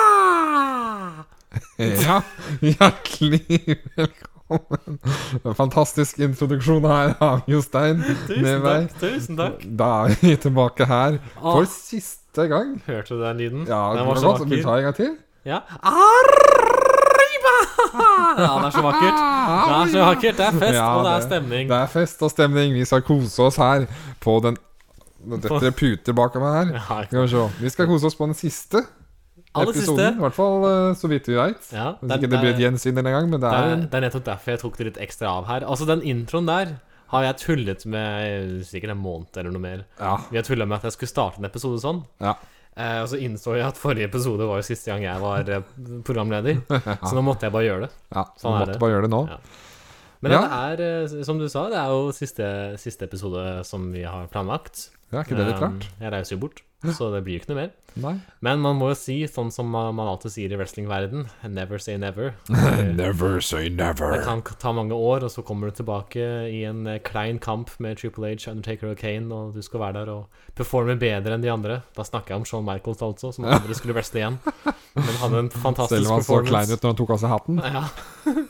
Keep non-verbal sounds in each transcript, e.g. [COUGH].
Arriva! Ja, Eh, [LAUGHS] hjertelig velkommen. Fantastisk introduksjon her av Jostein. Tusen takk. tusen takk Da er vi tilbake her for Åh. siste gang. Hørte du den lyden? Ja, den det var så godt. Vi vakker. tar en gang til. Ja. Arriva! Ja, det er så vakkert. Det er så vakkert. Det er fest, Ja, og det er stemning. Det er fest og stemning. Vi skal kose oss her på den Dette er puter bak meg her. Ja, ikke- Skal vi, se. vi skal kose oss på den siste Aller siste. episoden. I hvert fall eh, så vidt vi veit. Ja, Hvis ikke det blir et gjensyn denne gang, men det det er er, en det er nettopp derfor jeg tok det litt ekstra av her. Altså, den introen der har jeg tullet med eh, sikkert en måned eller noe mer. Ja. Vi har tullet med at jeg skulle starte en episode sånn. ja. Eh, og så innså jeg at forrige episode var jo siste gang jeg var eh, programleder. [LAUGHS] Så nå måtte jeg bare gjøre det. Ja, så Sånn vi er måtte det. bare gjøre det nå. Ja. Men Ja. det er, eh, som du sa, det er jo siste, siste episode som vi har planlagt. Ja, er ikke det litt Um, rart? Jeg reiser jo bort, så det blir jo ikke noe mer. Nei. Men man må jo si, sånn som man man alltid sier i wrestlingverden, never say [LAUGHS] never. Never say never. Det kan k- ta mange år, og så kommer du tilbake i en eh, klein kamp med Triple H, Undertaker og Kane, og du skal være der og performe bedre enn de andre. Da snakker jeg om Shawn Michaels, altså, [LAUGHS] som aldri skulle wrestle igjen. Men hadde en fantastisk Selv om han så performance. klein ut når han tok av seg [LAUGHS] hatten. Ja.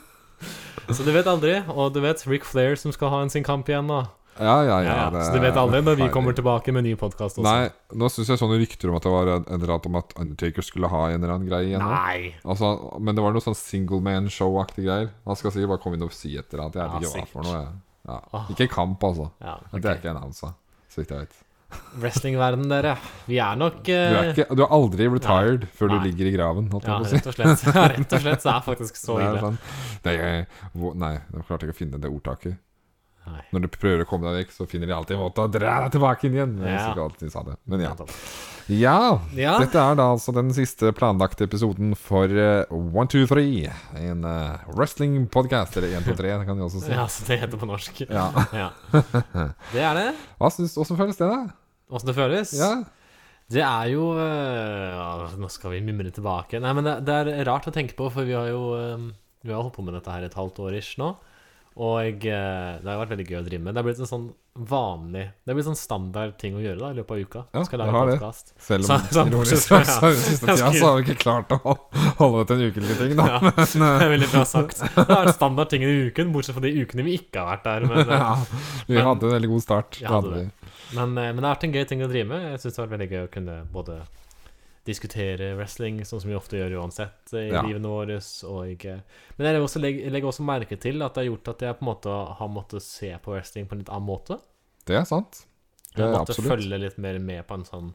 Så du vet aldri. Og du vet Rick Flair som skal ha en sin kamp igjen nå. Ja, ja, ja. Ja, det så du vet aldri når vi er kommer ferdig. tilbake med ny podkast også. Nei, nå syns jeg sånne rykter om at det var en eller annet om at Undertaker skulle ha en eller annen greie igjen. nå. Nei. Altså, men det var noe sånn single man-show-aktig greier. Han skal si bare kom inn og si et eller annet. Jeg vet Ja, ikke hva for sikkert. noe. jeg. Ja. Ikke kamp, altså. Ja, Det er ikke annonsa, så vidt jeg vet. Wrestlingverden, dere. Vi er nok Du er, eh, ikke, du er aldri retired før Nei. du ligger i graven, holdt Ja, jeg på å si. rett [LAUGHS] og slett. Ja, rett og slett så er faktisk så Det er ille. sånn det er, hvor, Nei, jeg klarte ikke å finne det ordtaket. Nei. Når du prøver å komme deg vekk, så finner de alltid en måte å dra deg tilbake inn igjen. Jeg Ja. husker ikke alltid de sa det. Men ja. ja. Ja. Dette er da altså den siste planlagte episoden for eh, One, Two, Three. En eh, wrestling-podkast. Eller Én, to, tre, kan de også si. ja, så det heter på [LAUGHS] norsk. Ja. Ja. Det er det. Hva syns Åssen føles det, da? Åssen det føles? Ja. Det er jo eh, ja, Nå skal vi mimre tilbake. Nei, men det, det er rart å tenke på, for vi har jo eh, Vi har holdt på med dette her et halvt år ish nå. Og eh, det har jo vært veldig gøy å drive med. Det er blitt en sånn vanlig Det er blitt sånn standard ting å gjøre da i løpet av uka. Ja, skal det har lage det. podkast. Selv Så- om så- ironisk så- nok, så den Jeg siste tida skulle- så har vi ikke klart å hol- holde ut en ukentlig ting, da. Ja, [LAUGHS] det er veldig bra sagt. Det har vært standard ting i uken, bortsett fra de ukene vi ikke har vært der. [LAUGHS] Men, eh, Ja. Vi Men- hadde en veldig god start. Vi Det hadde hadde vi. men, eh, men det har vært en gøy ting å drive med. Jeg syns det har vært veldig gøy å kunne både diskutere wrestling, sånn som vi ofte gjør uansett eh, i Ja. livene våre. Og, eh, men jeg legger også, legg- jeg legger også merke til at det har gjort at jeg på en måte har måttet se på wrestling på en litt annen måte. Det er sant. Jeg Det har er måttet absolutt. følge litt mer med på en sånn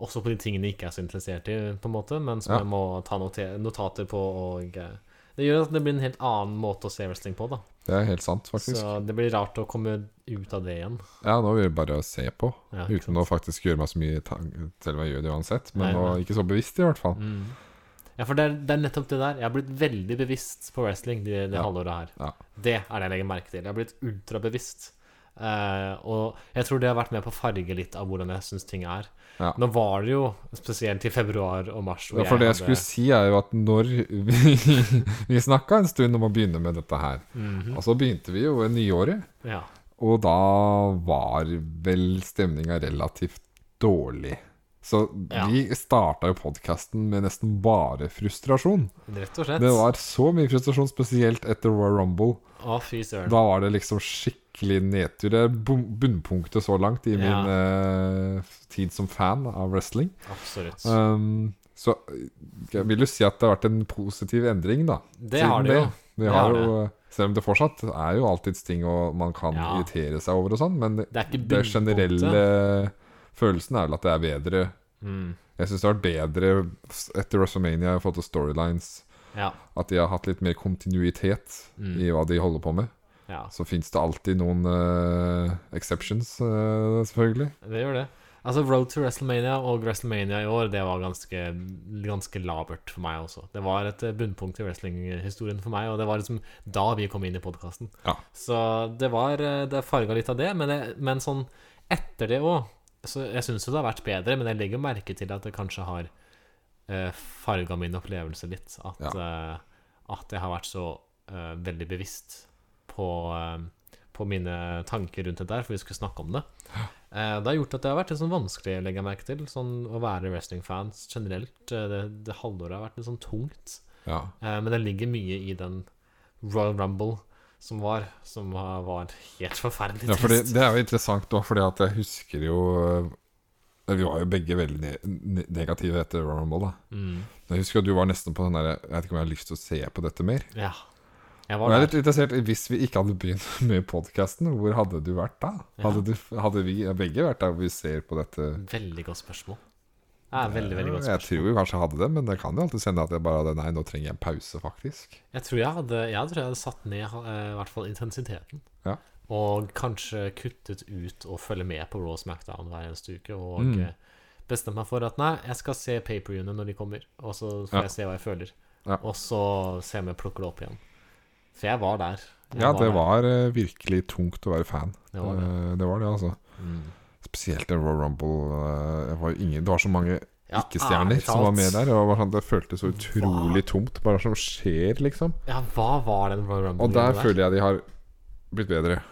Også på de tingene jeg ikke er så interessert i, på en måte, men som Ja. jeg må ta note- notater på. og... eh, Det gjør at det blir en helt annen måte å se wrestling på, da. Det er helt sant, faktisk. Så det blir rart å komme ut av det igjen. Ja, nå vil jeg bare se på. Ja, ikke uten å faktisk gjøre meg så mye tan- Selv om jeg gjør det uansett, men Nei, nå, nei. ikke så bevisst, i hvert fall. Mm. Ja, for det er, det er nettopp det der. Jeg har blitt veldig bevisst på wrestling det, det Ja. halvåret her. Ja. Det er det jeg legger merke til. Jeg har blitt ultrabevisst. Eh, og jeg tror det har vært med på å farge litt av hvordan jeg syns ting er. Ja. Nå var det jo spesielt i februar og mars hvor Ja, for det jeg hadde- skulle si, er jo at når vi, [LAUGHS] vi snakka en stund om å begynne med dette her, Mhm. og så begynte vi jo ved nyåret, ja. og da var vel stemninga relativt dårlig. Så Ja. vi starta jo podkasten med nesten bare frustrasjon. Rett og slett. Det var så mye frustrasjon, spesielt etter Royal Rumble. Å, fy søren. Da var det liksom skikkelig nedtur. Det er bun- bunnpunktet så langt i min Ja. eh, tid som fan av wrestling. Absolutt. Um, så jeg vil jo si at det har vært en positiv endring, da. Det har siden det jo. Vi Det har har jo selv om det fortsatt er jo alltids ting og man kan Ja. irritere seg over og sånn, men det, Det er ikke det generelle følelsen er vel at det er bedre. Mm. Jeg syns det har vært bedre s- etter WrestleMania i forhold til storylines. Ja. At de har hatt litt mer kontinuitet Mm. i hva de holder på med. ja. Så fins det alltid noen eh, exceptions, eh, selvfølgelig. Det gjør det. Altså, Road to WrestleMania og WrestleMania i år, det var ganske, ganske labert for meg også. Det var et eh, bunnpunkt i wrestlinghistorien for meg, og det var liksom da vi kom inn i podkasten. Ja. Så det var eh, Det farga litt av det, men, det, men sånn etter det òg Så jeg syns jo det har vært bedre, men jeg legger merke til at det kanskje har uh, farga min opplevelse litt. At, eh, at jeg har vært så eh, veldig bevisst på, eh, på mine tanker rundt det der, for vi skulle snakke om det. Eh, Det har gjort at det har vært litt sånn vanskelig å legge merke til. Sånn, å være wrestlingfans generelt. eh, Det, det halvåret har vært litt sånn tungt. Ja. Eh, Men det ligger mye i den Royal Rumble som var, som har- var helt forferdelig ja fordi, trist. det er jo interessant da, fordi at jeg husker jo eh, Vi var jo begge veldig ne ne- negative etter Royal Rumble. da Mm, Men Jeg husker at du var nesten på den der Jeg vet ikke om jeg har lyst til å se på dette mer. ja. Jeg var Og jeg er der. litt interessert i Hvis vi ikke hadde begynt [LAUGHS] med podkasten, hvor hadde du vært da? Ja. Hadde, du, hadde vi begge vært der hvor vi ser på dette? Veldig godt spørsmål. Det er veldig, veldig godt jeg spørsmål. tror vi kanskje hadde det, men det kan jo alltid sende at jeg bare hadde Nei, nå trenger jeg en pause, faktisk. Jeg tror jeg hadde, jeg tror jeg hadde satt ned eh, i hvert fall intensiteten. Ja. Og kanskje kuttet ut å følge med på Raw Smackdown hver eneste uke. Og Mm. eh, bestemt meg for at nei, jeg skal se paperviewene når de kommer. Og så får Ja. jeg se hva jeg føler. Ja. Og så se om jeg plukker det opp igjen. For jeg var der. Jeg Ja, det der. var eh, virkelig tungt å være fan. Det var det. Eh, det, var det, altså. Mm. Spesielt den Royal Rumble. eh, det var jo ingen, det var så mange Ja, ikke-stjerner ærlig som var talt. med der. Og det var sånn, det føltes så utrolig tomt. Bare som skjer, liksom. Ja, hva var den Royal Rumble? Og der føler jeg de har blitt bedre.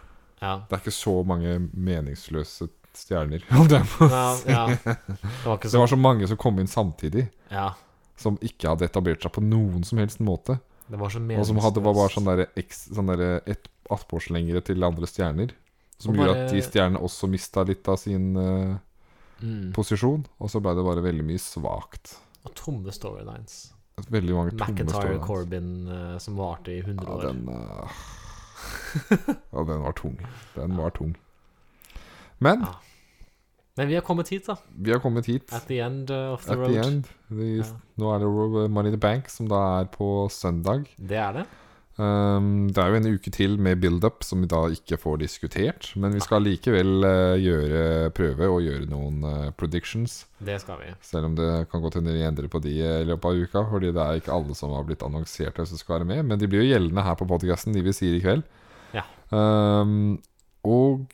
ja. Det er ikke så mange meningsløse stjerner. om det er på å Ja, si. ja. Det [LAUGHS] var ikke Det så var så mange som kom inn samtidig, Ja. som ikke hadde etablert seg på noen som helst måte. Det var så Og som hadde var bare meningsløst. sånn derre eks- sånn der ett attpåslengere til andre stjerner. Som Og gjorde bare- at de stjernene også mista litt av sin eh, mm. posisjon. Og så ble det bare veldig mye svakt. Og tomme storylines. Veldig mange tomme McIntyre storylines. Corbin eh, som varte i 100 Ja, år. den eh, [LAUGHS] Ja, den var tung. Den var tung. Men Ja. Men vi har kommet hit, da. vi har kommet hit. At the end uh, of the At road. the end. Vi- Ja. Nå er det Ro- Money in the Bank, som da er på søndag. Det er det. Um, det er jo en uke til med build-up, som vi da ikke får diskutert. Men vi skal likevel eh, gjøre prøve og gjøre noen eh, predictions. Det skal vi. Selv om det kan godt hende vi endrer på de eh, i løpet av uka. Fordi det er ikke alle som har blitt annonsert som skal være med. Men de blir jo gjeldende her på podkasten, de vi sier i kveld. Ja. Um, og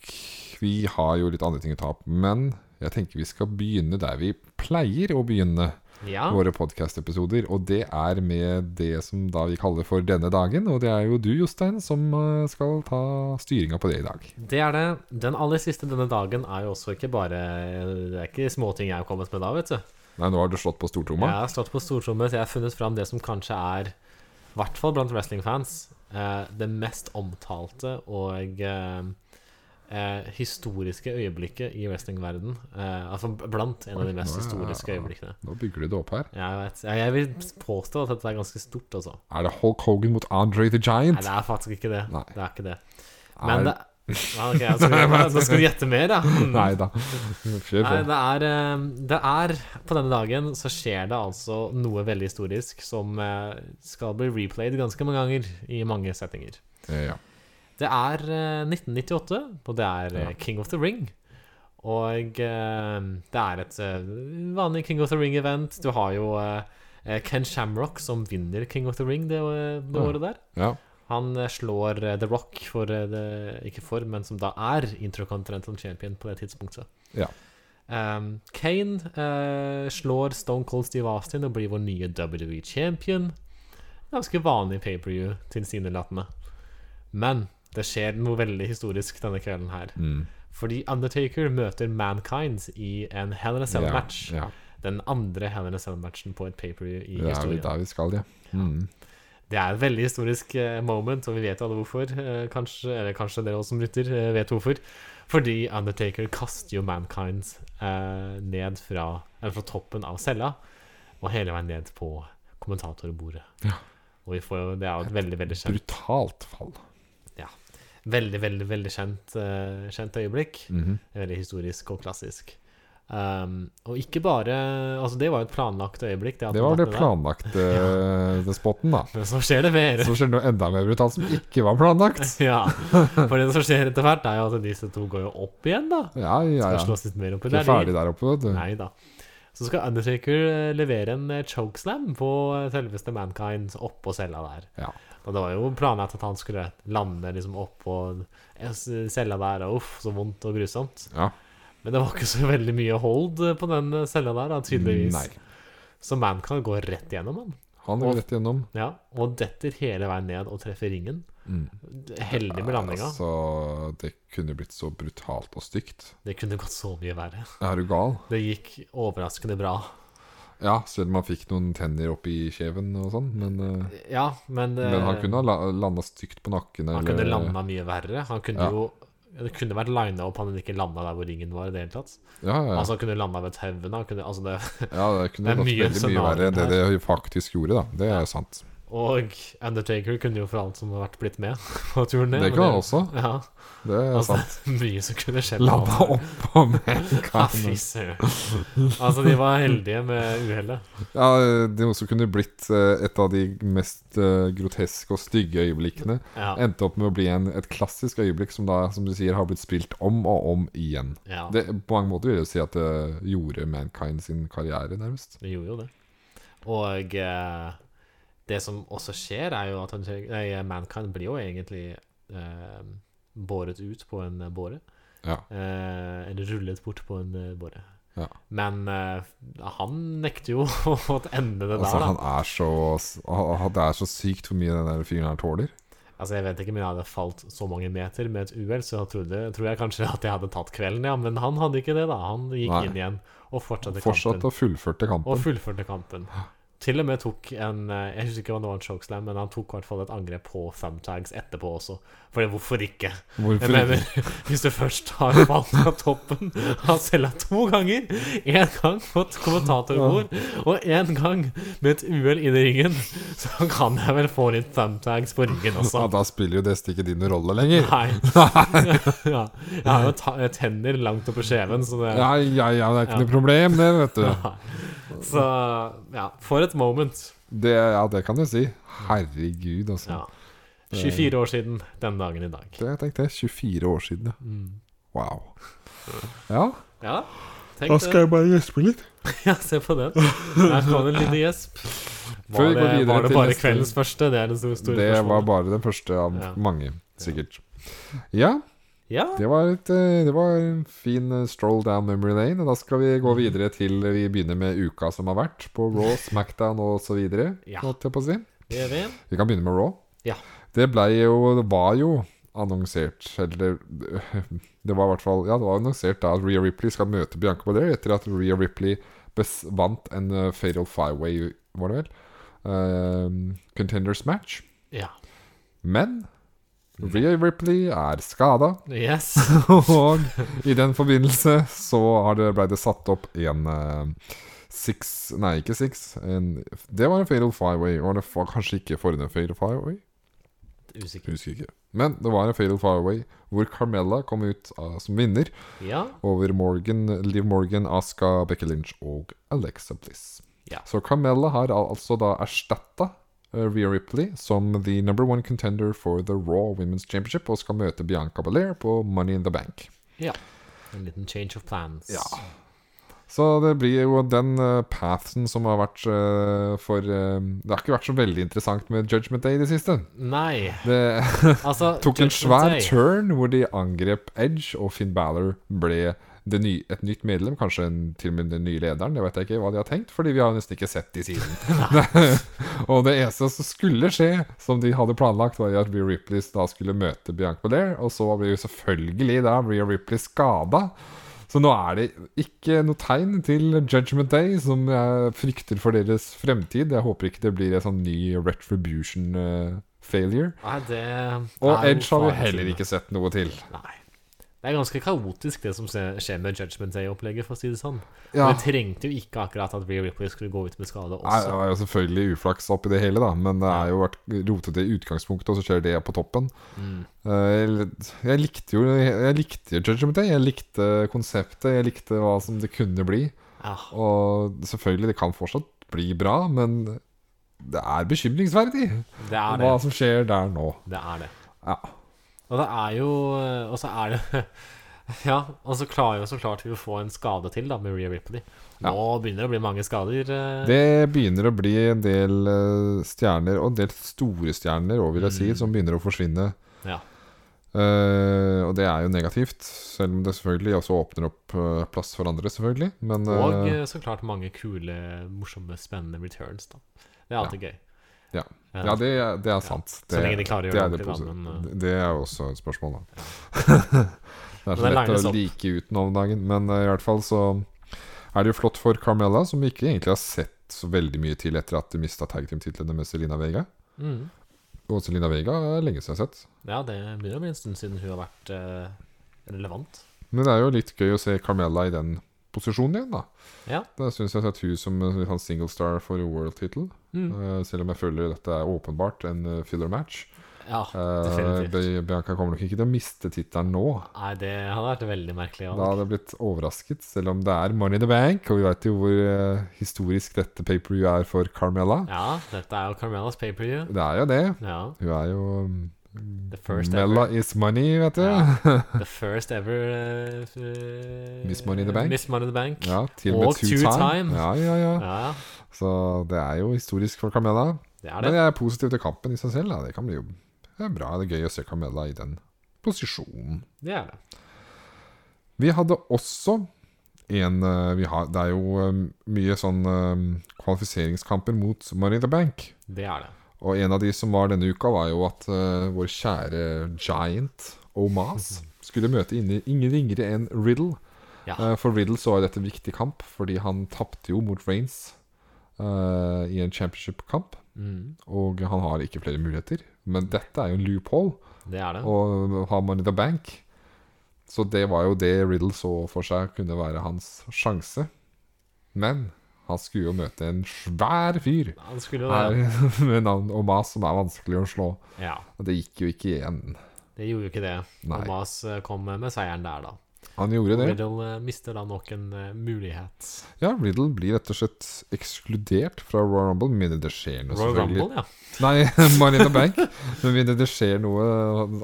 vi har jo litt andre ting å ta opp. Men jeg tenker vi skal begynne der vi pleier å begynne Ja. våre podcast-episoder, og det er med det som da vi kaller for denne dagen, og det er jo du, Jostein, som eh, skal ta styringa på det i dag. Det er det. Den aller siste denne dagen er jo også ikke bare Det er ikke småting jeg har kommet med da, vet du. Nei, nå har du slått på stortromma. Jeg har stått på stortrommet, jeg har funnet fram det som kanskje er, i hvert fall blant wrestlingfans, eh, det mest omtalte og eh, eh, historiske øyeblikket i wrestlingverden eh, Altså blant en av de mest Oi, nå er jeg- historiske øyeblikkene. Nå bygger du det opp her. Jeg vet. Ja, Jeg vil påstå at dette er ganske stort, altså. Er det Hulk Hogan mot Andre the Nei, Giant? det er faktisk ikke det. Nei. Det er ikke det. Er- Men det ja, ok, jeg skulle, Da skal du gjette mer, da. Nei da. Kjør Nei, på. det er, eh, det er På denne dagen så skjer det altså noe veldig historisk som eh, skal bli replayed ganske mange ganger i mange settinger. Eh, Ja. Det er eh, 1998, og det er eh, Ja. King of the Ring. Og eh, det er et eh, vanlig King of the Ring-event. Du har jo eh, eh, Ken Shamrock som vinner King of the Ring det, eh, det Ja. året der. ja. Han eh, slår eh, The Rock for eh, det, Ikke for, men som da er Intercontinental Champion på det tidspunktet. Ja. Ehm, Kane eh, slår Stone Cold Steve Austin og blir vår nye WWE Champion. Ganske vanlig pay-per-view, tilsynelatende. Men det skjer noe veldig historisk denne kvelden her. Mm. Fordi Undertaker møter Mankind i en Hell in a ja. Cell-match. Ja. Den andre Hell in a Cell-matchen på et pay-per-view i Det er jo historien. der vi skal, ja. Mm. Det er et veldig historisk eh, moment, og vi vet jo alle hvorfor. eh, Kanskje, eller kanskje dere også som lytter eh, vet hvorfor. Fordi Undertaker kaster jo Mankind eh, ned fra, eller fra toppen av cella og hele veien ned på kommentatorbordet. Ja. Og vi får jo, det er jo et veldig, veldig kjent, Brutalt fall. veldig, veldig, veldig kjent, eh, kjent øyeblikk. Mhm. Veldig historisk og klassisk. Um, og ikke bare Altså, det var jo et planlagt øyeblikk. at Det han var datt ned det der. planlagte den spotten, da. Men så skjer det [LAUGHS] mer. Så skjer det noe enda mer brutalt som ikke var planlagt. [LAUGHS] Ja, for det som skjer etter hvert, er jo at disse to går jo opp igjen, da. Ja, ja, Skal ja. slås litt mer opp i Ikke ferdig der oppe, vet du. Nei da. Så skal Undertaker eh, levere en eh, chokeslam på eh, selveste Mankind oppå cella der. Ja. Og det var jo planlagt at han skulle lande liksom oppå eh, s- cella der, og uff, så vondt og grusomt. Ja. Men det var ikke så veldig mye hold eh, på den eh, cella der, da, tydeligvis. Nei. Så Mankind går rett gjennom han. Han Og- er rett igjennom. Ja, og detter hele veien ned og treffer ringen. Mm. Heldig med landinga. Altså, det kunne blitt så brutalt og stygt. Det kunne gått så mye verre. Er du gal? Det gikk overraskende bra. Ja, selv om han fikk noen tenner opp i kjeven og sånn, men, eh, Ja, men, eh, men han kunne ha landa stygt på nakken. han kunne landa mye verre. Han kunne Ja. jo Det kunne vært lina opp han ikke landa der hvor ringen var i det hele tatt. Ja, ja, Altså, han kunne landa ved tauene. han kunne- Altså, det ja, det kunne det er gått mye veldig mye scenarioer verre enn det det faktisk gjorde, da. Det er jo sant. Og Undertaker kunne jo for alt som har vært blitt med på turen ned. men Det kunne han også. Ja, Det er altså, [LAUGHS] sant. mye som kunne skjedd. [LAUGHS] Landa oppå meg. Ja, fy søren. Altså, de var heldige med uhellet. Ja, det også kunne blitt eh, et av de mest eh, groteske og stygge øyeblikkene. Ja, Endte opp med å bli en, et klassisk øyeblikk som da, som du sier, har blitt spilt om og om igjen. ja. Det, på mange måter vil jeg si at det gjorde Mankind sin karriere, nærmest. Det gjorde jo det. Og eh, det som også skjer, er jo at han, nei, eh, Mankind blir jo egentlig eh, båret ut på en eh, båre. Ja. Eh, eller rullet bort på en eh, båre. Ja. Men eh, han nekter jo [LAUGHS] å ende det Altså, der, da. han er så han, han- Det er så sykt hvor mye den der fyren her tåler. Altså, jeg vet ikke, men jeg hadde falt så mange meter med et uhell, så jeg trodde, tror jeg kanskje at jeg hadde tatt kvelden, ja. Men han hadde ikke det, da. Han gikk Nei. inn igjen og fortsatte kampen. Fortsatt og fullførte Og kampen. fullførte kampen. Til og med tok en eh, Jeg husker ikke om det var en chokeslam, men han tok i hvert fall et angrep på thumbtags etterpå også. For hvorfor ikke? Jeg Hvorfor mener, ikke? hvis du først har falt fra toppen av cella to ganger Én gang på et kommentatorbord, og én gang med et uhell inni ringen, så kan jeg vel få litt thumbtags på ryggen Ja, også. da spiller jo det ikke din rolle lenger. Nei. Ja. Jeg har jo ta- tenner langt oppå skjeven, så det [LAUGHS] Ja, ja, ja, det er ikke noe problem, det, vet du. Så ja, for et moment. Det, ja, det kan du si. Herregud, altså. Ja. 24 år siden den dagen i dag. Det jeg tenkte jeg. 24 år siden, ja. Wow. Ja, Ja, tenk det. jeg bare gjespe litt. [LAUGHS] Ja, se på den. Der kom det en liten gjesp. Var Før vi går det, videre var det til bare neste- kveldens første? Det er den store store Det var spørsmålet. bare den første av Ja. mange, sikkert. Ja, Ja, det var, et, eh, det var en fin eh, stroll down memory lane. Og da skal vi Mhm. gå videre til vi begynner med uka som har vært, på Raw, Smackdown osv. Ja. Holdt jeg på å si. det gjør vi. Vi kan begynne med Raw. Ja. Det blei jo Det var jo annonsert Eller det var i hvert fall Ja, det var annonsert da at Rhea Ripley skal møte Bianca Belair etter at Rhea Ripley bes vant en eh, Fatal Fireway, var det vel? eh, contenders match. Ja. Men Rhea Ripley er skada, [LAUGHS] Yes. og i den forbindelse så har det, ble det satt opp en eh, six Nei, ikke six. En, det var en Fatal Fireway, og det var kanskje ikke forrige Fatal Fireway. Usikker. Jeg husker ikke. Men det var en fatal fireway hvor Carmella kom ut av, som vinner Ja. over Morgan, Liv Morgan, Aska, Becky Lynch og Alexa Bliss. Ja. Så Carmella har al- altså da erstatta Rhea Ripley som the number one contender for the Raw Women's Championship og skal møte Bianca Belair på Money in the Bank. ja. En liten change of plans. Ja. Så det blir jo den eh, pathen som har vært eh, for eh, Det har ikke vært så veldig interessant med Judgment Day i det siste. Nei, Det altså [LAUGHS] tok en Judgment svær Day. turn hvor de angrep Edge, og Finn Balor ble det ny, et nytt medlem, kanskje en, til og med den nye lederen. Det vet jeg ikke hva de har tenkt, fordi vi har nesten ikke sett de siden. og det eneste som skulle skje, som de hadde planlagt, var at Rhea Ripley da skulle møte Bianca Belair, og så ble jo selvfølgelig da Rhea Ripley skada. Så nå er det ikke noe tegn til Judgment Day, som jeg frykter for deres fremtid. Jeg håper ikke det blir en sånn ny retribution eh, failure. Nei, det Og er jo Edge har vi faretime. heller ikke sett noe til. Nei. Det er ganske kaotisk, det som se- skjer med Judgment Day-opplegget, for å si det sånn. Ja. Men Vi trengte jo ikke akkurat at Rhea Ripley skulle gå ut med skade også. Nei, det var jo selvfølgelig uflaks oppi det hele, da, men det har jo vært rotete i utgangspunktet, og så skjer det på toppen. Mm. Eh, Jeg, jeg likte jo Jeg likte Judgment Day, jeg likte konseptet, jeg likte hva som det kunne bli. Ja. Og selvfølgelig, det kan fortsatt bli bra, men det er bekymringsverdig Det er det. hva som skjer der nå. Det er det. Ja. Og det er jo Og så er det [LAUGHS] Ja, og så klarer jo så klart vi å få en skade til, da, med Rhea Ripley. Nå begynner det å bli mange skader. eh. Det begynner å bli en del eh, stjerner, og en del store stjerner, også, vil jeg si, som begynner å forsvinne. Mm. Ja. Eh, og det er jo negativt, selv om det selvfølgelig også åpner opp eh, plass for andre, selvfølgelig. Men Og eh, eh, så klart mange kule, morsomme, spennende returns, da. Det er alltid gøy. Ja. Ja, det, er- det er sant. Så lenge de klarer å gjøre det er det det ordentlig, da, posi- men, eh. Det- Det er jo også et spørsmål, da. [LAUGHS] det er Men det så lett lines å opp. like uten om dagen. Men eh, i hvert fall så er det jo flott for Carmella, som vi ikke egentlig har sett så veldig mye til etter at de mista tag team-titlene med Selina Vega. Mm. Og Selina Vega er lenge siden jeg har sett. Ja, det begynner å bli en stund siden hun har vært eh, relevant. Men det er jo litt gøy å se Carmella i den posisjonen igjen, da. Ja. Da syns jeg at hun som en sånn single star for world-tittel, Mm. eh, selv om jeg føler dette er åpenbart en eh, filler match Ja, Eh, definitivt. Bi- Bianca kommer nok ikke til å miste tittelen nå. Nei, det hadde vært veldig merkelig. Da Ja. hadde jeg blitt overrasket, selv om det er Money in the Bank. Og vi vet jo hvor eh, historisk dette paperview er for Carmella. ja, dette er jo Carmelas pay-per-view. Det er jo det. Ja, Hun er jo mm, the first Mella ever. is money, vet du. [LAUGHS] Ja, Ja, the first ever eh, f- eh, Miss Money in the Bank. Miss Money in the Bank. Ja. til og med Og two, two time. time. Ja, ja, ja. Så det er jo historisk for Carmella. det er Men det. jeg er positiv til kampen i seg selv. Da. Det kan bli jo det er bra. Det er gøy å se Carmella i den posisjonen. Det er det. Vi hadde også en eh, vi har, Det er jo eh, mye sånn eh, kvalifiseringskamper mot Money in the Bank. Det er det. Og en av de som var denne uka, var jo at eh, vår kjære giant Mhm. Omas skulle møte inni- ingen ringere enn Riddle. Ja. Eh, for Riddle så var dette en viktig kamp, fordi han tapte jo mot Reigns eh, i en championship-kamp. Mm. Og han har ikke flere muligheter. Men dette er jo en loophole, Det er det. og har Money in the Bank. Så det var jo det Riddle så for seg kunne være hans sjanse. Men han skulle jo møte en svær fyr Han skulle jo her [LAUGHS] med navn Omas, som er vanskelig å slå. Ja, Og det gikk jo ikke igjen. det gjorde jo ikke det. Nei. Thomas eh, kom med seieren der, da. Han gjorde det. Riddle eh, mister da nok en eh, mulighet. Ja, Riddle blir rett og slett ekskludert fra Royal Rumble, med mindre det skjer noe, Royal selvfølgelig. Rumble, ja. Nei, [LAUGHS] Money in the Bank. Med mindre det skjer noe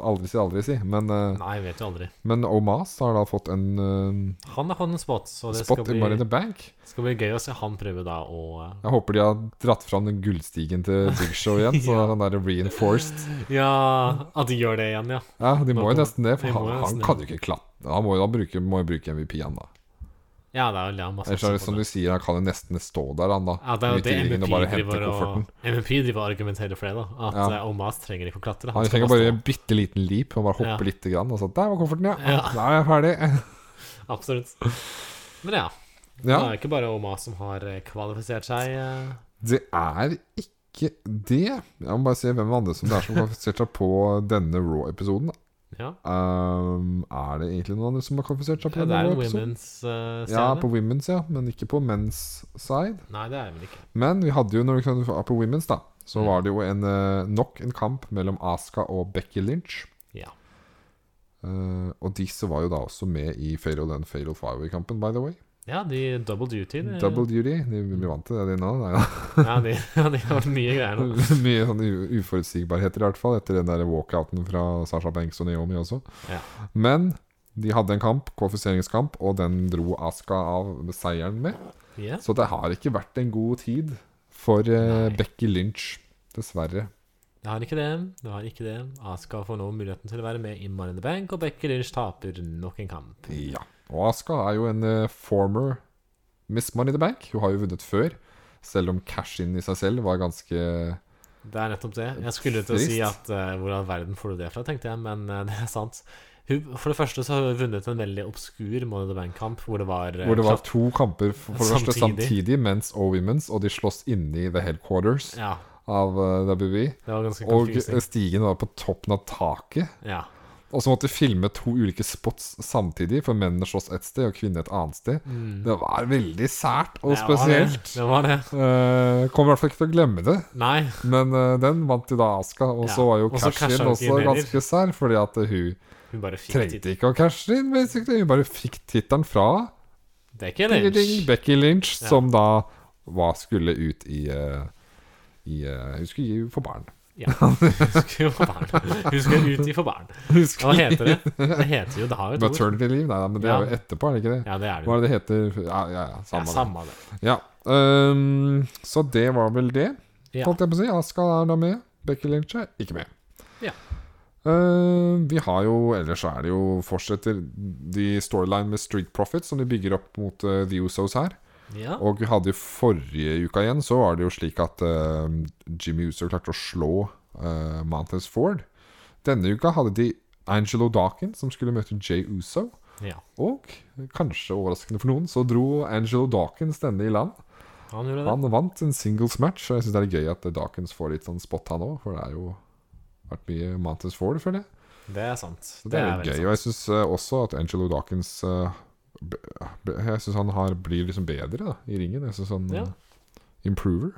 Aldri si, aldri si. Men, eh, Nei, vet jo aldri. men Omas har da fått en eh, Han har fått en spot, så det spot skal i Money in bli, the Bank. skal bli gøy å se han prøve da å eh, Jeg håper de har dratt fram den gullstigen til [LAUGHS] Big Show igjen, så han er reinforced. eh, Ja, at de gjør det igjen, ja. Ja, de må jo Nå- nesten det, de for må han, jo nesten han det. kan jo ikke klatre. Han må jo da bruke, må jo bruke MVP-en, da. Ja, det er jo Altså, det han masse Ellers er det som du sier, han kan jo nesten stå der, han, da. Ja, det er jo midt i det ringen MVP og bare hente driver og kofferten. MVP driver og argumenterer for det, da. At Ja. eh, Omas trenger ikke å klatre. Han skal trenger bare stå. en bitte liten leap og bare hoppe Ja. lite grann. Og så der var kofferten, ja. Ja. Da er jeg ferdig. [LAUGHS] Absolutt. Men ja, Ja, det er ikke bare Omas som har eh, kvalifisert seg. eh. det er ikke det. Jeg må bare se hvem andre som det er som har [LAUGHS] kvalifisert seg på denne Raw-episoden. Ja. Um, er det egentlig noen andre som har kvalifisert seg på Ja, det denne er en Raw-episoden? Ja, women's-scene. på women's, ja. Men ikke på men's side. Nei, det er det vel ikke. Men vi hadde jo, når vi kom på women's, da, så Mm. var det jo en, eh, nok en kamp mellom Aska og Becky Lynch. Ja. Eh, og disse var jo da også med i Fatal and Fatal Five-kampen, by the way. ja, de double duty. det- Double duty. De blir vant til det de nå. Nei, da. Ja, de, [LAUGHS] ja, de har vært mye greier [LAUGHS] nå. Mye sånn u- uforutsigbarheter, i hvert fall, etter den der walkouten fra Sasha Banks og Naomi også. Ja. Men de hadde en kamp, kvalifiseringskamp, og den dro Aska av med seieren med. Ja. Så det har ikke vært en god tid for eh, Nei. Becky Lynch, dessverre. Det har ikke det. Det har ikke det. Aska får nå muligheten til å være med i Money in the Bank, og Becky Lynch taper nok en kamp. Ja. Og Aska er jo en eh, former Miss Money in the Bank. Hun har jo vunnet før, selv om cash-in i seg selv var ganske Det er nettopp det. Jeg skulle til å si Trist. at uh, hvor all verden får du det fra, tenkte jeg, men eh, [LAUGHS] det er sant. Hun, for det første så har hun vunnet en veldig obskur Money in the Bank-kamp, hvor det var eh, Hvor det var klapp- to kamper for for det første Samtidig. samtidig, mens og women's, og de slåss inni the headquarters Ja, av uh, WWE. det var ganske Og eh, confusing. stigen var på toppen av taket. Ja. Og så måtte de filme to ulike spots samtidig, for mennene slåss ett sted og kvinnene et annet sted. Det var veldig sært og Mm. Det var det. spesielt. Det var det. Eh, kommer i hvert fall ikke til å glemme det. Nei. Men eh, den vant jo da Aska, og Ja, så var jo og så cashet cashen hun ikke også inn heller. ganske sær, fordi at eh, hun Hun bare fikk tid. trengte ikke å cashe inn, basically. Hun bare fikk tittelen fra Det er ikke Ding, Lynch. Becky Lynch, Ja. som da var, skulle ut i, eh, i eh, Hun skulle gi for barn. Ja. Husker jo for barn. Husker ut i for barn. Hun Hva skulle heter det? Det heter jo Det har jo et ord. Maternity leave, nei da, men det Ja. er jo etterpå, er det ikke det? Ja, det er det jo. Hva er det det heter? Ja, ja, ja. Ja, Samme. det. samme det. Ja. ehm, så det var vel det, Ja. holdt jeg på å si. Aska er da med. Becky Lynch er ikke med. Ja. Ehm, vi har jo Ellers så er det jo fortsetter de storyline med Street Profit som de bygger opp mot eh, øh, The Usos her. Ja. Og vi hadde jo forrige uka igjen, så var det jo slik at eh, Jimmy Uso klarte å slå uh, Mountains Ford. Denne uka hadde de Angelo Dawkins som skulle møte Jay Uso. ja. Og kanskje overraskende for noen, så dro Angelo Dawkins denne i land. Han gjorde det. Han vant en singles match, og jeg syns det er gøy at Dawkins får litt sånn spot, han òg. For det er jo vært mye Mountains Ford, føler jeg. Det er sant. Så det, er, litt veldig gøy. Og jeg syns også at Angelo Dawkins eh, b- b- Jeg syns han har, blir liksom bedre da, i ringen. Jeg syns han Ja. eh, improver.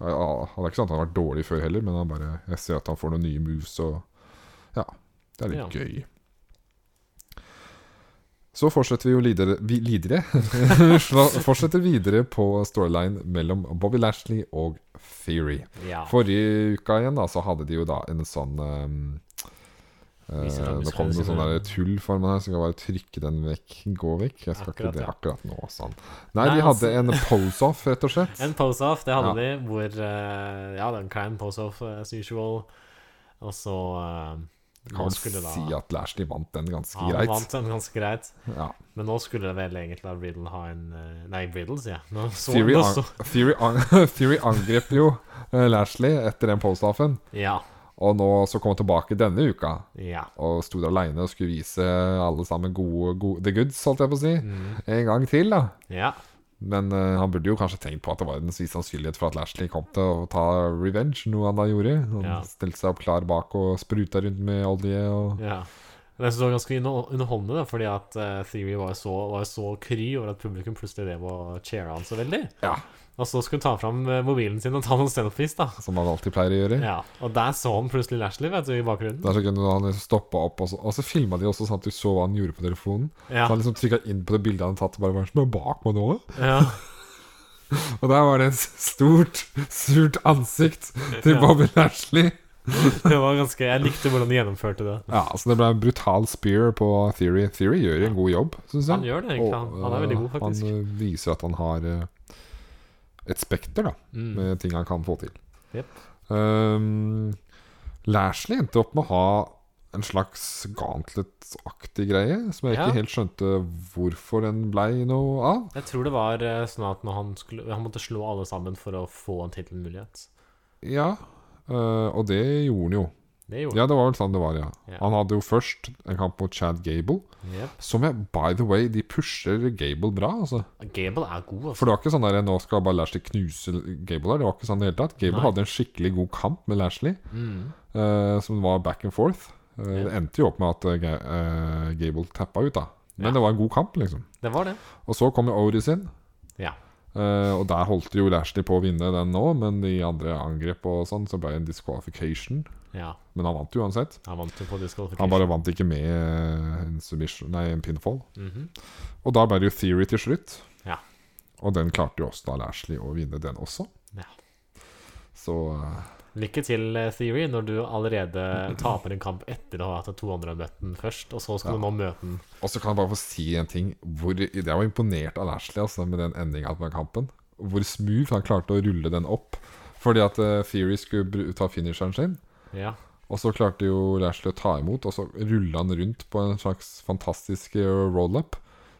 Ja, Han er ikke sånn at han har vært dårlig før heller, men han bare, jeg ser at han får noen nye moves. Og ja, det er litt gøy. Så fortsetter vi jo lidere, vi, [LAUGHS] lidere. Sla- fortsetter videre på storyline mellom Bobby Lashley og Theory. sant. Ja. Forrige uka igjen da, så hadde de jo da en sånn um, eh, Viser fram Nå kom det musklene sånn der sine. tull for meg her, så jeg kan bare trykke den vekk. Gå vekk. Jeg skal Akkurat, ikke det ja. akkurat nå. Sånn. Nei, Nei, de hadde altså- en pose-off, rett og slett. [LAUGHS] En pose-off, det hadde Ja. de, hvor eh, Ja, det er en klein pose-off eh, as usual. Og så eh, Kan nå man skulle da- si at Lashley vant den ganske Han greit. vant den ganske greit. Ja. Men nå skulle det vel egentlig da Riddle ha en eh, Nei, Riddle, sier jeg. Nå så, Theory, nå an [LAUGHS] så, Theory, an [LAUGHS] Theory angrep jo eh, Lashley etter den pose-offen, ja. og nå så kom han tilbake denne uka. Ja. Og sto der aleine og skulle vise alle sammen gode, gode the goods, holdt jeg på å si. Mm. En gang til, da. ja. Men eh, han burde jo kanskje tenkt på at det var en viss sannsynlighet for at Lashley kom til å ta revenge, noe han da gjorde. Han Ja. stilte seg opp klar bak og spruta rundt med olje. Og... ja. Men jeg synes det var ganske inno- underholdende, da, fordi at eh, Theory var jo så, var jo så kry over at publikum plutselig drev og cheera han så veldig. Ja. Og så skulle han ta fram eh, mobilen sin og ta noen selfies, da. Som han alltid pleier å gjøre. Ja. Og der så han plutselig Lashley, vet du, i bakgrunnen. Det er så gøy når han stoppa opp, og så, og så filma de også sånn at du så hva han gjorde på telefonen. Ja. Så han liksom trykka inn på det bildet han hadde tatt, og bare Hva er det som er bak meg nå? ja. Og der var det et stort, surt ansikt til Ja. Bobby Lashley. [LAUGHS] Det var ganske Jeg likte hvordan de gjennomførte det. Ja, Så det ble en brutal spear på Theory. Theory gjør en god jobb, syns jeg. Han gjør det, egentlig. Han, han er veldig god, øh, faktisk. Han øh, viser at han har øh, et spekter da, Mm. med ting han kan få til. Jep. Ehm, Lashley endte opp med å ha en slags gauntlet-aktig greie, som jeg Ja. ikke helt skjønte hvorfor den blei noe av. Jeg tror det var eh, sånn at når han, skulle, han måtte slå alle sammen for å få en tittelmulighet. Ja, øh, og det gjorde han jo. Det gjorde Ja, det var vel sånn det var, ja. Ja. Han hadde jo først en kamp mot Chad Gable, han. Jep. som jeg, by the way, de pusher Gable bra, altså. Gable er god, altså. For det var ikke sånn der, nå skal bare Lashley knuse Gable her. Det var ikke sånn i det hele tatt. Gable Nei. hadde en skikkelig god kamp med Lashley, Mm. eh, som var back and forth. Eh, Ja. Det endte jo opp med at eh, Ga- eh, Gable tappa ut, da. Men Ja. det var en god kamp, liksom. Det var det. Og så kom jo Oris inn. Ja. eh, og der holdt jo Lashley på å vinne den nå, men de andre angrep og sånn, så ble det en disqualification. ja. Men han vant jo uansett. Han vant jo på disqualification. Han bare vant ikke med eh, en, submission, nei, en pinfall. Mhm. Og da ble det jo Theory til slutt. Ja. Og den klarte jo også da Lashley å vinne, den også. Ja. Så eh, Lykke til, eh, Theory, når du allerede taper en kamp etter å ha hatt to andre møtt den først, og så skal du nå møte den. Og så kan jeg bare få si en ting. Hvor, jeg var imponert av Lashley altså, med den endinga på den kampen. Hvor smooth han klarte å rulle den opp. Fordi at eh, Theory skulle bru- ta finisheren sin. Ja. Og så klarte jo Lashley å ta imot, og så rulla han rundt på en slags fantastisk eh, roll-up.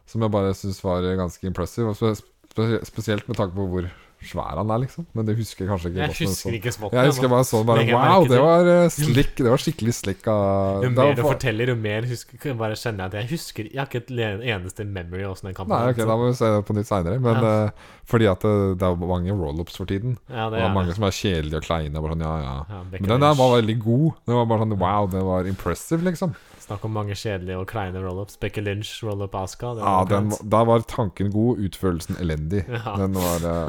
Som jeg bare syns var eh, ganske impressive. Og spe spe spesielt med tanke på hvor svær han er, liksom. Men det husker jeg kanskje ikke. Jeg godt, men husker så- ikke spotten. altså. Jeg husker ennå. bare sånn bare, Legger jeg Wow, merke det til. var eh, slick. Det var skikkelig slick av Jo det mer var du fa- forteller, jo mer husker, jeg bare kjenner jeg at jeg husker Jeg har ikke et le- eneste memory av åssen den kampen Nei, var, liksom. så- ok, da må vi se det på nytt seinere. Men Ja. eh, fordi at det, det er mange roll-ups for tiden. Ja, Og det det er er det. mange som er kjedelige og kleine. Bare sånn, ja, ja. Ja, Men den der var veldig god. Den var bare sånn wow, den var impressive, liksom. Snakk om mange kjedelige og kleine rollups. Becky Lynch, rollup Aska. det Ja, var den, greit. Da var tanken god, utførelsen elendig. Ja. Den var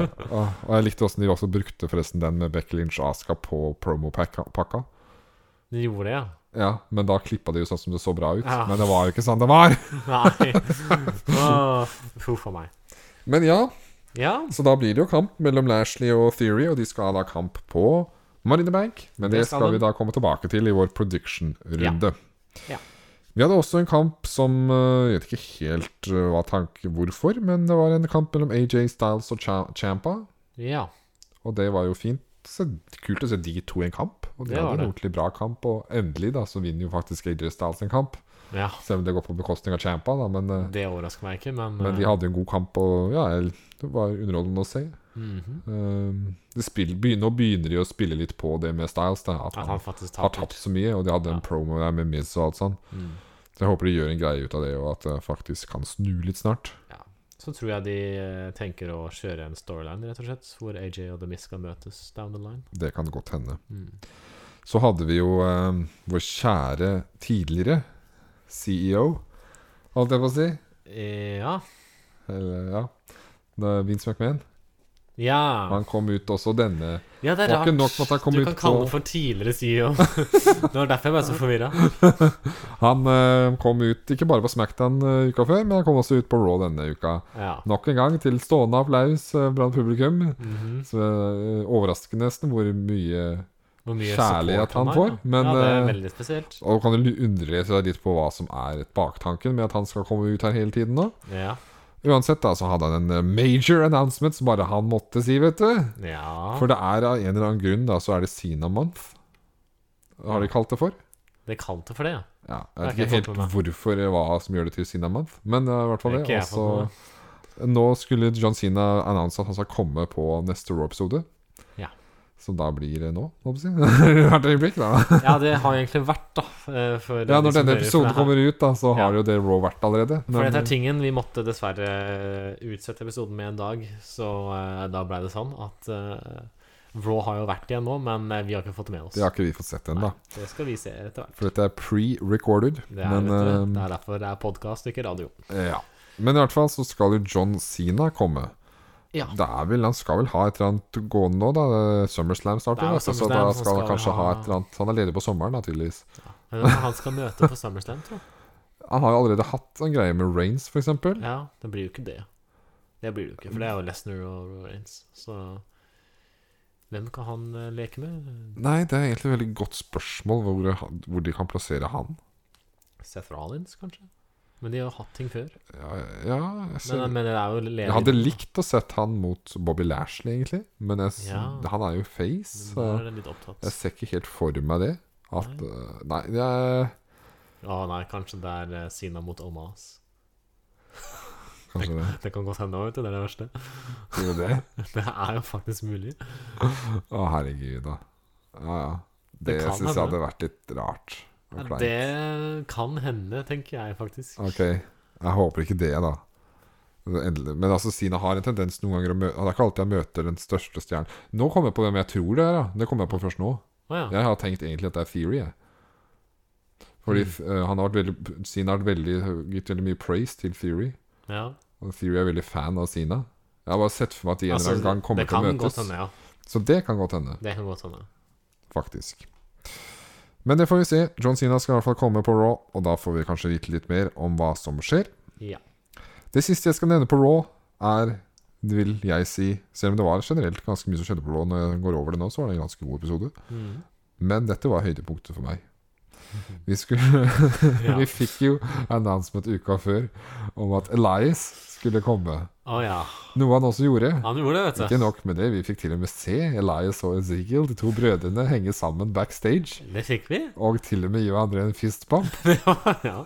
[LAUGHS] eh, å, Og jeg likte åssen de også brukte forresten den med Becky Lynch og Aska på promopakka. De gjorde det, ja. [LAUGHS] Ja, men da klippa de jo sånn som det så bra ut. Ja. Men det var jo ikke sånn det var. [LAUGHS] Nei. Åh, Huff a meg. Men ja, Ja. Så da blir det jo kamp mellom Lashley og Theory, og de skal ha da kamp på Marinebank. Men det, Det skal skal de. vi da komme tilbake til i vår prediction-runde. Ja. Vi hadde også en kamp som eh, Jeg vet ikke helt eh, hva tanke hvorfor, men det var en kamp mellom AJ Styles og Cha- Champa. ja. Og det var jo fint. Så kult å se de to i en kamp. Og de Det var hadde en det. ordentlig bra kamp, og endelig da så vinner jo faktisk AJ Styles en kamp. Ja, Selv om det går på bekostning av Champa, da, men, eh, Det overrasker meg ikke, men, men de eh, hadde jo en god kamp. Og ja, det var underholdende å se. mhm. Eh, det spill, begyn- nå begynner de å spille litt på det med Styles. Da, at At han han faktisk har taper. tapt så mye, og de hadde en Ja. promo der med Miz og alt sånn. Mm. Så jeg håper de gjør en greie ut av det, og at det faktisk kan snu litt snart. Så tror jeg de eh, tenker å kjøre en storyline, rett og slett, hvor AJ og The Miz skal møtes down the line. Det kan godt hende. Mm. Så hadde vi jo eh, vår kjære tidligere CEO, holdt jeg på å si. Eh, Ja. Eller, ja. Det er Vince McMahon. Ja. Han kom ut også denne. ja, det er var rart. ikke nok med at han kom du ut kan kalle på- det for tidligere [LAUGHS] CEO. det var derfor jeg ble så forvirra. Han eh, kom ut ikke bare på Smackdown eh, uka før, men han kom også ut på Raw denne uka. Ja. Nok en gang til stående applaus eh, blant publikum. Mhm. Så eh, Overraskende nesten hvor mye Hvor mye Kjærlighet support han har, får, da. men, Ja, det er eh, veldig spesielt. Og kan du undre seg litt på hva som er baktanken med at han skal komme ut her hele tiden nå? Ja. Uansett da, så hadde han en eh, major announcement som bare han måtte si, vet du. ja. For det er av en eller annen grunn da, så er det Sina Month. Har de kalt det for? Det kalte for det, ja. Ja, Det jeg vet har ikke ikke jeg fått helt med meg. hvorfor eh, hva som gjør det til Sina Month, men eh, i hvert fall Det er det. ikke jeg Også, fått med nå skulle John Sina annonse at han skal komme på neste Raw-episode. Ja. Så da blir det nå, må jeg si. [LAUGHS] Hvert øyeblikk, da. Ja, det har egentlig vært, da. eh, For Ja, de når som denne hører på episoden det her. kommer ut, da, så har Ja. jo det Raw vært allerede. For men- eh, dette er tingen vi måtte dessverre eh, utsette episoden med en dag, så eh, da ble det sånn at eh, Raw har jo vært igjen nå, men eh, vi har ikke fått det med oss. Det har ikke vi fått sett ennå. Nei, det skal vi se etter hvert. For dette er pre-recorded. Det er, Men, vet du, det eh, er derfor det er podkast, ikke radio. ja. men i hvert fall så skal jo John Sina komme. Ja. Det er vel, Han skal vel ha et eller annet gående nå, da. SummerSlam Det er starter. jo vet du, Så SummerSlam, da han skal han skal kanskje vel ha ha- et eller annet Han er ledig på sommeren, naturligvis. Men han skal møte på SummerSlam, tror jeg. Han har jo allerede hatt en greie med Reigns, f.eks. Ja, det blir jo ikke det. Det blir det jo ikke, for det er jo Lesnar og Reigns, så Hvem kan han eh, leke med? Nei, det er egentlig et veldig godt spørsmål hvor, hvor de kan plassere han. Seth Rollins, kanskje? Men de har jo hatt ting før. Ja, ja jeg ser Men, men det er jo ledig. Jeg hadde likt å sett han mot Bobby Lashley, egentlig. Men jeg, s- Ja. han er jo face, Så så er det litt opptatt. jeg ser ikke helt for meg det. At øh, Nei, jeg Å nei, kanskje det er eh, Sina mot Omas. Kanskje det. [LAUGHS] Det kan godt hende òg, vet du. Det er det verste. [LAUGHS] Tror du det? Det er jo faktisk mulig. Å, herregud, da. Ja, ja. Det, Det kan synes jeg hende. hadde vært litt rart. og Ja, kleint. det kan hende, tenker jeg faktisk. Ok, jeg håper ikke det, da. Det er endelig- Men altså, Sina har en tendens noen ganger å møte Det er ikke alltid jeg møter den største stjernen. Nå kommer jeg på hvem jeg tror det er, da. Det kommer jeg på først nå. Å ja. Jeg har tenkt egentlig at det er Theory, jeg. Fordi Mm. eh, han har vært veldig Sina har vært veldig, gitt veldig mye praise til Theory. ja. Og Theory er veldig fan av Sina. Jeg har bare sett for meg at de en Altså, eller annen gang det kommer til kan å godt møtes. hende, ja. Så det kan godt hende, Det kan godt hende. faktisk. Men det får vi se. John Sina skal i hvert fall komme på Raw, og da får vi kanskje vite litt mer om hva som skjer. Ja. Det siste jeg skal nevne på Raw, er vil jeg si, selv om det var generelt ganske mye som skjedde på Raw når jeg går over det nå, så var det en ganske god episode. Mm. Men dette var høydepunktet for meg. Mhm. Vi, skulle, Ja. [LAUGHS] [LAUGHS] vi fikk jo announcement uka før om at Elias skulle komme. Å ja. Noe han også gjorde. Han gjorde det, vet Ikke du. nok med det, vi fikk til og med se Elias og Ezekiel, de to brødrene, henge sammen backstage. Det fikk vi. [LAUGHS] Og til og med gi hverandre en fist bump. ja.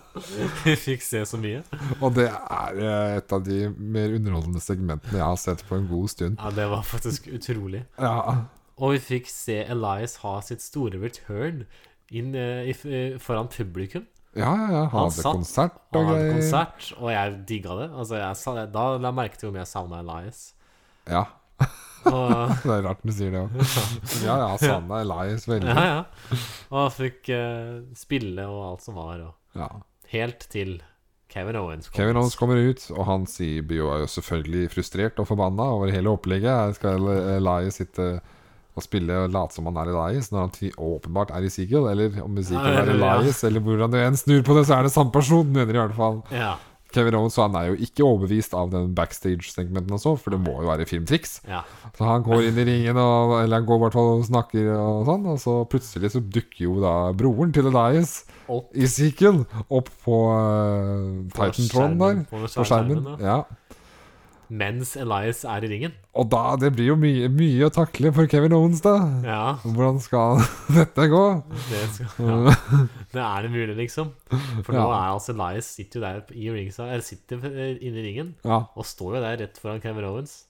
Vi fikk se så mye. Og det er eh, et av de mer underholdende segmentene jeg har sett på en god stund. Ja, Det var faktisk utrolig. Ja, Og vi fikk se Elias ha sitt store return inn, eh, i, f- foran publikum. ja, ja. ja. Han Han hadde satt, konsert Han og hadde greier. konsert, og jeg digga det. Altså, jeg, sa- da la jeg merke til hvor mye jeg savna Elias. Ja, [LAUGHS] Og, [LAUGHS] det er rart du sier det òg. Ja, ja, savna Elias veldig. ja, ja. og fikk eh, spille og alt som var. Og. Ja. Helt til Kevin Owens kom. Kevin Owens kommer ut, og han sier Bio er jo selvfølgelig frustrert og forbanna over hele opplegget. Her skal Elias sitte eh, og spille og late som han er Elias, når han ti- åpenbart er Ezekiel. Eller om Ezekiel Ja, er eller, ja. Elias, eller hvordan du enn snur på det, så er det samme person, mener i hvert fall. Ja, Kevin Owens han er jo ikke overbevist av den backstage-segmenten og så, for det må jo være filmtriks. ja. Så han går inn i ringen, og, eller han går i hvert fall og snakker og sånn, og så plutselig så dukker jo da broren til Elias, Opp. Ezekiel, opp på uh, Titan Tron der. På På skjermen. skjermen, da. Ja. mens Elias er i ringen. Og da, det blir jo mye, mye å takle for Kevin Owens, da. Ja, Hvordan skal [LAUGHS] dette gå? det skal [LAUGHS] ja. Det er det mulig, liksom. For nå Ja. er altså Elias sitter jo der i ringsa, eller sitter eh, inne i ringen Ja, og står jo der rett foran Kevin Owens.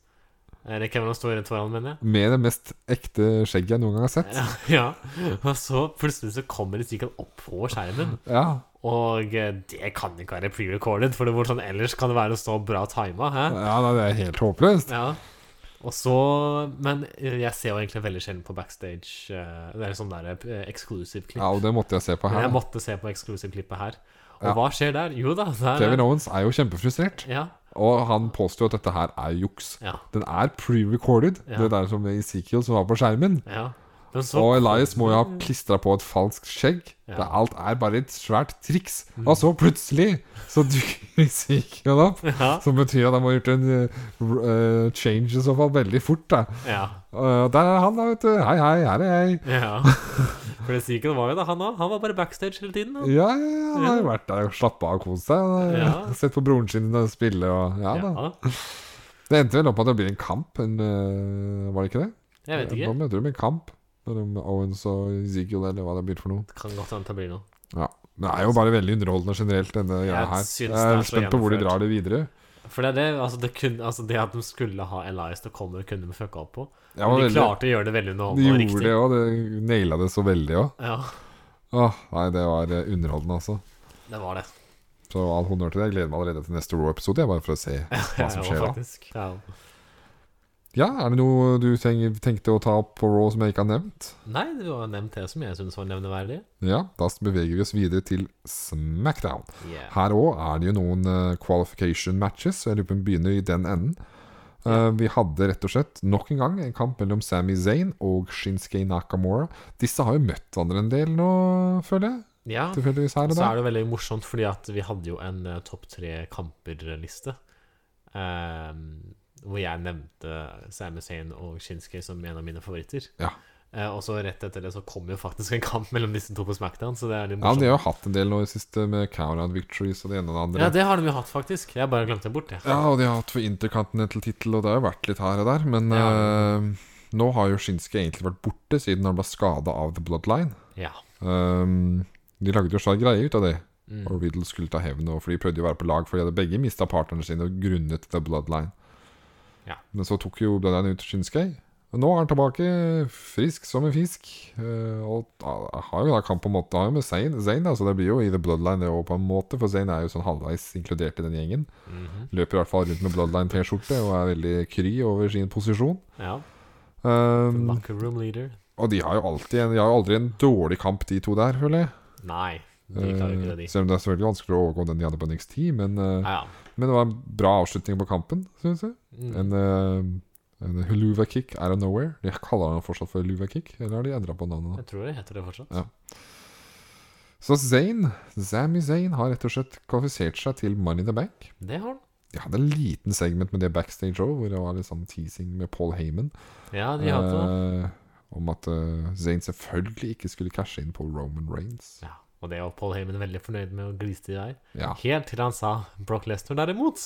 Eller Kevin Owens står rett foran, mener jeg. Med det mest ekte skjegget jeg noen gang har sett. Ja, ja. [LAUGHS] Og så plutselig så kommer Stikan opp på skjermen. Ja, Og eh, det kan ikke være pre-recorded, for det var sånn, ellers kan det være så bra tima. Hæ? ja nei, det er helt håpløst. Ja. Og så Men eh, jeg ser jo egentlig veldig sjelden på backstage. eh, Det er sånn der eh, exclusive klipp. Ja, og det måtte jeg se på Men jeg her. måtte se på exclusive-klippet her. Og Ja. hva skjer der? Jo da, der Kevin Owens er jo kjempefrustrert, Ja. og han påstår at dette her er juks. Ja. Den er pre-recorded, Ja. det der som Ezekiel som var på skjermen. ja. Men så Mm. Og Elias må jo ha klistra på et falskt skjegg. Ja. Det alt er bare et svært triks. Og så plutselig så dukker [LAUGHS] Ezekiel opp. [LAUGHS] Ja. Som betyr at han må ha gjort en eh, r- eh, change i så fall veldig fort. da Eh, ja. Og der er han, da, vet du. Hei, hei, her er jeg. ja. For det Seacon var jo da, han òg. Han var bare backstage hele tiden. han. Ja, ja, ja, han har jo vært der og slappa av og kost seg. Han har Ja. [LAUGHS] Sett på broren sin og spille og ja, da. Ja. Det endte vel opp med at det blir en kamp, en, eh, var det ikke det? Jeg vet Nå ikke. møter de en kamp mellom Owens og Ezekiel, eller hva det blir for noe. Det kan godt hende det blir noe. Ja. Det er jo bare veldig underholdende generelt, denne greia her. syns Jeg det er er så spent på hvor de gjennomført. drar det videre. For det er det, altså det, kunne, altså det at de skulle ha Elias til å komme, kunne de fucka opp på. Jeg Men var de veldig, klarte å gjøre det veldig de underholdende og gjorde riktig. det òg. De naila det så veldig òg. Ja, Åh, nei, det var eh, underholdende, altså. det var det. Så all honnør til deg. Jeg gleder meg allerede til neste Raw-episode, jeg, bare for å se hva [LAUGHS] som Ja, skjer da. faktisk. Ja. Ja, er det noe du tenk- tenkte å ta opp på Raw som jeg ikke har nevnt? Nei, du har nevnt det som jeg syns var nevneverdig. Ja, da beveger vi oss videre til Smackdown. Yeah. Her òg er det jo noen eh, qualification matches, så jeg lurer på om vi begynner i den enden. Eh, vi hadde rett og slett nok en gang en kamp mellom Sami Zayn og Shinsuke Nakamura. Disse har jo møtt hverandre en del nå, føler jeg. Ja. Tilfeldigvis her Og så og er der. det jo veldig morsomt, fordi at vi hadde jo en eh, topp tre kamper-liste. ehm, hvor jeg nevnte Sami Zayn og Shinsuke som en av mine favoritter. Ja. Eh, og så rett etter det så kom jo faktisk en kamp mellom disse to på Smackdown, så det er litt Ja, morsomt. de har jo hatt en del nå i det siste, med Countdown Victories og det ene og det andre. Ja, det har de jo hatt, faktisk. Jeg bare glemte det bort, jeg. Ja, og de har hatt for intercontinental-tittel, og det har jo vært litt her og der. Men Ja. eh, nå har jo Shinsuke egentlig vært borte siden han ble skada av The Bloodline. Ja. Ehm, de lagde jo svær greie ut av det. Mm. Og Riddle skulle ta hevn, og for de prøvde jo å være på lag, for de hadde begge mista partnerne sine og grunnet The Bloodline. Ja. Men så tok jo Bloodline ut Shinsuke. Og nå er han tilbake frisk som en fisk. eh, Og da- har jo da kamp på en måte Har jo med Zayn, Zayn da, så det blir jo i The Bloodline det òg, på en måte. For Zayn er jo sånn halvveis inkludert i den gjengen. Mhm. Løper i hvert fall rundt med Bloodline-T-skjorte og er veldig kry over sin posisjon. ja. Ehm, Locker room leader. og de har jo alltid en, de har jo aldri en dårlig kamp, de to der, føler jeg. Eh, Nei, de klarer ikke det, de. Selv om det er selvfølgelig vanskelig å overgå den de hadde på NXT, men, eh, Ja, ja. men det var en bra avslutning på kampen, syns jeg. Mm. En, eh, en huluva kick out of nowhere. De kaller den fortsatt for huluva kick, eller har de endra på navnet? nå? Jeg tror det heter det fortsatt. Så Zayn, Sami Zayn har rett og slett kvalifisert seg til Money in the Bank. Det har den. De hadde en liten segment med det backstage òg, hvor det var litt sånn teasing med Paul Heyman. Ja, de har det. eh, om at eh, Zayn selvfølgelig ikke skulle cashe inn på Roman Reigns. Ja. Og det var Paul Heyman veldig fornøyd med og gliste i vei. Ja. Helt til han sa Brock Lesnar derimot,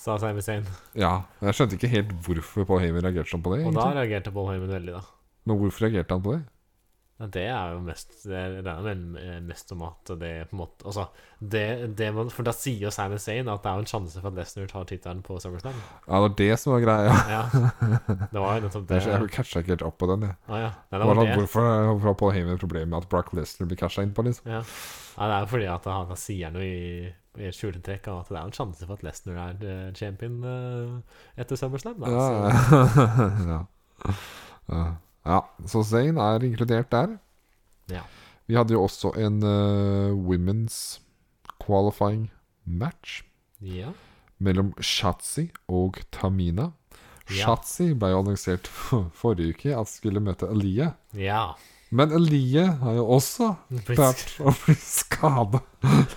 sa Sami Zayn. ja. Jeg skjønte ikke helt hvorfor Paul Heyman reagerte sånn på det. Og da egentlig. reagerte Paul Heyman veldig, da. Men hvorfor reagerte han på det? Ja, Det er jo mest Det er det er vel eh, mest om at det på en måte Altså, det, det man For da sier jo Sami Zayn at det er jo en sjanse for at Lesnar tar tittelen på SummerSlam. Ja, det var det som var greia. Ja. Det var jo nettopp det. Jeg, jeg catcha ikke helt opp på den. Jeg. Å ja. Nei, det Hva var da, det. hvorfor hvorfor har Paul Heyman problemer med at Brock Lesnar blir casha inn på? liksom? Ja. ja, det er jo fordi at han da sier noe i, i skjuletrekk av at det er en sjanse for at Lesnar er eh, champion eh, etter SummerSlam. Da. Ja, Så- [LAUGHS] ja. ja. ja. Så Zayn er inkludert der. Ja. Vi hadde jo også en eh, women's qualifying match ja. mellom Shatzy og Tamina. Ja. Shatzy ble jo annonsert for- forrige uke at skulle møte Aliyah. ja. Men Aliyah har jo også Det vært å bli skada.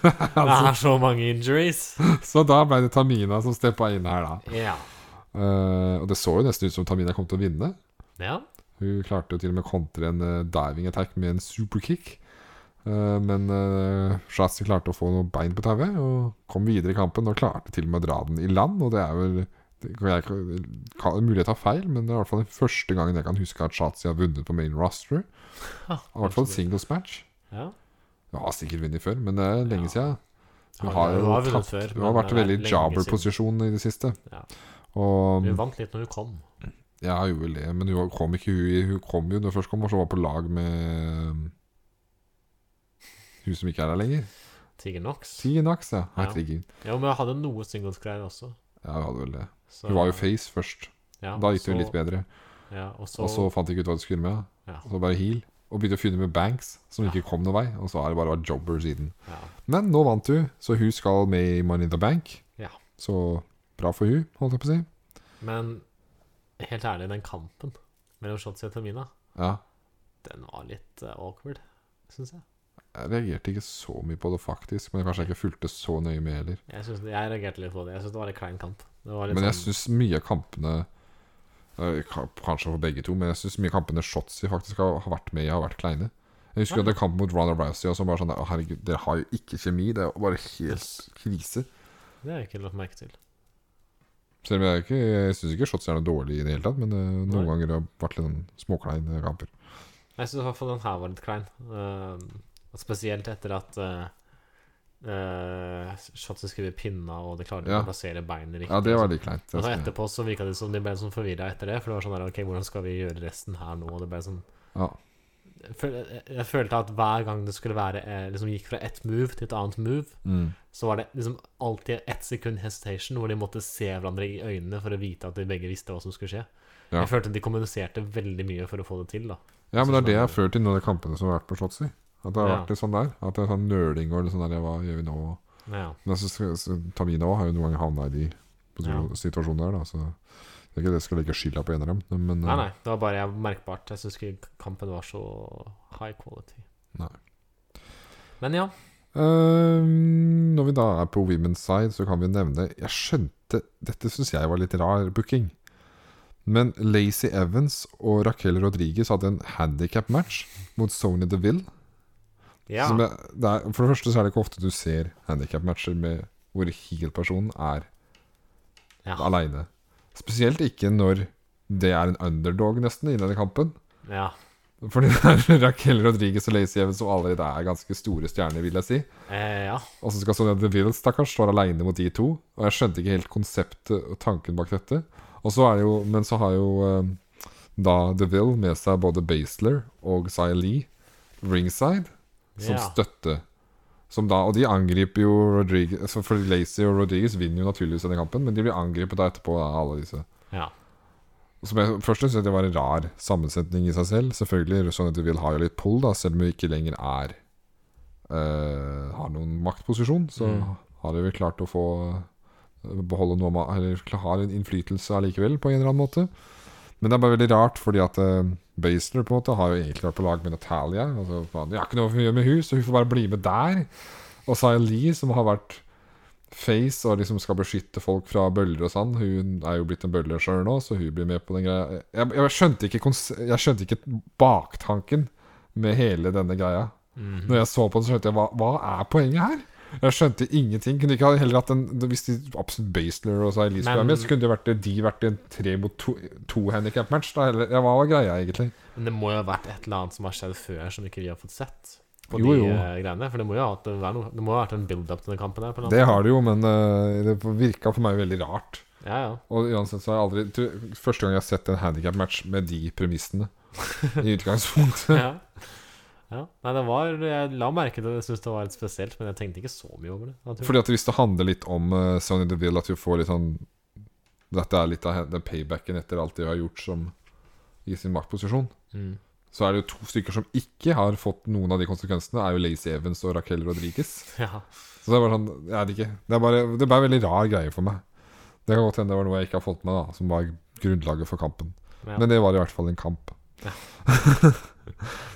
er så mange injuries. Så da ble det Tamina som steppa inn her, da. Ja. Eh, og det så jo nesten ut som Tamina kom til å vinne. ja. Hun klarte jo til og med å kontre en eh, diving attack med en superkick. Eh, Men uh, Shasi klarte å få noen bein på tauet og kom videre i kampen. Og klarte til og med å dra den i land. Og det er vel det kan jeg, ikke- kan, Mulig jeg tar feil, men det er i hvert fall den første gangen jeg kan huske at Shasi har vunnet på main roster. I hvert fall singles match. Ja. Jeg har sikkert vunnet før, men det er lenge Ja. siden. Hun Ja, har, hun jo har vunnet tapt- før, hun har men vært det i er veldig lenge jobber-posisjon i det siste. Ja. Og Hun vant litt når hun kom. ja, hun gjorde vel det, men hun kom ikke hun, i- hun kom jo når hun først kom, og så var på lag med um, hun som ikke er her lenger. Tiger Knox. Tinax, ja. Ja. Herregud. Ja, men jeg hadde noe singles-greier også. Ja, hun hadde vel det. Så, Hun var jo face først. ja, Da gikk det jo så- litt bedre. Ja, og så, Og så fant de ikke ut hva de skulle med. Ja. Og så bare heal. Og begynte å finne med Banks, som ikke kom noen vei. Og så har det bare vært jobber siden. ja. Men nå vant hun, så hun skal med i Money in the Bank. Ja. Så bra for hun, holdt jeg på å si. Men helt ærlig, den kampen mellom Shotzi og Tamina, Ja. den var litt eh, awkward, syns jeg. Jeg reagerte ikke så mye på det faktisk, men kanskje jeg ikke fulgte så nøye med heller. Jeg, synes, jeg reagerte litt på det. Jeg syns det var litt klein kamp. Det var litt Men jeg sånn- syns mye av kampene eh, ka- Kanskje for begge to, men jeg syns mye av kampene Shotzi faktisk har, har vært med i, har vært kleine. Jeg husker Ja. jo den kampen mot Ronda Rousey og som bare sånn Å, herregud, dere har jo ikke kjemi. Det er jo bare helt krise. Det har jeg ikke lagt merke til. Selv om jeg, er ikke, jeg syns ikke Shotzi er noe dårlig i det hele tatt, men eh, noen Nei. ganger har det vært litt sånn småkleine kamper. Jeg syns i hvert fall den her var litt klein. Ehm, og spesielt etter at uh, Shotzi skulle bli pinna, og de klarte Ja. ikke å plassere beinet riktig. Ja, det var litt kleint. og så Jeg skal- etterpå så virka det som de ble sånn forvirra etter det. For det var sånn der, OK, hvordan skal vi gjøre resten her nå? Og det ble sånn Ja. jeg, føl- jeg, jeg følte at hver gang det skulle være eh, Liksom gikk fra ett move til et annet move, Mm. så var det liksom alltid ett sekund hesitation hvor de måtte se hverandre i øynene for å vite at de begge visste hva som skulle skje. Ja. Jeg følte de kommuniserte veldig mye for å få det til, da. Ja, men det er det jeg har Sånn- følt i noen av de kampene som har vært på Slottsy. At det har Ja. vært litt sånn der. At det er sånn nøling og litt sånn der Hva gjør vi nå? Ja. Men jeg synes, så- Tamina også har jo noen ganger havna i de Ja. situasjonene der, da. Så det er ikke det jeg skal legge skylda på en av dem. Men eh, Nei, nei, det var bare jeg merkbart. Jeg syns ikke kampen var så high quality. Nei. Men ja. eh, når vi da er på women's side, så kan vi nevne Jeg skjønte Dette syns jeg var litt rar booking. Men Lacey Evans og Raquel Rodriguez hadde en handikap-match mot Sony DeVille. ja. Som jeg, det er, for det første så er det ikke ofte du ser handikap-matcher med hvor heel-personen er Ja. alene aleine. Spesielt ikke når det er en underdog nesten i denne kampen. ja. Fordi [LAUGHS] det er Raquel Rodriguez og Lacey Evans som allerede er ganske store stjerner, vil jeg si. Eh, ja. Og så skal Sonja DeVille, stakkars, stå aleine mot de to. Og jeg skjønte ikke helt konseptet og tanken bak dette. Og så er det jo, Men så har jo eh, da DeVille med seg både Basler og Xia Lee ringside som Ja. støtte. Som da, og de angriper jo Rodriguez så For Lacey og Rodriguez vinner jo naturligvis denne kampen, men de blir angrepet da etterpå av alle disse. ja. Som jeg først synes jeg det var en rar sammensetning i seg selv. Selvfølgelig, sånn at du vil ha jo litt pull, da, selv om hun ikke lenger er eh, Har noen maktposisjon, så Mm. har de vel klart å få eh, Beholde noe av ma- Eller kla- har en innflytelse allikevel, på en eller annen måte. Men det er bare veldig rart, fordi at uh, Basler på en måte har jo egentlig vært på lag med Natalia. Altså, faen, jeg har ikke noe å gjøre med hun, så hun får bare bli med der. Og Saya Lee, som har vært face og liksom skal beskytte folk fra bøller og sånn, hun er jo blitt en bølle sjøl nå, så hun blir med på den greia. Jeg, jeg, skjønte ikke kons jeg skjønte ikke baktanken med hele denne greia. Mhm. Når jeg så på den, så skjønte jeg hva, hva er poenget her? Jeg skjønte ingenting. Kunne de ikke ha heller hatt en Hvis de absolutt Basler og Saya Lee skulle være Men- med, så kunne det vært, de vært i en tre mot to, to handikap-match. da, eller- Ja, hva var greia, egentlig? Men det må jo ha vært et eller annet som har skjedd før som ikke vi har fått sett. På Jo, de jo. eh, greiene. For det må jo ha hatt- det må være noe- det må ha vært en build-up til den kampen her. På en eller Det annen har det jo, men eh, det virka for meg veldig rart. måte. Ja, ja. Og uansett så har jeg aldri tror- Første gang jeg har sett en handicap-match med de premissene. [LAUGHS] I utgangspunktet. ja. ja. Nei, det var Jeg la merke til det, jeg syntes det var litt spesielt, men jeg tenkte ikke så mye over det. naturlig. Fordi at hvis det handler litt om uh, Sonny DeVille, at du får litt sånn Dette er litt av hen- den paybacken etter alt de har gjort som i sin maktposisjon. Mm. Så er det jo to stykker som ikke har fått noen av de konsekvensene, er jo Lacey Evans og Raquel Rodriguez. Ja. Så det er bare sånn Jeg vet ikke. Det er bare, det er bare veldig rar greie for meg. Det kan godt hende det var noe jeg ikke har fått med, da som var grunnlaget for kampen. Ja. Men det var i hvert fall en kamp. [LAUGHS]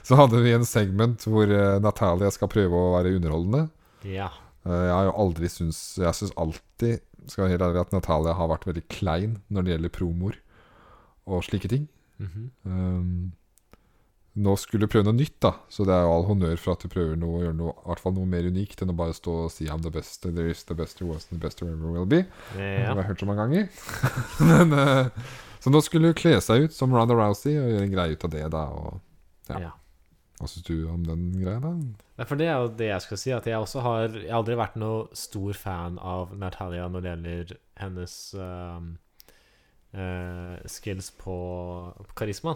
så hadde vi en segment hvor eh, Natalia skal prøve å være underholdende. ja. Eh, Jeg har jo aldri syns Jeg syns alltid skal jeg være helt ærlig, at Natalia har vært veldig klein når det gjelder promoer og slike ting. Mhm. Um, Eh, nå skulle prøve noe nytt, da. Så det er jo all honnør for at du prøver noe, å gjøre noe, i hvert fall noe mer unikt enn å bare stå og si I'm the best, there is the best, there was the best, there ever will be. Det Ja. har jeg hørt så mange ganger. [LAUGHS] Men, eh, så nå skulle hun kle seg ut som Ronda Rousey og gjøre en greie ut av det, da. Og, Ja. ja. hva syns du om den greia, da? Nei, For det er jo det jeg skal si, at jeg også har Jeg har aldri vært noe stor fan av Natalia når det gjelder hennes ehm, eh, skills på, på karisma.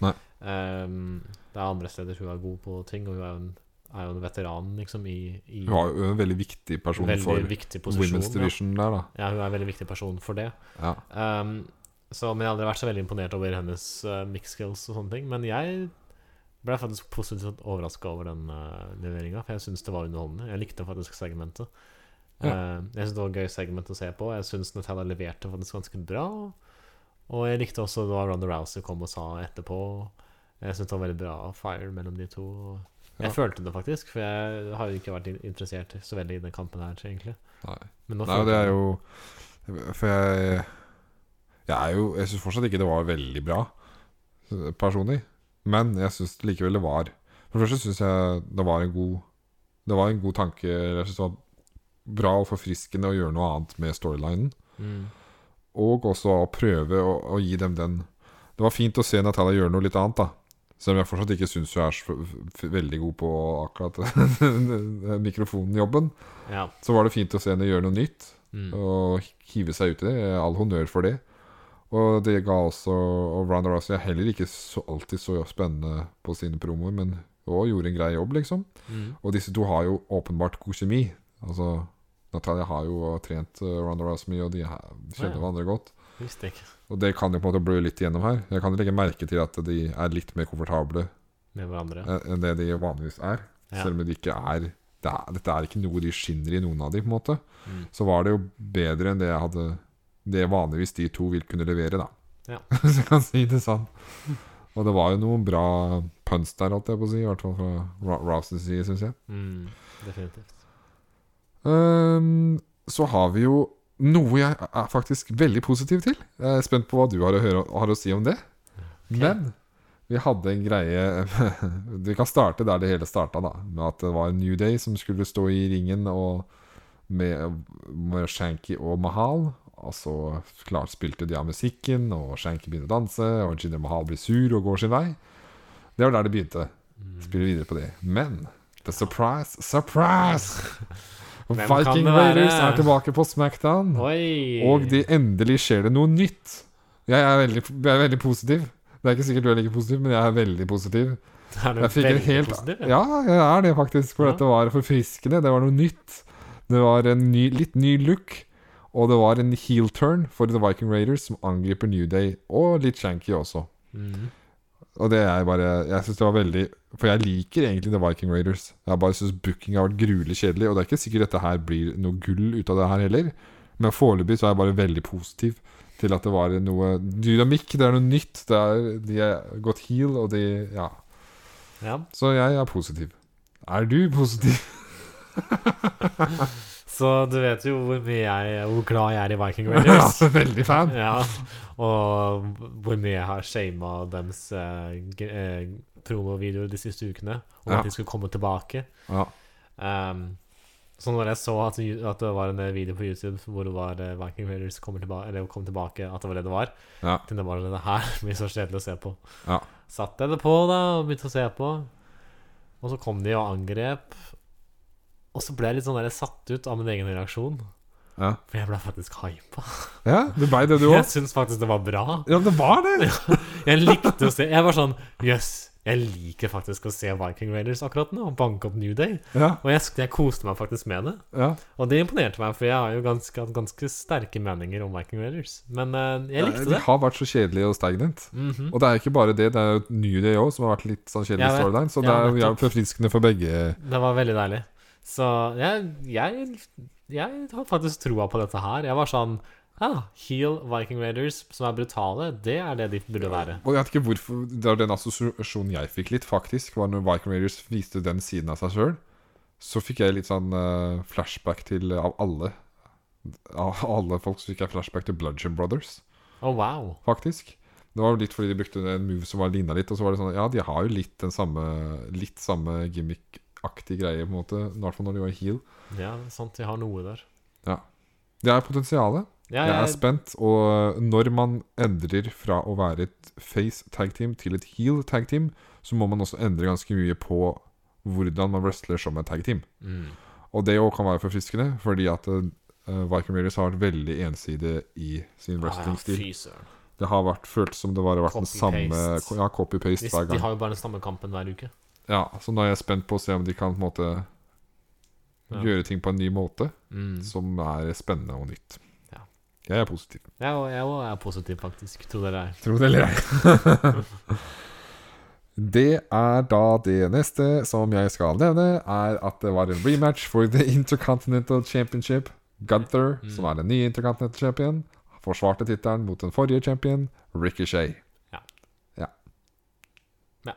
Nei. Ehm, det er andre steder hun er god på ting, og hun er jo en, er jo en veteran, liksom, i, i Hun var jo en veldig viktig person veldig for viktig posisjon. Ja. Women's Division der, da. ja, hun er en veldig viktig person for det. Ja. Ehm, så, men jeg har aldri vært så veldig imponert over hennes uh, mix skills og sånne ting. Men jeg ble faktisk positivt overraska over den uh, leveringa, for jeg syns det var underholdende. Jeg likte faktisk segmentet. Eh, jeg syns det var et gøy segment å se på. Jeg syns Natalia leverte faktisk ganske bra. Og jeg likte også da Ronda Rousey kom og sa etterpå. Jeg syns det var veldig bra fire mellom de to. Jeg Ja. følte det faktisk, for jeg har jo ikke vært in- interessert så veldig i den kampen her, egentlig. Nei. Men nå Nei, og følte det jeg er jo For jeg Jeg er jo Jeg syns fortsatt ikke det var veldig bra, eh, personlig. Men jeg syns likevel det var For det første syns jeg det var en god Det var en god tanke. Jeg syns det var bra og forfriskende å gjøre noe annet med storylinen. Mm. Og også å prøve å, å gi dem den Det var fint å se Natalia gjøre noe litt annet, da. Selv om jeg fortsatt ikke syns hun er så f veldig god på akkurat [LAUGHS] mikrofonjobben. Ja. Så var det fint å se henne gjøre noe nytt Mm. og hive seg ut i det. All honnør for det. Og det ga også og Ronda Rousey er heller ikke så, alltid så spennende på sine promoer, men også gjorde en grei jobb, liksom. Mm. Og disse to har jo åpenbart god kjemi. Altså, Natalia har jo trent eh, Ronda Rousey mye, og de er- Ja, kjenner ja. hverandre godt. Visste ikke. Og det kan jo på en måte blø litt igjennom her. Jeg kan legge merke til at de er litt mer komfortable Med hverandre. en- enn det de vanligvis er. Ja. Selv om det ikke er, det er Dette er ikke noe de skinner i, noen av de, på en måte. Mm. Så var det jo bedre enn det jeg hadde Det vanligvis de to vil kunne levere, da. Ja. [LAUGHS] Hvis jeg kan si det sånn. Og det var jo noen bra punts der, holdt jeg på å si. I hvert fall fra Ra- Rouseys side, syns jeg. Mm, definitivt. Ehm, så har vi jo noe jeg er faktisk veldig positiv til. Jeg er spent på hva du har å, høre, har å si om det. Men vi hadde en greie [LAUGHS] Vi kan starte der det hele starta, da. Med at det var New Day som skulle stå i ringen og med, med Shanky og Mahal. Og så klart spilte de av musikken, og Shanky begynner å danse. Og Jinder Mahal blir sur og går sin vei. Det var der det begynte. Spiller videre på det. Men the surprise, [LAUGHS] surprise! Hvem kan Viking det være? Raiders er tilbake på Smackdown. Mm. Oi! Og de endelig skjer det noe nytt. Jeg er veldig, jeg er veldig positiv. Det er ikke sikkert du er like positiv, men jeg er veldig positiv. er du Jeg fikk en veldig helt positiv, Ja, jeg er det faktisk. For Ja. dette var forfriskende. Det var noe nytt. Det var en ny, litt ny look. Og det var en heel turn for The Viking Raiders, som angriper New Day. Og litt shanky også. Mm. Og det er bare Jeg synes det var veldig For jeg liker egentlig The Viking Raiders. Jeg bare syns booking har vært gruelig kjedelig. Og det er ikke sikkert dette her blir noe gull ut av det her heller. Men foreløpig så er jeg bare veldig positiv til at det var noe dynamikk. Det er noe nytt. Det er, de er gått heel, og de Ja. ja. Så jeg er positiv. Er du [LAUGHS] positiv? Så du vet jo hvor mye jeg Hvor glad jeg er i Viking Raiders. altså, veldig fan. [LAUGHS] ja. Og hvor mye jeg har shama deres eh, g- eh, promovideoer de siste ukene. Om Ja. at de skulle komme tilbake. Ja. Um, så når jeg så at, at det var en eh, video på YouTube hvor det var eh, Viking Raiders kommer tilbake, eller kom tilbake, at det var det det var, Ja. tenkte jeg bare det her [LAUGHS] blir så kjedelig å se på. Ja. Satte jeg det på da, og begynte å se på. Og så kom de og angrep. Og så ble jeg litt sånn der satt ut av min egen reaksjon. Ja, For jeg ble faktisk hypa. ja du blei det, du [LAUGHS] Jeg òg? syns faktisk det var bra. Ja, det var det! Jeg likte å se Jeg var sånn Jøss, jeg liker faktisk å se Viking Raiders akkurat nå. og Banke opp New Day. Ja, Og jeg, sk- jeg koste meg faktisk med det. ja. Og det imponerte meg, for jeg har jo ganske, hatt ganske sterke meninger om Viking Raiders. Men eh, jeg likte De det. har vært så kjedelige og stagnant. Mhm. Og det er jo ikke bare det, det er jo New Day òg, som har vært litt sånn kjedelig Jeg vet. storyline. Så Ja, det er jo nettopp. jævlig forfriskende for begge. Det var veldig deilig. Så jeg, jeg, jeg har faktisk troa på dette her. Jeg var sånn ah, Heel Viking Raiders, som er brutale, det er det de burde være. Og jeg vet ikke hvorfor Det er den assosiasjonen jeg fikk litt, faktisk, var når Viking Raiders viste den siden av seg sjøl. Så fikk jeg litt sånn eh, flashback til Av alle Av alle folk så fikk jeg flashback til Bludgeon Brothers, Å, Oh, wow. faktisk. Det var litt fordi de brukte en move som var ligna litt. Og så var det sånn Ja, de har jo litt den samme Litt samme gimmick-aktig greie, på en måte. I hvert fall når de var heal. Ja, sant, de har noe der. Det er potensialet. Ja, Jeg er jeg, spent. Og når man endrer fra å være et face tag team til et heal tag team, så må man også endre ganske mye på hvordan man wrestler som et tag team. mm, Og det òg kan være forfriskende, fordi at eh, Viking Raiders har vært veldig ensidig i sin wrestlingstil. Ah, ja, fy søren. Det har vært føltes som det var vært den samme Copy-paste. ko- Ja, copy-paste Hvis- hver De gang. har jo bare den samme kampen hver uke. Ja, Så nå er jeg spent på å se om de kan på en måte Ja. gjøre ting på en ny måte, Mm. som er spennende og nytt. Ja. Jeg er positiv. Jeg, og- jeg og er positiv, faktisk. Tror dere er Tro det eller ei. [LAUGHS] Det er da det neste som jeg skal nevne, er at det var en rematch for The Intercontinental Championship. Gunther, Mm. som er den nye Intercontinental Champion, forsvarte tittelen mot den forrige champion, Ricochet. Ja. Ja. Ja.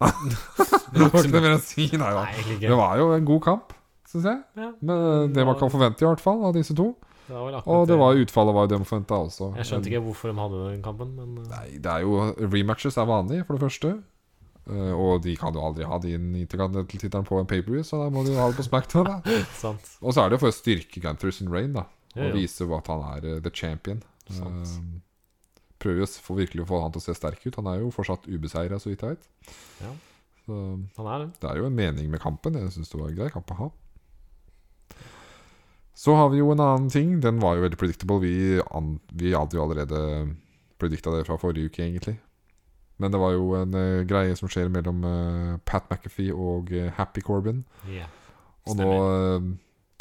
[LAUGHS] det var ikke noe mer å si, nei da. Nei, egentlig Det ikke. var jo en god kamp, syns jeg. Ja, Men det man kan forvente, i hvert fall, av disse to. det var vel akkurat Og det var utfallet var jo det man forventa også. Jeg skjønte ikke hvorfor de hadde den kampen, men uh, Nei, det er jo Rematches er vanlig, for det første. Eh, og de kan jo aldri ha din intercontinental-tittelen på en paperview, så da må de jo ha det på [LAUGHS] SmackDown. da sant. Og så er det for å styrke Gunther sin reign, da. Og Ja, ja. vise jo at han er eh, the champion. Sant. Eh, prøver jo s- for virkelig å få han til å se sterk ut. Han er jo fortsatt ubeseira, så vidt jeg vet. Ja. Så Han er det. det er jo en mening med kampen. Jeg syns det var en grei kamp å ha. Så har vi jo en annen ting. Den var jo veldig predictable. Vi, an vi hadde jo allerede predikta det fra forrige uke, egentlig. Men det var jo en eh, greie som skjer mellom eh, Pat McAfee og eh, Happy Corbin. Ja. Og nå uh,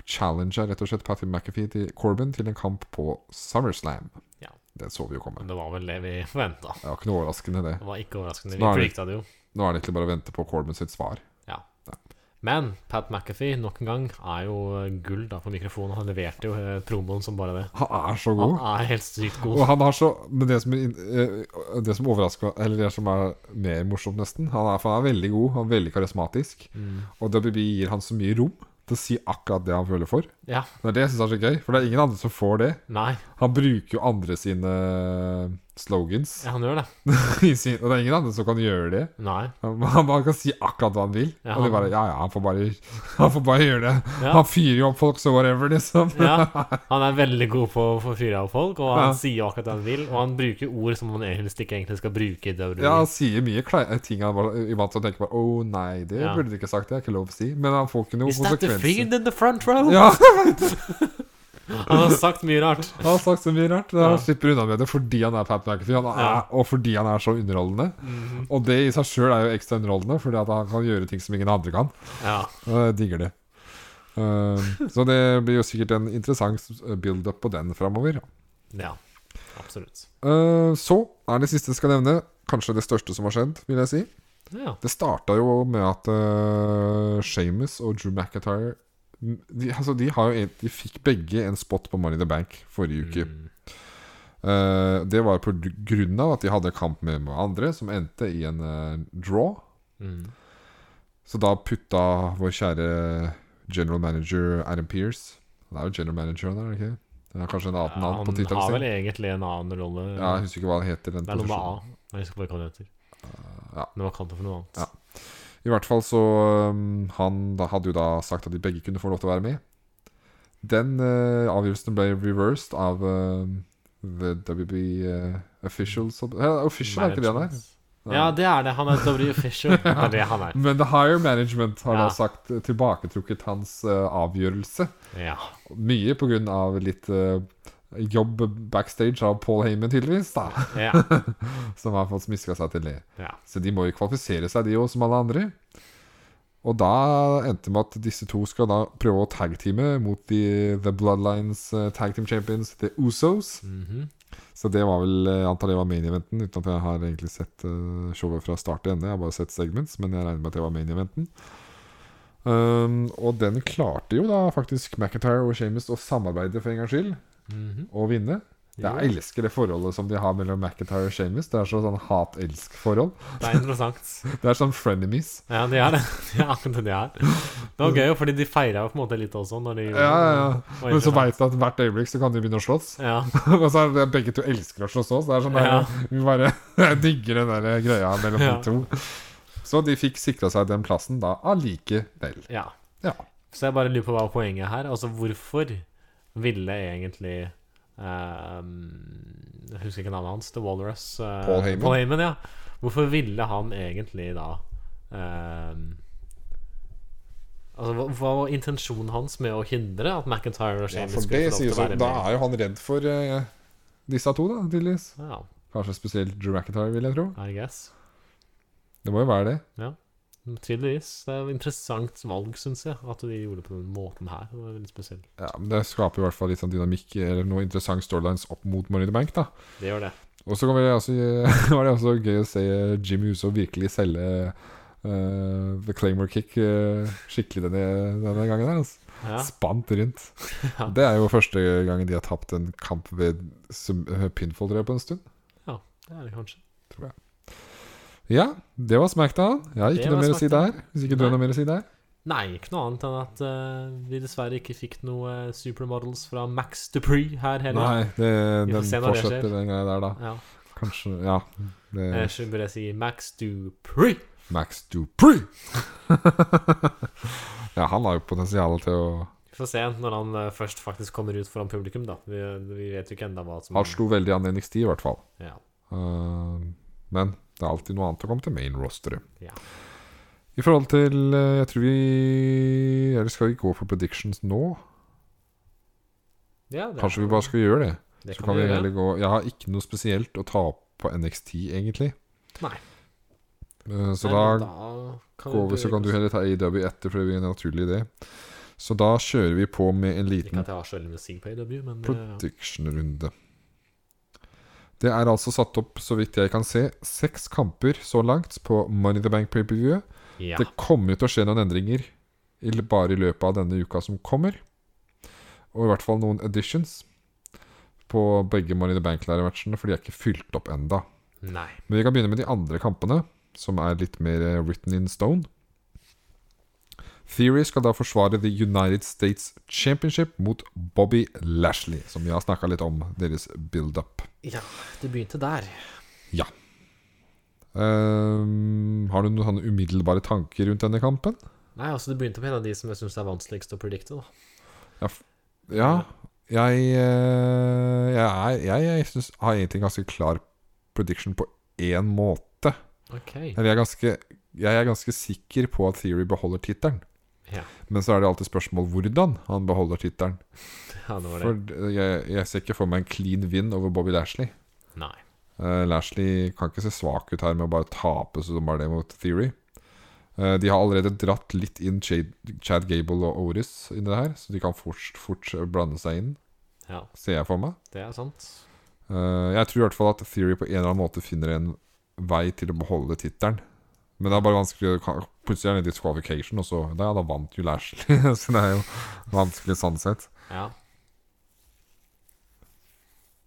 challenger rett og slett Pat McAfee til Corbin til en kamp på SummerSlam. Ja. Den så vi jo komme. Men det var vel det vi forventa. Det var ikke noe overraskende, det. Det var ikke overraskende. Vi Snarere. predikta det jo. Nå er det egentlig bare å vente på Corbin sitt svar. Men Pat McAfee, nok en gang, er jo uh, gull da på mikrofonen. Han leverte jo uh, promoen som bare det. Han er så god. Han er helt sykt Og god. han har så Men det som, er inn- eh, det som overrasker meg Eller det som er mer morsomt, nesten Han er, for han er veldig god, han er veldig karismatisk. Mm. Og WB gir han så mye rom til å si akkurat det han føler for. Ja. Det er det jeg syns er så gøy, for det er ingen andre som får det. Nei, Han bruker jo andre sine eh, slogans, ja, han gjør det. [LAUGHS] i sin, og det er ingen andre som kan gjøre det. Nei. Han, han bare kan si akkurat hva han vil. Ja, og de han- bare Ja, ja, han får bare, [LAUGHS] han får bare gjøre det. Ja. Han fyrer jo opp folk, så whatever, liksom. Ja, han er veldig god på å få fyre av folk, og han Ja. sier jo akkurat det han vil. Og han bruker ord som han helst ikke egentlig skal bruke. i WWE. Ja, han sier mye klei- eh, ting han var vant til å tenke på. Å nei, det Ja. burde du ikke sagt. Det er ikke lov å si. Men han får ikke noen Is that the konsekvenser. fiend in the front row? Ja, [LAUGHS] Han har sagt mye rart. han har sagt så mye rart. Han Ja. slipper unna med det fordi han er Pat McAfee, han er, Ja. Mhm. og fordi han er så underholdende. Og det i seg sjøl er jo ekstra underholdende, fordi at han kan gjøre ting som ingen andre kan. Ja. Og jeg digger det. [LAUGHS] Eh, så det blir jo sikkert en interessant eh, build-up på den framover. ja. Absolutt. Eh, så er det siste jeg skal nevne, kanskje det største som har skjedd, vil jeg si. Ja. Det starta jo med at uh, Shames og Drew McIntyre de, altså de, har jo en, de fikk begge en spot på Money in the Bank forrige uke. Mm. Eh, det var på gr- grunn av at de hadde kamp med med andre, som endte i en eh, draw. Mm. Så da putta vår kjære general manager Adam Pearce Han er jo general manager, han er det ikke? Han har kanskje en annen navn på han har tittelen vel sin? egentlig en annen rolle. Ja, jeg husker ikke hva han heter. Den det er noe med A. posisjonen. Jeg husker bare hva det heter. Ah, ja. Men hva kalte det for noe annet? Ja. I hvert fall så um, Han da hadde jo da sagt at de begge kunne få lov til å være med. Den eh, avgjørelsen ble reversed av eh, the WB eh, officials uh, Official er ikke det han er. Management. Ja, det er det. Han er W. [LAUGHS] Fisher. Det er det han er. Men the higher management har Ja. da sagt eh, tilbaketrukket hans eh, avgjørelse. Ja. Mye på grunn av litt eh, jobb backstage av Paul Heyman, tydeligvis, da, Ja. som har fått smiska seg til det. ja. Så de må jo kvalifisere seg, de òg, som alle andre. Og da endte det med at disse to skal da prøve å tagteame mot de, The Bloodlines eh, Tag Team Champions, The Usos. Mhm. Så det var vel eh, jeg antar det var main eventen, uten at jeg har egentlig sett eh, showet fra start til ende. Jeg har bare sett segments, men jeg regner med at det var main eventen. Um, og den klarte jo da faktisk McIntyre og Shames å samarbeide for en gangs skyld, Mhm. og vinne. Jeg elsker det forholdet som de har mellom McIntyre og Shamus. Det er så sånn hat-elsk-forhold. Det er interessant. Det er sånn frenemies. Ja, de er det. [LAUGHS] De er akkurat det de er. Det var gøy, fordi de feira jo på en måte litt også. Når de Ja, ja, ja. Det var Men så interessant. veit du at hvert øyeblikk så kan de begynne å slåss. [LAUGHS] ja. og så er det begge to elsker å slåss òg, så det er sånn der, Ja. Vi bare [LAUGHS] jeg digger den der greia mellom Ja. de to. Så de fikk sikra seg den plassen da allikevel. ja. Ja. Så jeg bare lurer på hva er poenget her. Altså, hvorfor ville egentlig ehm, Jeg husker ikke navnet hans. The Walrus. eh, Paul Heyman. Paul Heyman, ja. Hvorfor ville han egentlig da ehm, Altså, hva, hva var intensjonen hans med å hindre at McIntyre og Shames skulle få lov til å være med? er jo sånn, han redd for eh, disse to, da, tydeligvis. Ja, Kanskje spesielt Drew McIntyre, vil jeg tro. I guess. Det må jo være det. Tydeligvis. Det er et interessant valg, syns jeg, at de gjorde det på den måten her. Det var veldig spesielt. Ja, men Det skaper i hvert fall litt sånn dynamikk eller noe interessant storylines opp mot Money in the Bank. da Det gjør det. Og så kan vi også, var [LAUGHS] det også gøy å se Jimmy Uso virkelig selge eh, The Claymore Kick eh, skikkelig denne, denne gangen. her altså. Ja. Spant rundt. Ja. Det er jo første gangen de har tapt en kamp ved sub- pinfall tror jeg, på en stund. Det er det kanskje. Ja, det var Smackdown. Jeg har Det ikke noe var mer å si Smackdown. der. Hvis ikke du har Nei. noe mer å si der. Nei, ikke noe annet enn at eh, vi dessverre ikke fikk noe eh, supermodels fra Max Dupree her heller. Nei, det, Vi får den se når det fortsetter skjer. den greia der, da. Ja. Kanskje Ja. Det, Eh, så burde jeg si Max Dupree. Max Dupree! [LAUGHS] ja, han har jo potensial til å Vi får se når han eh, først faktisk kommer ut foran publikum, da. Vi, vi vet jo ikke enda hva som Han slo veldig an i NXT, i hvert fall. Mm. ja. Eh, men det er alltid noe annet å komme til main rosteret. Ja. I forhold til eh, Jeg tror vi Eller skal vi gå for predictions nå? Ja, det- Kanskje vi bare skal gjøre det? det Så kan vi gjøre. heller gå Jeg har ikke noe spesielt å ta opp på NXT, egentlig. Nei. Eh, Så Nei, men da kan går vi, så kan du heller ta AW etter, for det blir en naturlig idé. Så da kjører vi på med en Ikke liten at jeg har så veldig mye å si på AW, men eh, prediction-runde. Det er altså satt opp, så vidt jeg kan se, seks kamper så langt på Money in the Bank pay-per-view. ja. Det kommer jo til å skje noen endringer i, l- bare i løpet av denne uka som kommer. Og i hvert fall noen editions på begge Money in the Bank-lærematchene, for de er ikke fylt opp enda. Nei. Men vi kan begynne med de andre kampene, som er litt mer eh, written in stone. Theory skal da forsvare The United States Championship mot Bobby Lashley, som vi har snakka litt om, deres build-up. Ja, det begynte der. Ehm, har du noen sånne umiddelbare tanker rundt denne kampen? Nei, altså det begynte på en av de som jeg syns er vanskeligst å predikte. da Ja, f- ja jeg, eh, jeg, er- jeg, jeg synes, har egentlig en ganske klar prediction på én måte. Ok Eller jeg er ganske, jeg er ganske sikker på at Theory beholder tittelen. Ja. [LAUGHS] Men så er det alltid spørsmål hvordan han beholder tittelen. Ja, det var det. For eh, jeg, jeg ser ikke for meg en clean win over Bobby Lashley. Nei. Eh, Lashley kan ikke se svak ut her med å bare tape som bare det mot Theory. Eh, de har allerede dratt litt inn Chad, Chad Gable og Oris inn i det her, så de kan fort, fort blande seg inn, Ja, ser jeg for meg. det er sant. Eh, jeg tror i hvert fall at Theory på en eller annen måte finner en vei til å beholde tittelen. Men det er bare vanskelig å ka- Plutselig er det en disqualification, og så Da, ja, da vant jo Lashley. [LAUGHS] så det er jo vanskelig sånn sett. Ja.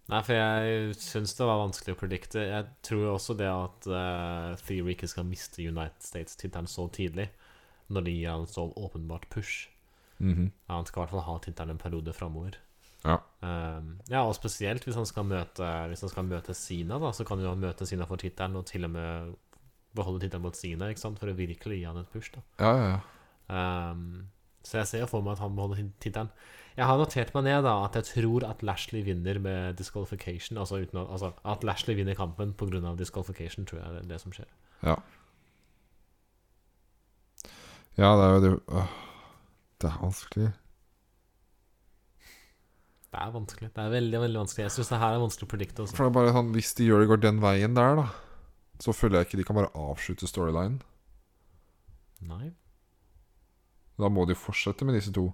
Nei, for jeg syns det var vanskelig å predikte. Jeg tror jo også det at eh, Theory ikke skal miste United States-tittelen så tidlig, når de gir han så åpenbart push. Mhm. Ja, han skal i hvert fall ha tittelen en periode framover. Ehm, Ja. ja, og spesielt hvis han skal møte Hvis han skal møte Sina, da, så kan jo han møte Sina for tittelen, og til og med beholde tittelen mot Sina, ikke sant, for å virkelig gi han et push, da. Ja, ja, ja. Ehm, så jeg ser jo for meg at han beholder tittelen. Jeg har notert meg ned da at jeg tror at Lashley vinner med disqualification. Altså, uten at, altså at Lashley vinner kampen pga. disqualification, tror jeg er det som skjer. Ja, det er jo det Åh, Det er vanskelig. Det er vanskelig. Det er veldig veldig vanskelig. Jeg syns det her er vanskelig å predikte. altså. Også. For det er bare sånn Hvis de gjør det går den veien der, da, så føler jeg ikke de kan bare avslutte storylinen. Nei. Da må de fortsette med disse to.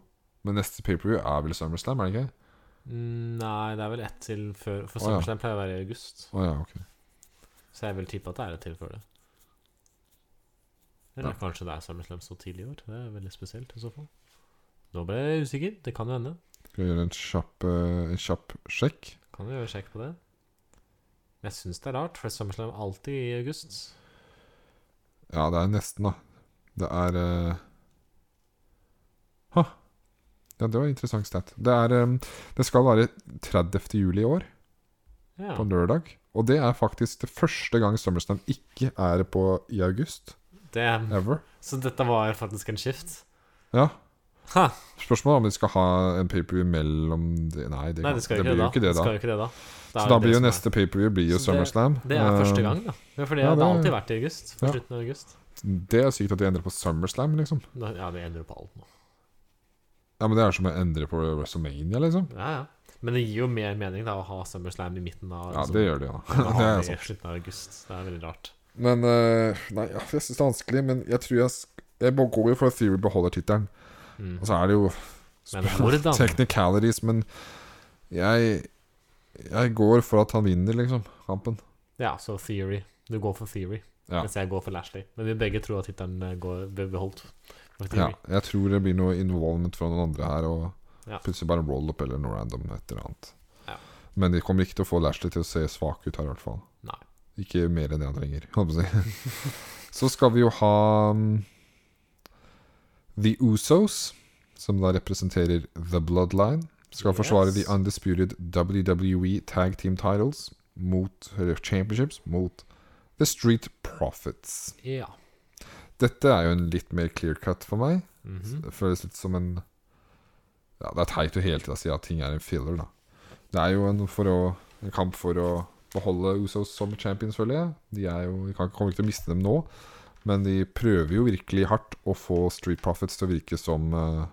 Men neste paperview er vel SummerSlam, er det ikke? Mm, Nei, det er vel ett til før For Å, ja. SummerSlam pleier å være i august, Å ja, ok. så jeg vil tippe at det er et til før det. Eller Ja. kanskje det er SummerSlam så tidlig i år. Det er veldig spesielt i så fall. Nå ble jeg usikker. Det kan jo hende. Skal vi gjøre en kjapp, eh, en kjapp sjekk? Kan jo sjekke på det. Jeg syns det er rart, for SummerSlam er alltid i august. Ja, det er nesten, da. Det er eh, Hå. Ja, det var en interessant stat. Det, er, eh, det skal være 30. juli i år, Ja. på lørdag. Og det er faktisk det første gang SummerSlam ikke er på i august. Damn. Ever. Så dette var faktisk en skift? Ja. Ha. Spørsmålet er om de skal ha en paperview mellom de. Nei, det, Nei, kan- det skal det jo blir jo ikke ikke det, da. det, da. Skal jo ikke det, da. Det er Så da det blir jo som er- neste paperview blir jo Så det- SummerSlam. Det er første Eh, gang, da. Ja, for det, ja, det har det- alltid vært i august. På Ja. slutten av august. Eh, Det er sykt at de endrer på SummerSlam, liksom. Da- Ja, det endrer jo på alt nå. Ja, men Det er som å endre på WrestleMania, liksom. Ja, ja. Men det gir jo mer mening da å ha SummerSlam i midten av Ja, det gjør de, ja. enn å ha [LAUGHS] Det er Altså, det sant. i slutten av august. Det er veldig rart. Men eh, Nei, ja, jeg syns det er vanskelig, men jeg tror jeg sk Jeg må- går jo for at Theory beholder tittelen. Mm. Og så er det jo Men hvordan? technicalities, men jeg Jeg går for at han vinner, liksom, kampen. Ja, så Theory. Du går for Theory, Ja. mens jeg går for Lashley. Men vi begge tror at tittelen eh, går- blir beholdt. for Ja, Theory. jeg tror det blir noe involvement fra noen andre her, og Ja. plutselig bare roll-up eller noe random et eller annet. Ja. Men de kommer ikke til å få Lashley til å se svak ut her, i hvert fall. Nei. Ikke mer enn det han trenger, holdt på å si. [LAUGHS] Så skal vi jo ha mm, The Usos, som da representerer The Bloodline. Skal forsvare Yes. The Undisputed WWE Tag Team Titles mot, eller Championships mot The Street Profits. Ja. Dette er jo en litt mer clear cut for meg. Mhm. Det føles litt som en Ja, det er teit å hele tida si at ting er en filler, da. Det er jo en, for å, en kamp for å beholde Usos som champions, føler jeg. De er jo, vi kan, kommer ikke til å miste dem nå, men de prøver jo virkelig hardt å få Street Profits til å virke som eh,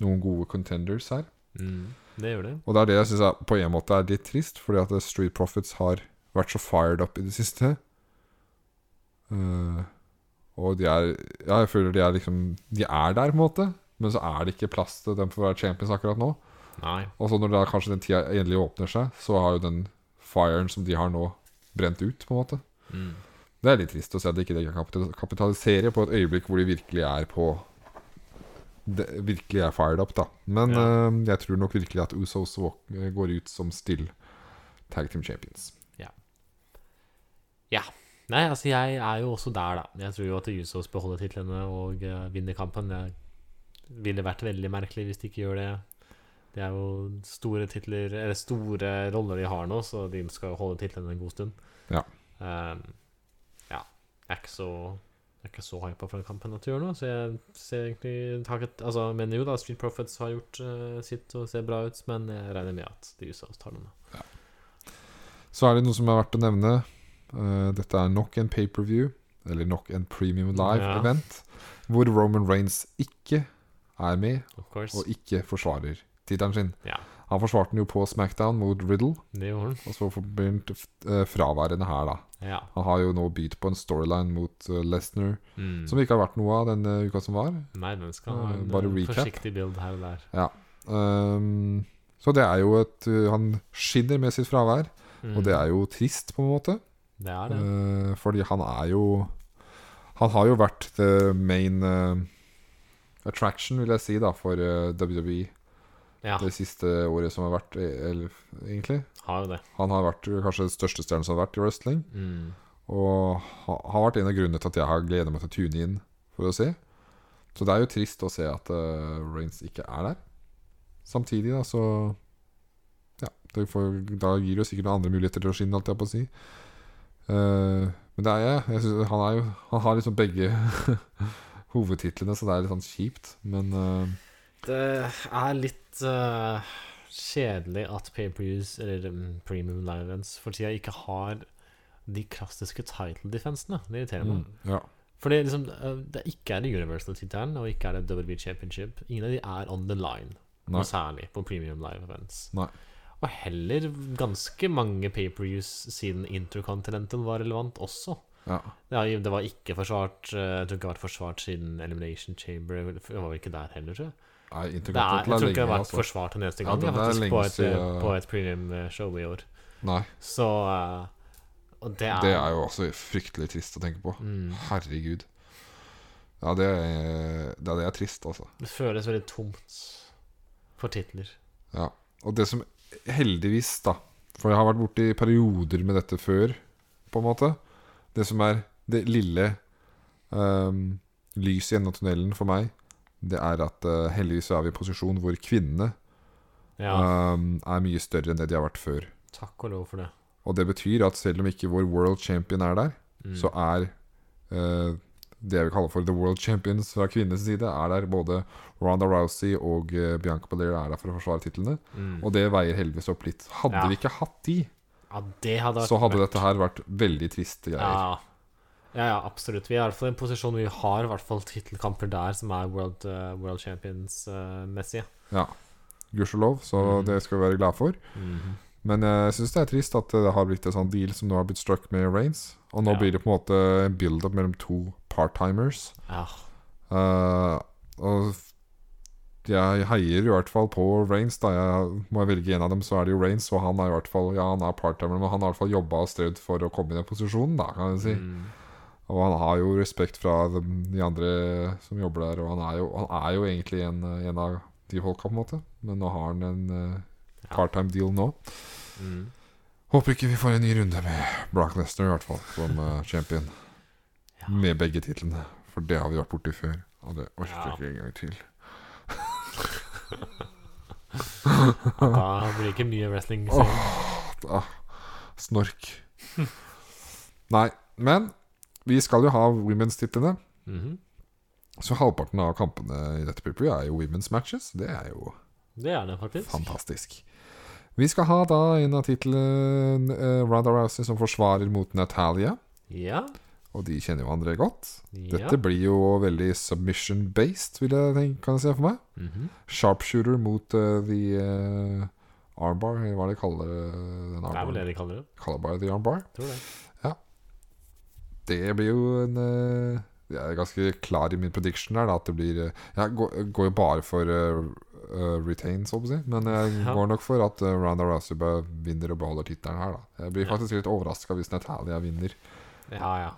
noen gode contenders her. mm. Det gjør det. Og det er det jeg syns på en måte er litt trist, fordi at Street Profits har vært så fired up i det siste. Eh, og de er Ja, jeg føler de er liksom De er der, på en måte, men så er det ikke plass til dem for å være champions akkurat nå. Nei. Og så når da kanskje den tida endelig åpner seg, så har jo den firen som de har nå, brent ut, på en måte. Mm. Det er litt trist å se at de ikke kan kapital- kapitalisere på et øyeblikk hvor de virkelig er på det, Virkelig er fired up, da. Men Ja. eh, jeg tror nok virkelig at Usos våk- går ut som still tag team champions. Nei, altså jeg er jo også der, da. Jeg tror jo at Usos beholder titlene og eh, vinner kampen. Det ville vært veldig merkelig hvis de ikke gjør det. Det er jo store titler Eller store roller de har nå, så de skal jo holde titlene en god stund. Ja. Eh, ja. Jeg er ikke så Jeg er ikke så hypa for den kampen at de gjør nå, så jeg ser egentlig har ikke- Altså, jeg mener jo da Street Profits har gjort eh, sitt og ser bra ut, men jeg regner med at de Usos tar den. da. Så er det noe som er verdt å nevne. Eh, dette er nok en pay-per-view eller nok en premium Ja. live-event, hvor Roman Reigns ikke er med Of course. og ikke forsvarer tittelen sin. Ja. Han forsvarte den jo på Smackdown mot Riddle, Det gjorde og så begynte eh, fraværende her, da. han. Ja. Han har jo nå bytt på en storyline mot uh, Lesnar, Mm. som ikke har vært noe av denne uka som var. Nei, den skal Eh, ha en bare eh, recap. forsiktig bild her og der. Ehm, så det er jo et uh, Han skinner med sitt fravær, Mm. og det er jo trist, på en måte. Det er det. Eh, fordi han er jo Han har jo vært the main eh, attraction, vil jeg si, da, for eh, WWE ja, det siste året som har vært, eh, eller, egentlig. har jo det. Han har vært eh, kanskje den største stjernen som har vært i wrestling. Mm. Og ha- har vært en av grunnene til at jeg har gledet meg til å tune inn for å se. Så det er jo trist å se at eh, Reigns ikke er der. Samtidig, da, så Ja, det får, da gir det jo sikkert noen andre muligheter til å skinne, holdt jeg på å si. Eh, men det er jeg. jeg synes, han, er jo, han har liksom begge [LAUGHS] hovedtitlene, så det er litt sånn kjipt. Men eh, Det er litt eh, kjedelig at pay-per-views, eller mm, premium live events, for tida ikke har de klassiske title defensene. Det irriterer meg. mm, ja. Fordi liksom, eh, det ikke er det Universal-tittelen, og ikke er det WB Championship. Ingen av de er on the line, Nei. noe særlig på premium live events. Nei. Og heller ganske mange pay-per-views siden Intercontinental var relevant også. ja. Ja, det var ikke forsvart eh, Jeg tror ikke det har vært forsvart siden Elimination Chamber. Jeg var vel ikke der heller, tror jeg. Nei, Det er, jeg tror ikke det har vært altså. forsvart en eneste Ja, gang, det jeg, er faktisk, lenge på et, eh, siden- på et premium-show i år. Nei, Så eh, Og det er, det er jo også fryktelig trist å tenke på. mm, Herregud. Ja, det er, det er, det er trist, altså. Det føles veldig tomt for titler. Ja. Og det som heldigvis da For jeg har vært borti perioder med dette før, på en måte. Det som er det lille ehm, lyset i enden av tunnelen for meg, det er at eh, heldigvis så er vi i en posisjon hvor kvinnene Ja, ehm, er mye større enn det de har vært før. takk og lov for det. Og det betyr at selv om ikke vår world champion er der, Mm. så er eh, det jeg vil kalle for the world champions fra kvinnenes side, er der. Både Ronda Rousey og eh, Bianca Belair er der for å forsvare titlene. Mm. Og det veier heldigvis opp litt. Hadde Ja. vi ikke hatt de, Ja, det hadde vært så hadde dette her vært veldig triste greier. Ja. ja, ja, absolutt. Vi er i hvert fall i en posisjon hvor vi har i hvert fall tittelkamper der som er World, eh, world eh, Champions-messige. Ja. Gudskjelov, så Mm. det skal vi være glad for. Men eh, jeg syns det er trist at det har blitt en sånn deal som nå har blitt struck med Reigns. Og nå Ja. blir det på en måte en build-up mellom to part-timers. Ja. Eh, og f- jeg heier i hvert fall på Reigns. Da jeg må jeg velge en av dem, så er det jo Reigns. Og han er i hvert fall Ja, han er part-timer, men han har i hvert fall jobba og strevd for å komme i den posisjonen, da, kan jeg si. Mm. Og han har jo respekt fra de, de andre som jobber der, og han er jo, han er jo egentlig en, eh, en av de folka, på en måte. Men nå har han en eh, Ja. part-time deal nå. Mm. Håper ikke vi får en ny runde med Brock Lesnar, i hvert fall, som eh, champion. Ja. Med begge titlene. For det har vi vært borti før, og det orker Ja. jeg ikke en gang til. Da blir det ikke mye wrestling. Så. Ah, snork. Nei, men vi skal jo ha women's-titlene. Mhm. Så halvparten av kampene i dette preview er jo women's matches. Det er jo Det er det faktisk. fantastisk. Vi skal ha da en av titlene uh, Ronda Rousey som forsvarer mot Natalia. Ja. Og de kjenner jo andre godt. ja. Dette blir jo veldig submission-based, vil jeg tenke, kan jeg se for meg. Mhm. Sharpshooter mot eh, the eh, armbar, eller hva de kaller eh, den Det er vel det armbaren. de kaller det. Kaller bare the armbar. Tror det. Det blir jo en eh, Jeg er ganske klar i min prediction her, da, at det blir eh, Jeg går, går jo bare for eh, eh, retains, holdt jeg på å si, men jeg Ja. går nok for at uh, Ronda Rousey bare vinner og beholder tittelen her, da. Jeg blir Ja. faktisk litt overraska hvis Natalia vinner. Ja, ja.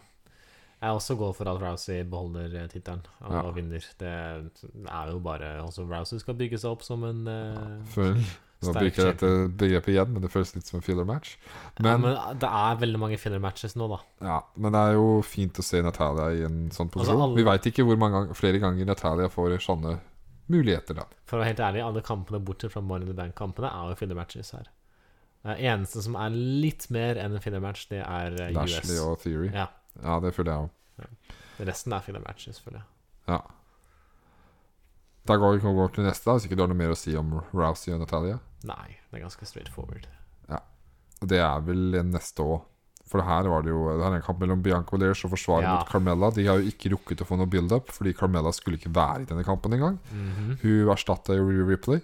Jeg også går for at Rousey beholder eh, tittelen og Ja. vinner. Det er jo bare Også Rousey skal bygge seg opp som en eh, Føl. Nå Sterk bruker jeg dette begrepet igjen, men det føles litt som en filler match. ja, Men, Men ah, det er veldig mange filler matches nå, da. ja, men det er jo fint å se Natalia i en sånn Altså, posisjon. alle- Vi veit ikke hvor mange gang, flere ganger Natalia får sånne muligheter, da. For å være helt ærlig, alle kampene bortsett fra Money in the Bank-kampene er jo filler matches her. Det eneste som er litt mer enn en filler match, det er eh, Lashley US. og Theory. Ja. Ja, det føler jeg òg. Resten er filler matches, føler jeg. Ja. Da går vi kan vi gå til neste, da, hvis ikke du har noe mer å si om Rousey og Natalia. Nei, det er ganske straight forward. Og Det er vel en neste òg. For det her var det jo Det her er en kamp mellom Bianca Valerius og forsvaret Ja. mot Carmella. De har jo ikke rukket å få noe build-up, fordi Carmella skulle ikke være i denne kampen engang. Mhm. Hun erstatta jo Rhea Ripley.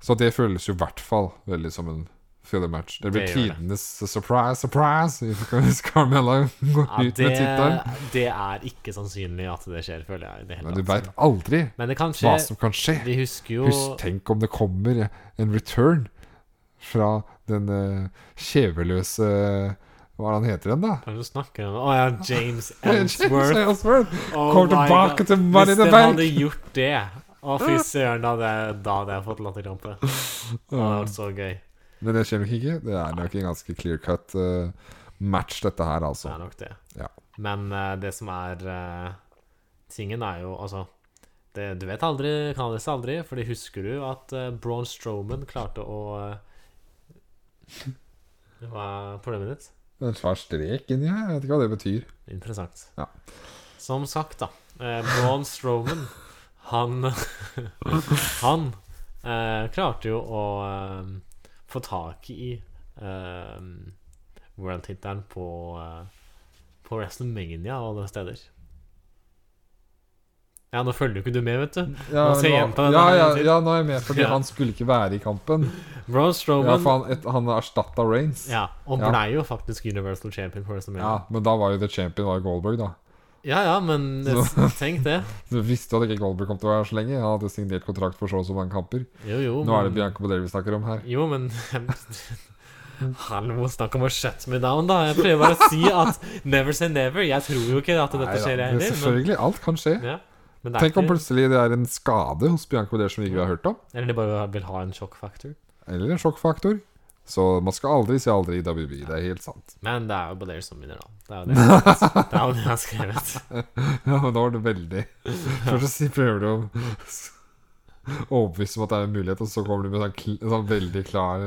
Så det føles jo i hvert fall veldig som en filler match. Det blir Det gjør det. tidenes surprise, surprise hvis Carmella [LAUGHS] går Ja, ut med tittelen. det, det er ikke sannsynlig at det skjer, føler jeg. i Det hele Men du tatt. veit aldri Men det kan hva skje. som kan skje. Vi husker jo Husk, tenk om det kommer en return fra den eh, kjeveløse Hva er det han heter igjen, da? Hva er det du snakker om? Å ja, James [LAUGHS] James [LAUGHS] Ellsworth. Ellsworth Oh Kommer my tilbake God. til Money in the Hvis dere Bank! hadde gjort det Å, [LAUGHS] fy søren, da hadde jeg- da hadde jeg fått latterkrampe. Det hadde vært så gøy. Men det skjer nok ikke. Det er nok en ganske clear-cut eh, match, dette her, Det altså. er nok det. Ja. Men eh, det som er eh, Tingen er jo, altså det, Du vet aldri, kan lese aldri, Fordi husker du at eh, Braun Strowman klarte å eh, Hva er problemet ditt? Det er en svær strek inni her. Jeg vet ikke hva det betyr. Interessant. Ja. Som sagt, da. Eh, Braun [LAUGHS] Strowman, han [LAUGHS] Han eh, klarte jo å eh, få tak i eh, world-tittelen på, eh, på WrestleMania og alle steder. Ja, nå følger jo ikke du med, vet du. Ja, Nå ser jeg på nå, den ja, her ja, til. ja, nå er jeg med, fordi Ja. han skulle ikke være i kampen. Braun Ja, Strowman for han, et, han erstatta Reigns. ja, og Ja. blei jo faktisk Universal Champion på WrestleMania. Ja, men da var jo the champion var jo Goldberg, da. Ja ja, men tenk det. Du visste at ikke Goldberg kom til å være her så lenge. Han hadde signert kontrakt for så og så mange kamper. Jo jo. Nå er det men- Bianca Belair vi snakker om her. Jo, men [LAUGHS] Hallo, snakk om å shut me down, da. Jeg prøver bare å si at never say never. Jeg tror jo ikke at dette Nei, skjer, ja, jeg men heller. Selvfølgelig. Alt kan skje. Men, ja. men det er Tenk om ikke plutselig det er en skade hos Bianca Belair som vi ikke har hørt om. Eller de bare vil ha en sjokkfaktor. Eller en sjokkfaktor. Så man skal aldri si aldri i WWE. Det er helt sant. [LAUGHS] Men det er jo Belair som vinner, da. Det er jo det jeg har skrevet. Det er jo det jeg har skrevet. Ja, men da var det veldig Først så si- prøver du å s- overbevise om at det er en mulighet, og så kommer du med en sånn, kl- en sånn veldig klar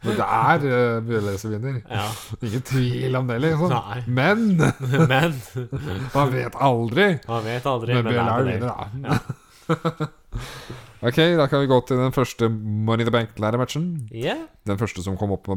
Men det er uh, Bjørnløe som vinner. Ja. Ingen tvil om det, liksom. Nei. Men Men man vet aldri. man vet aldri. Men Men det er Bjørnløe Belair. vinner, da. [LAUGHS] ok, da kan vi gå til den første Money in the Bank-lærematchen. Yeah. Den første som kom opp på-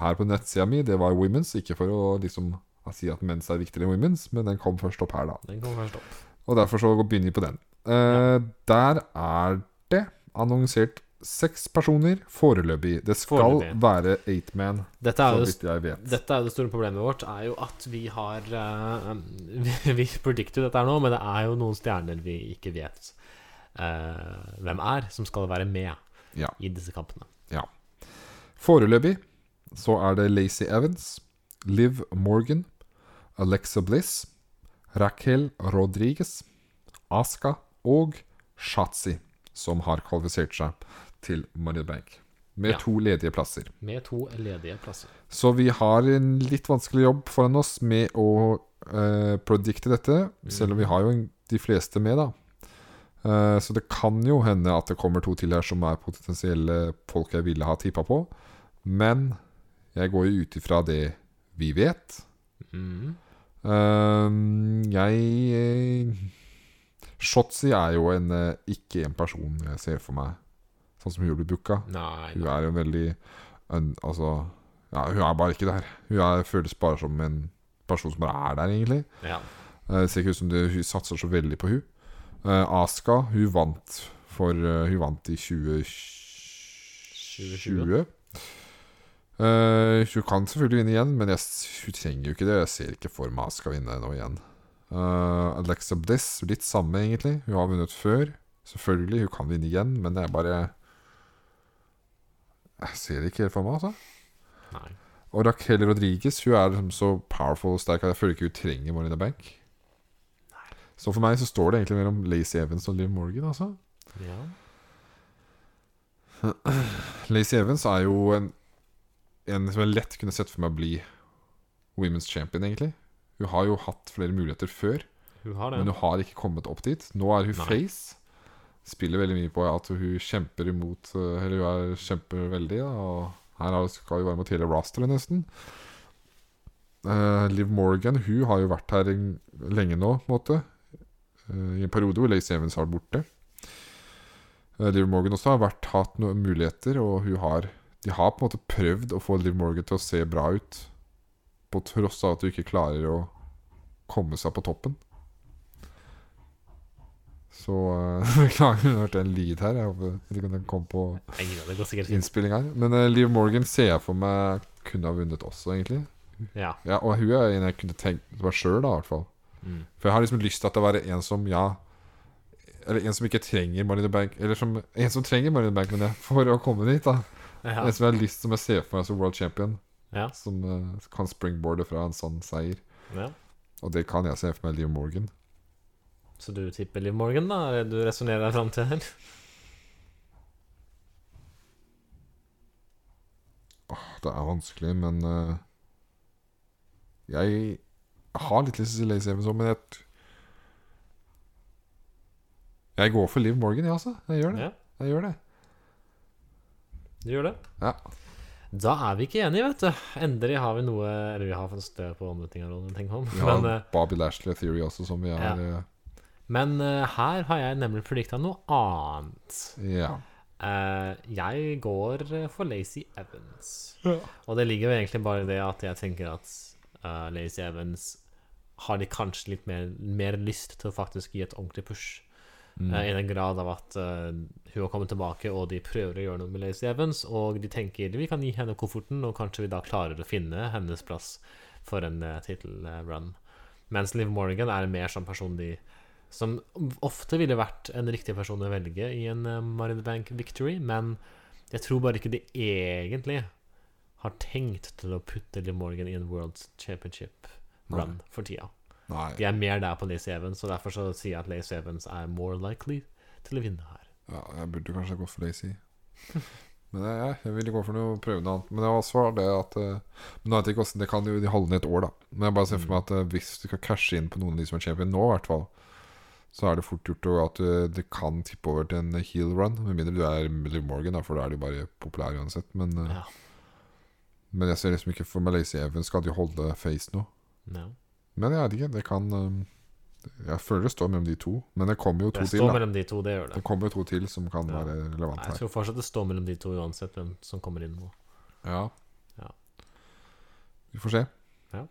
her på nettsida mi, det var Women's. Ikke for å liksom si at menns er viktigere enn women's, men den kom først opp her, da. Den kommer først opp. Og derfor så begynner vi på den. Eh, Der er det annonsert seks personer foreløpig. Det skal Foreløpig. være eight man, Dette er så jo det vidt jeg vet. Dette er jo det store problemet vårt, er jo at vi har eh, [LAUGHS] Vi, vi predikter jo dette her nå, men det er jo noen stjerner vi ikke vet eh, hvem er, som skal være med Ja. i disse kampene. Foreløpig så er det Lacey Evans, Liv Morgan, Alexa Bliss, Raquel Rodriguez, Aska og Shatsi som har kvalifisert seg til Money in the Bank. Med Ja. to ledige plasser. Med to ledige plasser. Så vi har en litt vanskelig jobb foran oss med å eh, predikte dette, selv om vi har jo en- de fleste med, da. Eh, så det kan jo hende at det kommer to til her som er potensielle folk jeg ville ha tippa på. Men jeg går jo ut ifra det vi vet. Mhm. Ehm, jeg eh, Shotzi er jo en eh, ikke en person jeg ser for meg, sånn som hun blir booka. Nei, Hun nei. er jo en veldig en, Altså ja, Hun er bare ikke der. Hun er, føles bare som en person som bare er der, egentlig. Ja. Eh, Det ser ikke ut som det, hun satser så veldig på hun Eh, Aska, hun vant for eh, Hun vant i 2020. 2020. Eh, hun kan selvfølgelig vinne igjen, men jeg, s- hun trenger jo ikke det. Jeg ser ikke for meg Aska vinne nå igjen. Eh, Alexa Bliss, litt samme, egentlig. Hun har vunnet før. Selvfølgelig, hun kan vinne igjen, men jeg bare Jeg ser det ikke helt for meg, altså. Nei. Og Raquel Rodriguez hun er liksom så powerful og sterk at jeg føler ikke hun trenger Money in the Bank. Så for meg så står det egentlig mellom Lacey Evans og Liv Morgan. altså Ja. Lacey Evans er jo en, en som jeg lett kunne sett for meg bli women's champion, egentlig. Hun har jo hatt flere muligheter før, Hun har men det. hun har ikke kommet opp dit. Nå er hun Nei. face. Spiller veldig mye på at hun kjemper imot eh, Eller hun er, kjemper veldig, da. Og her har- skal hun være mot hele rosteret, nesten. Eh, Liv Morgan Hun har jo vært her en, lenge nå, på en måte. Eh, I en periode hvor Lacey Evans har vært borte. Eh, Liv Morgan også har vært, hatt noen muligheter, og hun har de har på en måte prøvd å få Liv Morgan til å se bra ut, på tross av at hun ikke klarer å komme seg på toppen. Så eh, [LAUGHS] Beklager, jeg hørte en lyd her. Jeg håper jeg vet ikke om den kom på Ingen av det går sikkert fint. innspilling her. Men eh, Liv Morgan ser jeg for meg kunne ha vunnet også, egentlig. Ja. Ja, Og hun er en jeg kunne tenkt meg sjøl, da, i hvert fall. Mm. For jeg har liksom lyst til at det være en som, ja Eller en som ikke trenger Money in the Bank. Eller som, en som trenger Money in the Bank, men jeg, for å komme dit, da. Ja. En som jeg har lyst som jeg ser for meg som world champion. Ja. Som eh, kan springboarde fra en sånn seier. ja. Og det kan jeg se for meg Liv Morgan. Så du tipper Liv Morgan, da? Er det Du resonnerer deg fram til her? Det er vanskelig, men eh, Jeg har litt lyst til å si Lacey Evans òg, men jeg t- Jeg går for Liv Morgan, jeg, altså. Jeg gjør det. Ja. Jeg gjør det. Du gjør det? Ja. Da er vi ikke enige, vet du. Endelig har vi noe Eller vi har fått stø på omretninga, om. Vi har men eh, Bobby Lashley Theory også, som vi har eh, Men eh, her har jeg nemlig predikta noe annet. Ja. Eh, jeg går eh, for Lacey Evans. Ja. Og det ligger jo egentlig bare i det at jeg tenker at uh, Lacey Evans har de kanskje litt mer, mer lyst til å faktisk gi et ordentlig push. Eh, I den grad av at eh, hun har kommet tilbake, og de prøver å gjøre noe med Lacey Evans. Og de tenker vi kan gi henne kofferten, og kanskje vi da klarer å finne hennes plass for en uh, tittelrun. Mens Liv Morgan er mer sånn person de som ofte ville vært en riktig person å velge i en uh, Marine Bank Victory, men jeg tror bare ikke de egentlig har tenkt til å putte Liv Morgan i en World Championship run for tida. Nei. De er mer der på Lacey Evans, og derfor så sier jeg at Lacey Evans er more likely til å vinne her. Ja, jeg burde kanskje gått for Lacey. [LAUGHS] Men jeg, jeg- jeg ville gå for noe prøvende annet. Men jeg har også det at eh, Men jeg vet jeg ikke hvordan, Det kan jo de holde ned et år, da. Men jeg bare ser Mm. for meg at eh, hvis du skal cashe inn på noen av de som er champion nå, i hvert fall, så er det fort gjort å- at eh, det kan tippe over til en heel run. Med mindre du er Liv Morgan, da, for da er du bare populær uansett. Men, eh, Ja. men jeg ser liksom ikke for meg Lacey Evans. Skal de holde face nå? Ja. Men jeg vet ikke. Det kan eh, Jeg føler det står mellom de to. Men det kommer jo to Det til. står Da. mellom de to, det gjør det. Det kommer jo to til som kan Ja. være relevant Nei, her. jeg tror fortsatt det står mellom de to uansett hvem som kommer inn nå. Ja. Ja. Vi får se. Ja.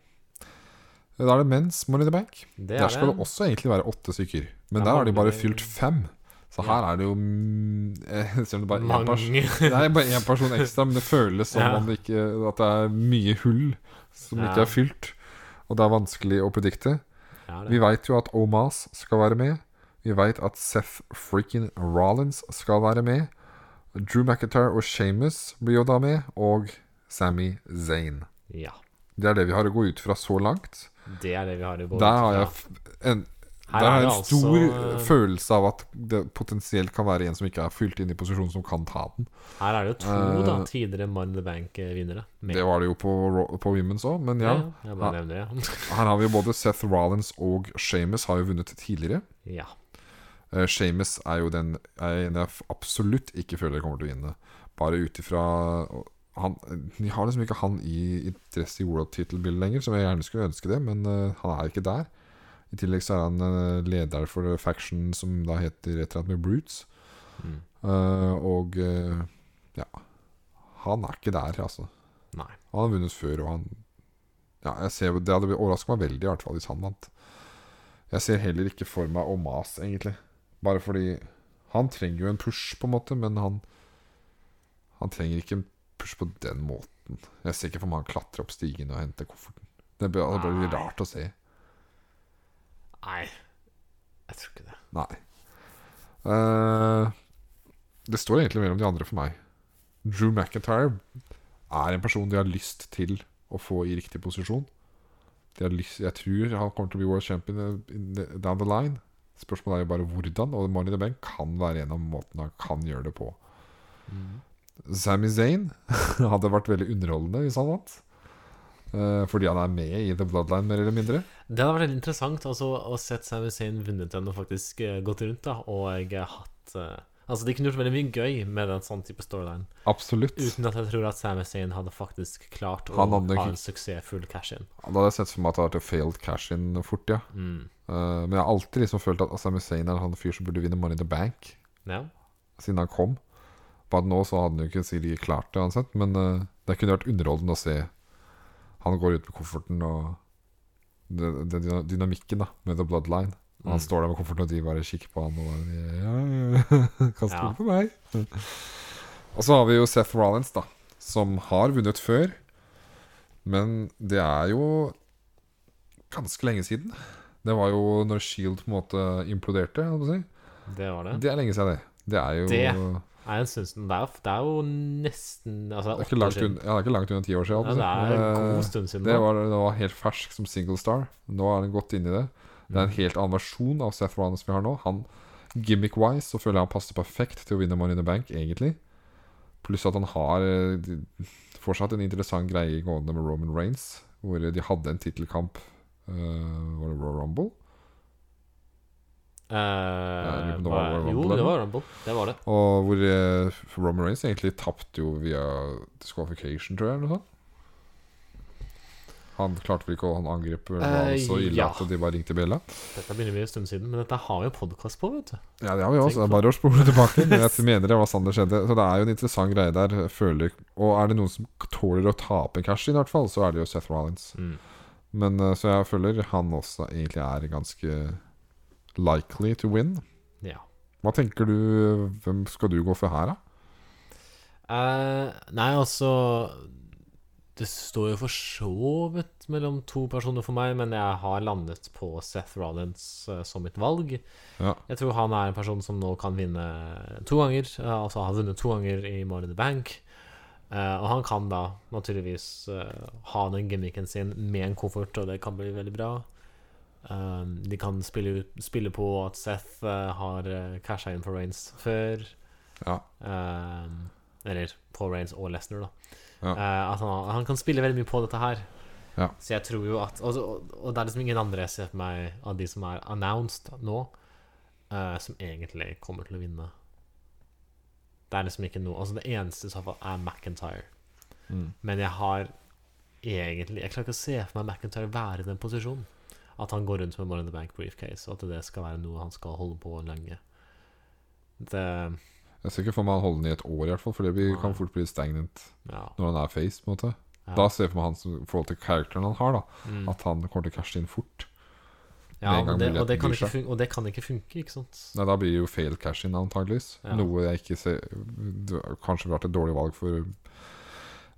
Da er det menns Money in the Bank. Det Der er skal det. det også egentlig være åtte stykker. Ja, Men eh, der har de bare det- fylt fem. Så her er det jo mm, [LAUGHS] eh, Selv om det bare er én person, Mange. det er bare én person ekstra, men det føles som Ja. om det ikke, at det er mye hull som Ja. ikke er fylt. Og det er vanskelig å predikte. [LAUGHS] Ja, Vi det. veit jo at Omas skal være med. Vi veit at Seth freaking Rollins skal være med. Drew McIntyre og Shamus blir jo da med. Og Sammy Zayn. ja. Det er det vi har å gå ut fra så langt. Det er det vi har i vår. Der har jeg f- en, Her der har er jeg det en stor altså- eh, følelse av at det potensielt kan være en som ikke er fylt inn i posisjon, som kan ta den. Her er det jo to da, Eh, tidligere Man in the Bank-vinnere. med. Det var det jo på, Raw- på Women's òg, men ja. Jeg bare nevner det. [LAUGHS] Her har vi jo både Seth Rollins og Shamus har jo vunnet tidligere. ja. Uh, Shames er jo den er en jeg f- absolutt ikke føler kommer til å vinne. Bare ut ifra han, De har liksom ikke han i interesse i world title-bildet lenger, som jeg gjerne skulle ønske det, men eh, han er ikke der. I tillegg så er han eh, leder for eh, faction som da heter et eller annet med Brutes. Mm. Eh, og eh, ja Han er ikke der, altså. Nei. Han har vunnet før, og han Ja, jeg ser jo Det hadde overraska meg veldig, i hvert fall, hvis han vant. Jeg ser heller ikke for meg Omas, egentlig. Bare fordi Han trenger jo en push, på en måte, men han Han trenger ikke en push på den måten. Jeg ser ikke for meg han klatrer opp stigen og henter kofferten. Det blir, det blir Nei. rart å se. Nei. Jeg tror ikke det. Nei. Eh, det står egentlig mellom de andre for meg. Drew McIntyre er en person de har lyst til å få i riktig posisjon. De har lyst, jeg tror han kommer til å bli world champion eh, in the- down the line. Spørsmålet er jo bare hvordan, og Money in the Bank kan være en av måtene han kan gjøre det på. Sami Zayn [LAUGHS] hadde vært veldig underholdende hvis han vant. Eh, fordi han er med i The Bloodline, mer eller mindre. Det hadde vært veldig interessant altså, å sett Sam Hussein vunnet den og faktisk eh, gått rundt, da, og eh, hatt eh, Altså, de kunne gjort veldig mye gøy med en sånn type storyline, Absolutt. uten at jeg tror at Sam Hussein hadde faktisk klart å Han hadde ha ikke- en suksessfull cash-in. Da hadde jeg sett for meg at det hadde vært en failed cash-in fort, ja. Mm. Eh, men jeg har alltid liksom følt at Sami Zayn er en sånn fyr som burde vinne Money in the Bank, Ja. siden han kom. Bare at nå så hadde han jo ikke sikkert klart det uansett, men eh, det kunne vært underholdende å se han går ut med kofferten og den den dyna- dynamikken da med The Bloodline. Og han Mm. står der med kofferten, og de bare kikker på han og bare Ja, ja, ja. [LAUGHS] kan stole Ja. på meg. og så har vi jo Seth Rollins, da, som har vunnet før. Men det er jo ganske lenge siden. Det var jo når Shield på en måte imploderte. holdt på å Si. Det var det. Det er lenge siden, det. Det er jo Det det. er Nei, en stund siden. Det er, jo- det er jo nesten altså, er ikke langt unna, ja, det er ikke langt unna ti år siden. holdt Ja, på det å si. er en Eh, god stund siden. nå. Det var, det var helt fersk som single star. Nå er den godt inni det. Det er Mm. en helt annen versjon av Seth Rollins vi har nå. Han Gimmick-wise så føler jeg han passer perfekt til å vinne Money in the Bank, egentlig. Pluss at han har eh, de- fortsatt en interessant greie gående med Roman Reigns, hvor de hadde en tittelkamp. eh, var det Raw Rumble? Eh, lurer på om det var- var jo, Rumble, det eller? var Rumble. Det var det. Og hvor eh, Roman Reigns egentlig tapte jo via disqualification, tror jeg. Eller noe sånt. Han klarte vel ikke å Han angrep Rollins så ille Eh, ja. at de bare ringte bjella. Dette begynner mye en stund siden, men dette har vi jo podkast på, vet du. Ja, det har vi jo også. Det Tenk er på- bare å spole tilbake. Men [LAUGHS] jeg mener det var sånn det skjedde. Så det er jo en interessant greie der. Føler, og er det noen som tåler å tape en cash i hvert fall, så er det jo Seth Rollins. Mm. Men eh, så jeg føler han også egentlig er ganske likely to win. Ja. Hva tenker du Hvem skal du gå for her, da? Eh, nei, altså Det står jo for så vidt mellom to personer for meg, men jeg har landet på Seth Rollins eh, som mitt valg. Ja. Jeg tror han er en person som nå kan vinne to ganger. eh, altså har vunnet to ganger i More in the Bank. Eh, og han kan da naturligvis eh, ha den gimmicken sin med en koffert, og det kan bli veldig bra. Um, de kan spille, ut- spille på eh, at Seth eh, har uh, casha inn for Rains før. Ja. Um, Eller Paul Reigns og Lesnar, da. Ja. Eh, at han, han kan spille veldig mye på dette her. Ja. Så jeg tror jo at Og, og, og det er liksom ingen andre jeg ser for meg av de som er announced nå, eh, som egentlig kommer til å vinne. Det er liksom ikke noe Altså Det eneste i så fall er McIntyre. Mm. Men jeg har egentlig Jeg klarer ikke å se for meg McIntyre være i den posisjonen. At han går rundt med Money in the Bank briefcase, og at det skal være noe han skal holde på lenge. Det Jeg ser ikke for meg han holder den i et år, i hvert fall for det blir, kan fort bli stagnant Ja. når han er face. på en måte Ja. Da ser jeg for meg han som i forhold til characteren han har, da Mm. at han kommer til å cashe inn fort. Ja, med men en gang det, og, det muligheten kan byr ikke seg. funke, og det kan ikke funke, ikke sant? Nei, Da blir det jo fail cash in, antageligvis. Ja. Noe jeg ikke ser det har Kanskje vært et dårlig valg for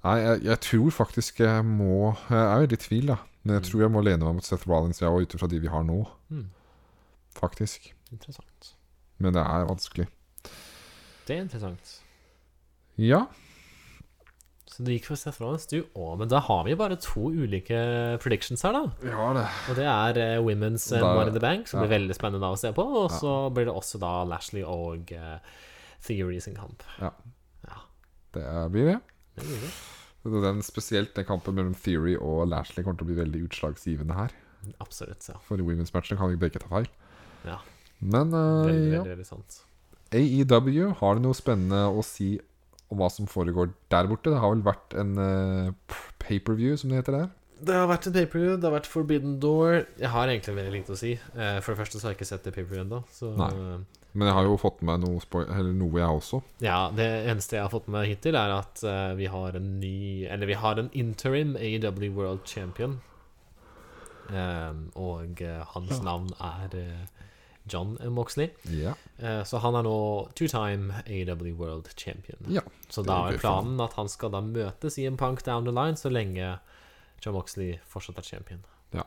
Nei, jeg, jeg tror faktisk jeg må Jeg er jo litt i tvil, da. Men Mm. jeg tror jeg må lene meg mot Seth Rollins, jeg òg, ut ifra de vi har nå, Hmm, faktisk. interessant. Men det er vanskelig. Det er interessant. Ja. Så du gikk for Seth Rollins, du òg. Men da har vi bare to ulike predictions her, da. Vi har det. Og det er eh, Women's eh, Da- Money in the Bank, som ja. blir veldig spennende da å se på. Og Ja. så blir det også da Lashley og eh, Theory sin kamp. Det er- blir det. Det blir det. Den, spesielt den kampen mellom Theory og Lashley kommer til å bli veldig utslagsgivende her. Absolutt, ja. For i women's matchen kan vi begge ta feil. Ja. Men eh, Veldig, ja. veldig, veldig sant. AEW, har det noe spennende å si om hva som foregår der borte? Det har vel vært en uh, paperview, som det heter der. Det har vært et paperview, det har vært Forbidden Door. Jeg har egentlig veldig lite å si. Eh, For det første så har jeg ikke sett det paperviewet ennå, så Nei. Men jeg har jo fått med noe, spo- eller noe jeg også. Ja, det eneste jeg har fått med hittil, er at eh, vi har en ny Eller vi har en interim AEW World Champion. Ehm, og eh, hans navn er eh, John Moxley. Ja. Eh, så han er nå two-time AEW World Champion. Ja, så det da er blir planen at han skal da møtes i en punk down the line så lenge John Moxley fortsatt er champion. Ja.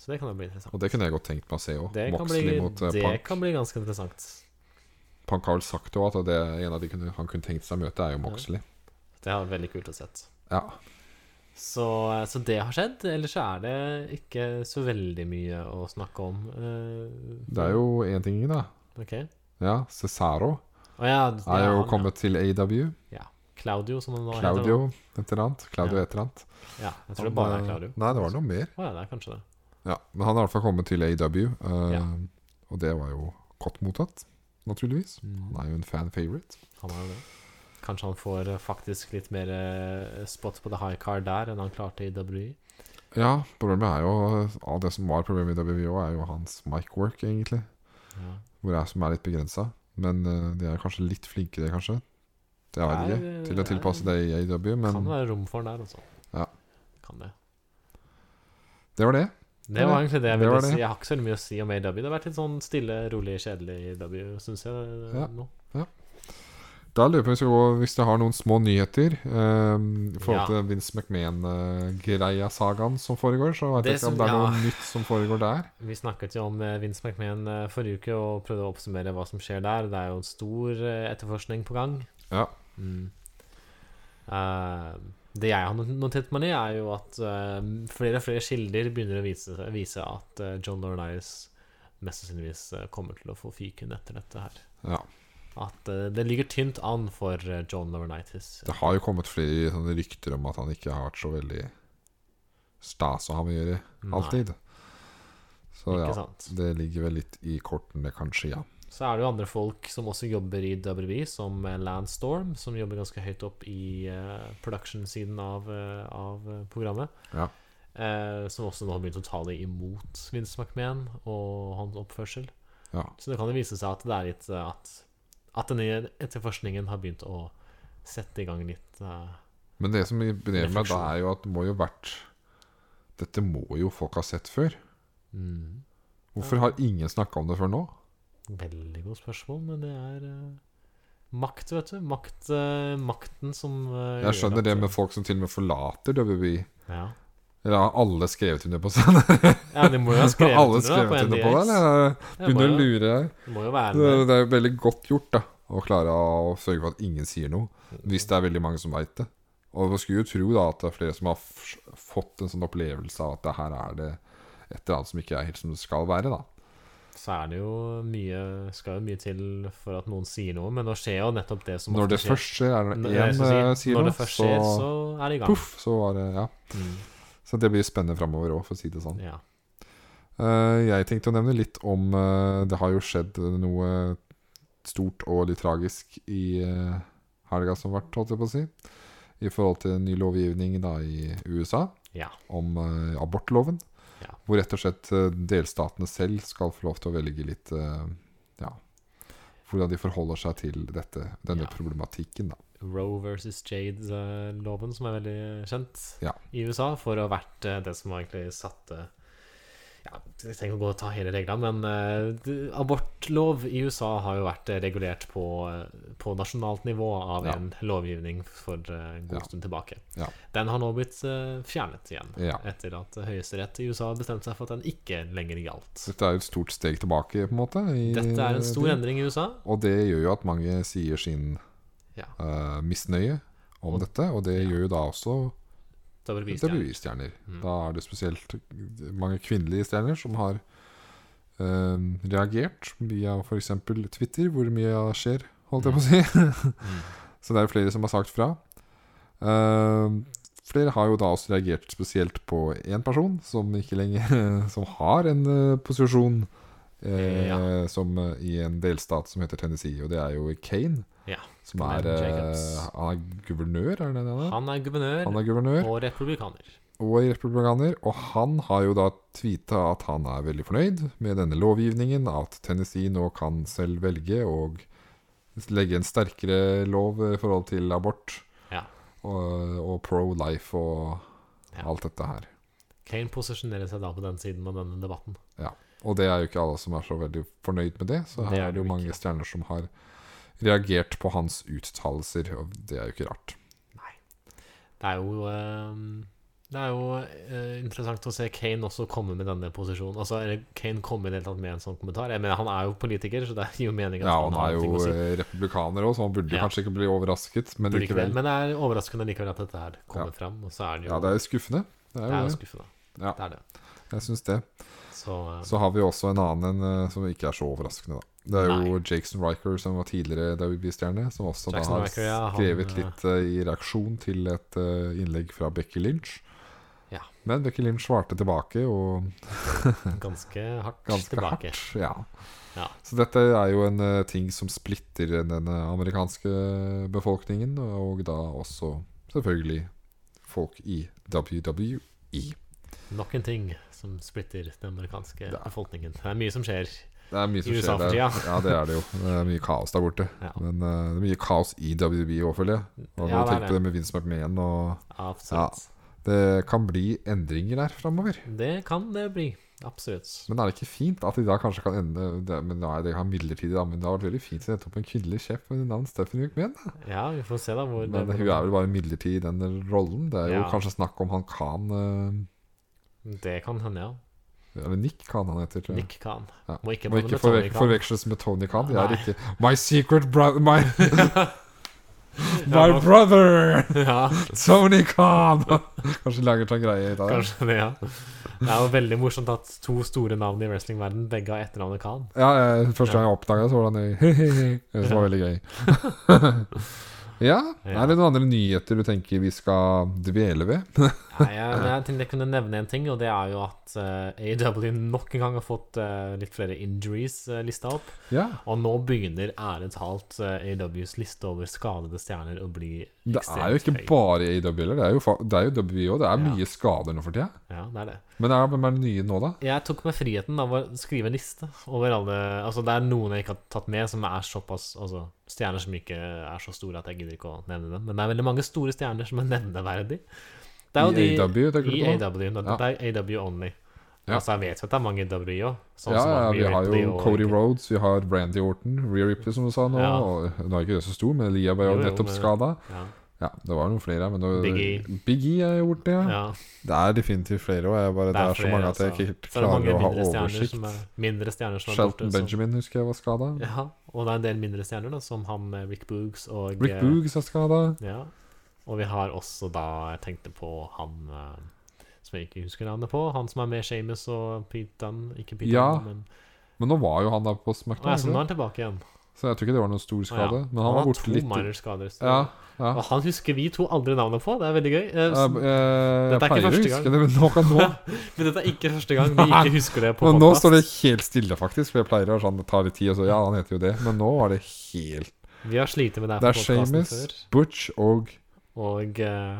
Så det kan da bli interessant. Og det kunne jeg godt tenkt meg å se òg. Det, kan Moxley bli, mot eh, det Punk. kan bli ganske interessant. Punk har vel sagt jo at det er en av de kunne, han kunne tenkt seg å møte, er jo Moxley. Det har vært veldig kult å sett. Ja. Så, eh, så det har skjedd. Ellers er det ikke så veldig mye å snakke om. eh, Det er jo én ting, da. Ok. Ja, Cesaro Å ja, det er jo han, kommet til AEW. Ja. Claudio, som han nå heter. Claudio et eller annet. Claudio Ja. et eller annet. nå. Ja, jeg tror det bare er Han, eh, Claudio. Nei, det var noe mer. Å ja, det er kanskje det. Ja, men han har i hvert fall kommet til AW, eh, Ja. og det var jo godt mottatt, naturligvis. Han er jo en fan favorite. Mm. Han er jo det. Kanskje han får eh, faktisk litt mer eh, spot på the high card der enn han klarte i E. WI. Ja, problemet er jo Alt det som var problemet i WWE, er jo hans mic-work, egentlig. Ja. Hvor jeg som er litt begrensa. Men eh, de er kanskje litt flinkere, kanskje. Det Nei, er ikke. Til å det er- tilpasse det i AW, men Kan det være rom for han der, altså. Ja. Kan det. det var det. Det var egentlig det jeg Det ville var det. si. Jeg har ikke så veldig mye å si om AW. Det har vært litt sånn stille, rolig, kjedelig i AW, syns jeg eh, Ja. nå. Da lurer jeg på om vi skal gå hvis du har noen små nyheter eh, i forhold Ja. til Vince McMahon-greia-sagaen som foregår. Så vet Det jeg ikke som- om det er ja. noe nytt som foregår der. Vi snakket jo om eh, Vince McMahon eh, forrige uke og prøvde å oppsummere hva som skjer der. Det er jo en stor eh, etterforskning på gang. Ja. Mm. Eh, det jeg har not- notert meg ned, er jo at eh, flere og flere kilder begynner å vise, vise at eh, John Laurinaitis mest sannsynligvis eh, kommer til å få fyken etter dette her. Ja. At eh, det ligger tynt an for eh, John Laurinaitis. Det har jo kommet flere sånne rykter om at han ikke har vært så veldig stas å ha med å gjøre, Nei, alltid. Så Ikke ja, sant. det ligger vel litt i kortene, kanskje, ja. Så er det jo andre folk som også jobber i WWE, som eh, Lance Storm, som jobber ganske høyt opp i eh, production-siden av, eh, av eh, programmet. Ja. Eh, som også nå har begynt å tale imot Vince McMahon og hans oppførsel. ja. Så det kan jo vise seg at det er litt eh, at, at denne etterforskningen har begynt å sette i gang litt eh, Men det som imponerer meg, da Refleksjon. er jo at det må jo vært Dette må jo folk ha sett før. mm, Hvorfor har ingen snakka om det før nå? Veldig godt spørsmål, men det er eh, makt, vet du. Makt, eh, makten som eh, Jeg gjør skjønner at- det med folk som til og med forlater WWE. ja. Eller har alle skrevet under på sånn? ja, de må jo ha skrevet Har [LAUGHS] alle under da, på skrevet under på det, NDX. eller? Det må Begynner å jo- lure her. Det må jo være Det, det. det er jo veldig godt gjort da å klare å sørge for at ingen sier noe, hvis det er veldig mange som veit det. Og man skulle jo tro da at det er flere som har f fått en sånn opplevelse av at det her er det et eller annet som ikke er helt som det skal være, da. så er det jo mye Skal jo mye til for at noen sier noe, men nå skjer jo nettopp det som Når ofte det skjer. først skjer, er Når- det jeg én skal si, eh, sier Når noe, det først skjer, så så er det i gang. poff, så var det Ja. Mm, Så det blir spennende framover òg, for å si det sånn. ja. Eh, jeg tenkte å nevne litt om eh, Det har jo skjedd noe stort og litt tragisk i eh, helga som vært, holdt jeg på å si. I forhold til ny lovgivning da i USA Ja. om eh, abortloven. Ja. Hvor rett og slett eh, delstatene selv skal få lov til å velge litt eh, Ja, hvordan de forholder seg til dette, denne Ja. problematikken, da. Roe versus Jade-loven, som er veldig kjent Ja. i USA, for å ha vært eh, det som egentlig satte ja, Jeg trenger ikke å gå og ta hele reglene, men eh, d- abortlov i USA har jo vært eh, regulert på, eh, på nasjonalt nivå av Ja. en lovgivning for eh, en god Ja. stund tilbake. Ja. Den har nå blitt eh, fjernet igjen, Ja. etter at Høyesterett i USA bestemte seg for at den ikke lenger gjaldt. Dette er jo et stort steg tilbake, på en måte. i- Dette er en stor endring i USA. Og det gjør jo at mange sier sin Ja. eh, misnøye om Og- dette, og det ja. gjør jo da også Da blir det vist det igjen. revystjerner. Mm. Da er det spesielt mange kvinnelige stjerner som har eh, reagert via f.eks. Twitter, hvor mye skjer, holdt jeg på å si. Mm. Så det er jo flere som har sagt fra. Eh, flere har jo da også reagert spesielt på én person som ikke lenger [LAUGHS] Som har en eh, posisjon eh, Ja. som, eh, i en delstat som heter Tennessee, og det er jo Kane. Ja. Som Glenn er, eh, Jacobs. han er guvernør, er det det han er? Han er guvernør Han er guvernør og republikaner. og republikaner, og han har jo da tweeta at han er veldig fornøyd med denne lovgivningen, at Tennessee nå kan selv velge og legge en sterkere lov i forhold til abort Ja. og, og pro-life og Ja. alt dette her. Kane posisjonerer seg da på den siden av denne debatten. Og det er jo ikke alle som er så veldig fornøyd med det, så Det her er er det det jo jo mange ikke. stjerner som har reagert på hans uttalelser, og det er jo ikke rart. Det er jo, eh, det er jo eh, interessant å se Kane også komme med denne posisjonen. Altså, eller Kane komme i det hele tatt med en sånn kommentar. Jeg mener, han er jo politiker, så det gir jo mening at Ja, han han har er noe jo å si. eh, republikaner òg, så han burde Ja. kanskje ikke bli overrasket, men Burde ikke det, likevel. Men det er overraskende likevel at dette her kommer Ja. fram. Og så er det jo, Ja, det er jo skuffende. Det er jo det. skuffende. Ja. Det er det. Jeg syns det. Så, eh, Så har vi også en annen en, eh, som ikke er så overraskende, da. Det er jo Jackson Riker, som var tidligere Derby-stjerne, som også da Jackson har Riker, ja, han, skrevet eh, litt eh, i reaksjon til et eh, innlegg fra Becky Lynch. Ja. Men Becky Lynch svarte tilbake, og ganske hardt ganske tilbake. hardt. Ja. Ja. Så dette er jo en eh, ting som splitter den eh, amerikanske befolkningen, og da også selvfølgelig folk i E. WWE. Nok en ting som splitter den amerikanske Det er- befolkningen. Det er mye som skjer. Det er mye som I USA skjer for der. tida. Ja, det er det jo. Det er mye kaos der borte. Ja. Men eh, det er mye kaos i WWE òg, føler jeg. Og Ja, ja, det er tenk på det med Vince McMahon. Og Absolutt. det kan bli endringer der framover. Det kan det bli. Absolutt. Men er det ikke fint at de da kanskje kan ende det, Men da er det her midlertidig, da. Men det har vært veldig fint å sette opp en kvinnelig sjef med navn Stephanie McMahon. da. Ja, vi får se da hvor Men hun er vel bare midlertidig i den rollen. Det er jo Ja. kanskje snakk om han Khan eh, Det kan hende, ja. Eller Nick Khan han heter, tror jeg. Nick Khan. Ja. Må ikke Må blande ikke med Tony forvek Khan. forveksles med Tony Khan. Det er Nei. riktig. My secret brother My, [LAUGHS] my brother! [LAUGHS] ja, Tony Khan! [LAUGHS] Kanskje lager sånn greie ut av det. kanskje det, ja. Det er jo veldig morsomt at to store navn i wrestlingverden begge har etternavnet Khan. Ja, eh, Første gang jeg oppdaga det, så var det [LAUGHS] han Det var veldig gøy. [LAUGHS] ja. Ja. Er det noen andre nyheter du tenker vi skal dvele ved? Nei, jeg, men jeg tenkte jeg kunne nevne en ting, og det er jo at eh, AEW nok en gang har fått eh, litt flere injuries eh, lista opp. ja. Og nå begynner ærlig talt eh, AEWs liste over skadede stjerner å bli Det er jo ekstremt ikke høy. bare AW, det er jo, fa- det er jo WWE òg. Det er Ja. mye skader nå for tida. Ja, det er det. Men er, hvem er det nye nå, da? Jeg tok meg friheten av å skrive en liste over alle Altså, det er noen jeg ikke har tatt med, som er såpass Altså, stjerner som ikke er så store at jeg gidder ikke å nevne dem. Men det er veldig mange store stjerner som er nevneverdig. Det I AEW, E tenker du I på? AW, da, Ja. Det er AW only. Ja. Altså, jeg vet jo at det er mange sånn i WWE òg. ja, ja, vi har jo Cody Rhodes, vi har Brandy Orton, Rhea Ripley, som du sa nå. Ja. Og, nå er ikke det så stor, men Lia var Jo, jo jo, nettopp men- skada. Ja, Ja, det var noen flere her, men Big E. Biggie er jo borte, ja. ja. Det er definitivt flere òg. Det, det er så flere, mange at jeg altså. ikke Så helt er det klarer mange å ha mindre stjerner oversikt. som er, mindre stjerner som er borte. Shelton som- Benjamin husker jeg var skada. Ja, og det er en del mindre stjerner, da, som han eh, Rick Boogs og Rick eh, Boogs er skada. Ja. Og vi har også da Jeg tenkte på han eh, som jeg ikke husker navnet på. Han som er med Shames og Pete Dunn. Ikke Pete Ja. Dunn, men Men nå var jo han der på Å, ja, SmackDown, så nå er ikke sant? han tilbake igjen. så jeg tror ikke det var noen stor Å, ja. skade. Men han var har borte to litt. minor skader. så- Ja, ja. Og han husker vi to aldri navnet på. Det er veldig gøy. Eh, Jeg, så- Dette jeg, er ikke pleier å første huske det, men nå, kan, nå, Men dette er ikke første gang vi ikke husker det på men nå podcast. står det helt stille, faktisk. For jeg pleier å sånn, det tar litt tid, og så Ja, han heter jo det. Men nå var det helt Vi har slitt med det her Det på er podcasten Shames, før. Butch og Og eh,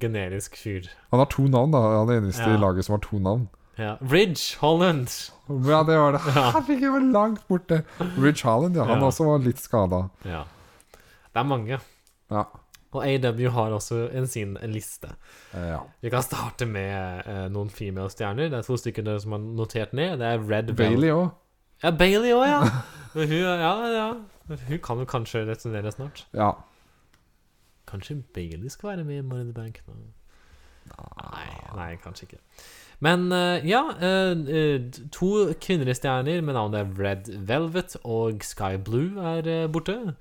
generisk fyr. Han har to navn, da. Han er den eneste Ja. i laget som har to navn. Ja. Ridge Holland. Ja, det var det. [LAUGHS] Herregud, hvor langt borte. Ridge Harland, ja. Han Ja. også var litt skada. Ja. Det er mange. Ja. Og AW har også en sin liste. Eh, ja. Vi kan starte med eh, noen female stjerner. Det er to stykker der som er notert ned. Det er Red Velvet. Bailey òg. Ja, Bailey òg, [LAUGHS] ja. Men Hun, ja, ja. Hun kan jo kanskje returnere snart. Ja. Kanskje Bailey skal være med i Money in the Bank nå? Nei, nei kanskje ikke. Men eh, ja, eh, eh, to kvinnelige stjerner med navnet Red Velvet og Sky Blue er eh, borte.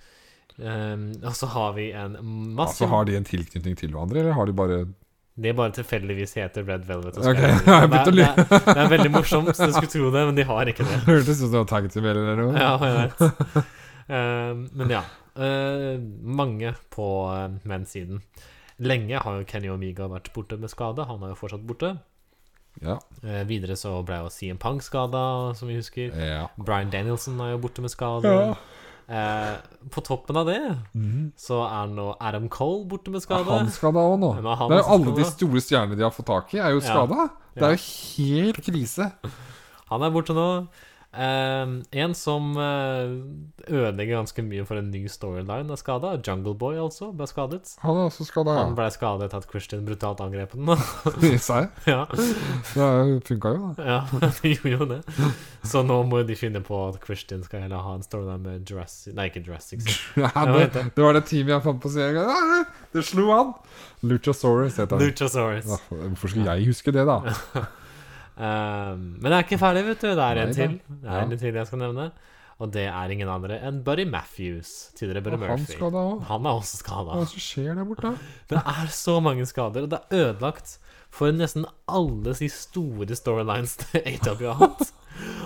Um, og så har vi en masse Altså, har de en tilknytning til hverandre, eller har de bare [LAUGHS] Det bare tilfeldigvis heter Red Velvet. og Ok, Sky Blue. [LAUGHS] jeg begynte å det, er, det, er, det er veldig morsomt, så du skulle tro det, men de har ikke [LAUGHS] det. Hørtes ut som det var tag team eller noe. Ja, jeg vet. Um, men ja. eh, mange på uh, menns-siden. Lenge har jo Kenny Omega vært borte med skade. Han er jo fortsatt borte. Ja. Eh, videre så ble jo CM Punk skada, som vi husker. ja. Brian Danielson er jo borte med skade. Ja. Eh, på toppen av det så er nå Adam Cole borte med Er skade. han skada òg nå? Men er han Det er jo også alle de skadet? store stjernene de har fått tak i, er jo Ja. skada. Det er jo helt krise. Han er borte nå. Eh, en som eh, ødelegger ganske mye for en ny storyline, er skada. Jungle Boy, altså, ble skadet. Han er også skada, Han ja. ble skadet etter at Christian brutalt angrep ham. [LAUGHS] Seier. [LAUGHS] ja, Det funka jo, da. [LAUGHS] ja, de gjorde jo det. Så nå må de finne på at Christian skal heller ha en storyline med Jurassic Nei, ikke Jurassic. Park. Ja, vet det, det var det teamet jeg fant på serien. Ja, det- Det slo han! Luchasaurus heter [LAUGHS] han. Luchasaurus. Ja, Hvorfor skulle jeg huske det, da? Eh, men jeg er ikke ferdig, vet du. Det er Nei en da. til. Det er Ja. en til jeg skal nevne. Og det er ingen andre enn Buddy Matthews, tidligere Buddy Og han Murphy. skada òg. Han er også skada. Hva er det som skjer der borte? Det er så mange skader, og det er ødelagt for nesten alle de store storylines [LAUGHS] AW har hatt.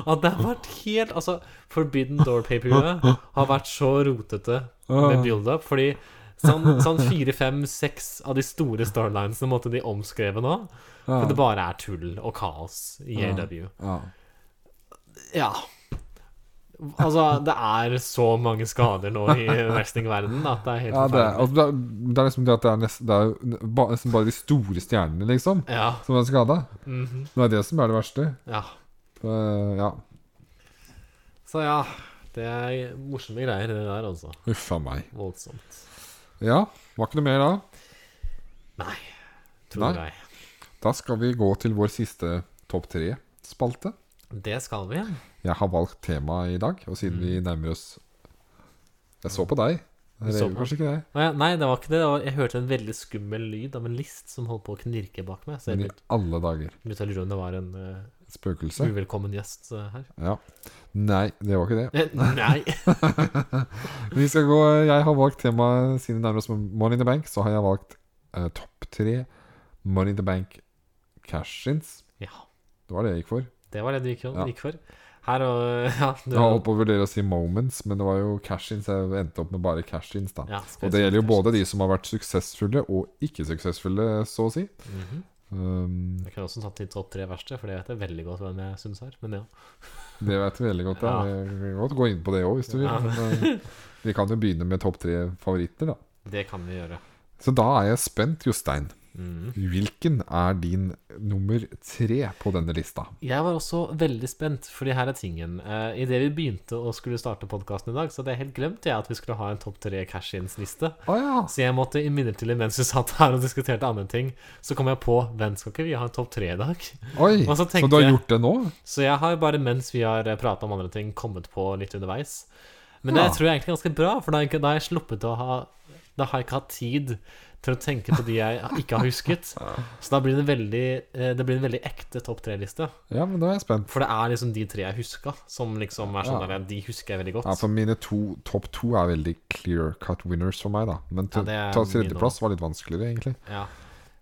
At det har vært helt Altså, Forbidden Door-papiret har vært så rotete med build-up, fordi sånn, sånn fire, fem, seks av de store storylinesene måtte de omskreve nå. For det bare er tull og kaos i AW. Ja. Ja. Altså, det er så mange skader nå [LAUGHS] i wrestlingverdenen at det er helt Ja, det, er, forferdelig. altså, det, er, det er liksom det at det er, nest, det er jo ba, nesten bare de store stjernene, liksom, Ja. som er skada. mhm, Det er det som er det verste. ja. Eh, ja. Så ja, det er morsomme greier det der, altså. Uff a meg. Voldsomt. Ja, var ikke noe mer da? Nei, tror Nei. jeg. Da skal vi gå til vår siste topp tre-spalte. Det skal vi. Jeg har valgt temaet i dag, og siden vi nærmer oss Jeg så på deg. Mm. Du så Det er på kanskje ikke det. Å ja, Nei, det var ikke det. det var, jeg hørte en veldig skummel lyd av en list som holdt på å knirke bak meg. Så jeg Men i begynte- alle dager. begynte å lure om det var en eh, Spøkelse. uvelkommen gjest eh, her. Ja. Nei, det var ikke det. Eh, Nei! [LAUGHS] Vi skal gå, jeg har valgt temaet siden vi nærmer oss Money in the Bank. Så har jeg valgt eh, topp tre Money in the Bank cash-ins. Ja, Det var det jeg gikk for. det var det du gikk, Ja. gikk for. Her og [LAUGHS] Ja, du, Jeg har holdt på å vurdere å si moments, men det var jo cash-ins. Jeg endte opp med bare cash-ins, da. ja, skal Og vi det se gjelder jo først. både de som har vært suksessfulle og ikke suksessfulle, så å si. Mhm. Um, Jeg kunne også tatt de topp tre verste, for det vet jeg veldig godt hvem jeg syns er. Men ja. det vet du veldig godt. Ja. Ja. Jeg kan godt gå inn på det òg, hvis du vil. Ja. Men, eh, vi kan jo begynne med topp tre favoritter, da. Det kan vi gjøre. Så da er jeg spent, Jostein. Mhm. Hvilken er din nummer tre på denne lista? Jeg var også veldig spent, fordi her er tingen. Uh, Idet vi begynte å skulle starte podkasten i dag, så hadde jeg helt glemt jeg at vi skulle ha en topp tre cash-ins-liste. Å ja! Så jeg måtte imidlertid, mens vi satt her og diskuterte andre ting, så kom jeg på hvem skal ikke vi ha en topp tre i dag? [LAUGHS] Oi! Og så Så, tenkte du har jeg- gjort det nå? Så jeg har bare, mens vi har prata om andre ting, kommet på litt underveis. Men det Ja. tror jeg egentlig er ganske bra, for da har jeg ikke- da har jeg sluppet å ha Da har jeg ikke hatt tid til å tenke på de jeg ikke har husket. Så da blir det, veldig, eh, det blir en veldig ekte topp tre-liste. Ja, men da er jeg spent. For det er liksom de tre jeg huska, som liksom er sånn Ja. der, de husker jeg veldig godt. Ja, for mine to topp to er veldig clear cut winners for meg, da. Men Ja, til- det er ta min tredjeplass var litt vanskeligere, egentlig. Ja.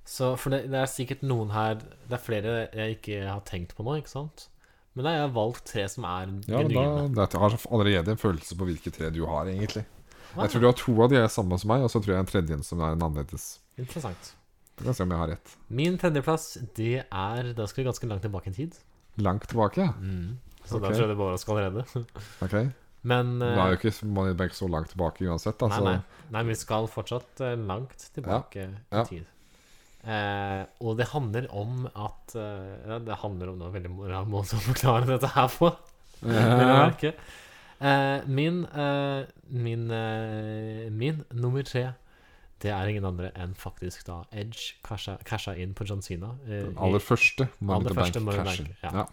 Så for det, det er sikkert noen her Det er flere jeg ikke har tenkt på nå, ikke sant? Men nei, jeg har valgt tre som er Ja, men genuine. da, da har jeg allerede en følelse på hvilke tre du har, egentlig. Ah. Jeg tror du har to av de er samme som meg, og så tror jeg en tredje en som er en annerledes. Interessant. Vi kan se om jeg har rett. Min tredjeplass, det er Da skal vi ganske langt tilbake i tid. Langt tilbake, ja. Så da tror Ok. jeg det bare skal allerede. [LAUGHS] Ok. Men Da eh, er jo ikke altså- man er ikke så langt tilbake uansett, da. nei, Så nei. nei, men vi skal fortsatt eh, langt tilbake ja. i tid. Eh, og det handler om at eh, ja, Det handler om noe veldig moral måte å forklare dette her på. vil jeg Eh, merke. Eh, min eh, min, eh, min nummer tre det er ingen andre enn faktisk da Edge casha, casha inn på John Cena. eh, i- Aller første Money Aller to Bank første Money in the Cashen. Bank, ja. Ja.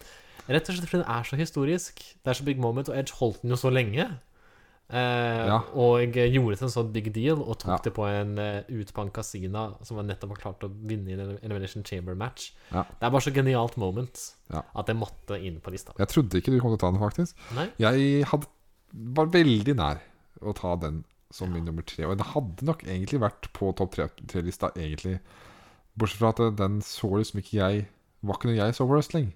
Rett og slett fordi den er så historisk. Det er så big moment, og Edge holdt den jo så lenge. Eh, Ja. Og gjorde det til en sånn big deal, og tok Ja. det på en uh, utbanka Sina som var nettopp har klart å vinne i en Elimination Chamber-match. Ja. Det er bare så genialt moment Ja. at det måtte inn på lista. Jeg trodde ikke du kom til å ta den, faktisk. Nei? Jeg hadde, var veldig nær å ta den som min nummer tre. Og den hadde nok egentlig vært på topp tre-lista, egentlig. Bortsett fra at eh, den så liksom ikke jeg Var ikke når jeg så wrestling.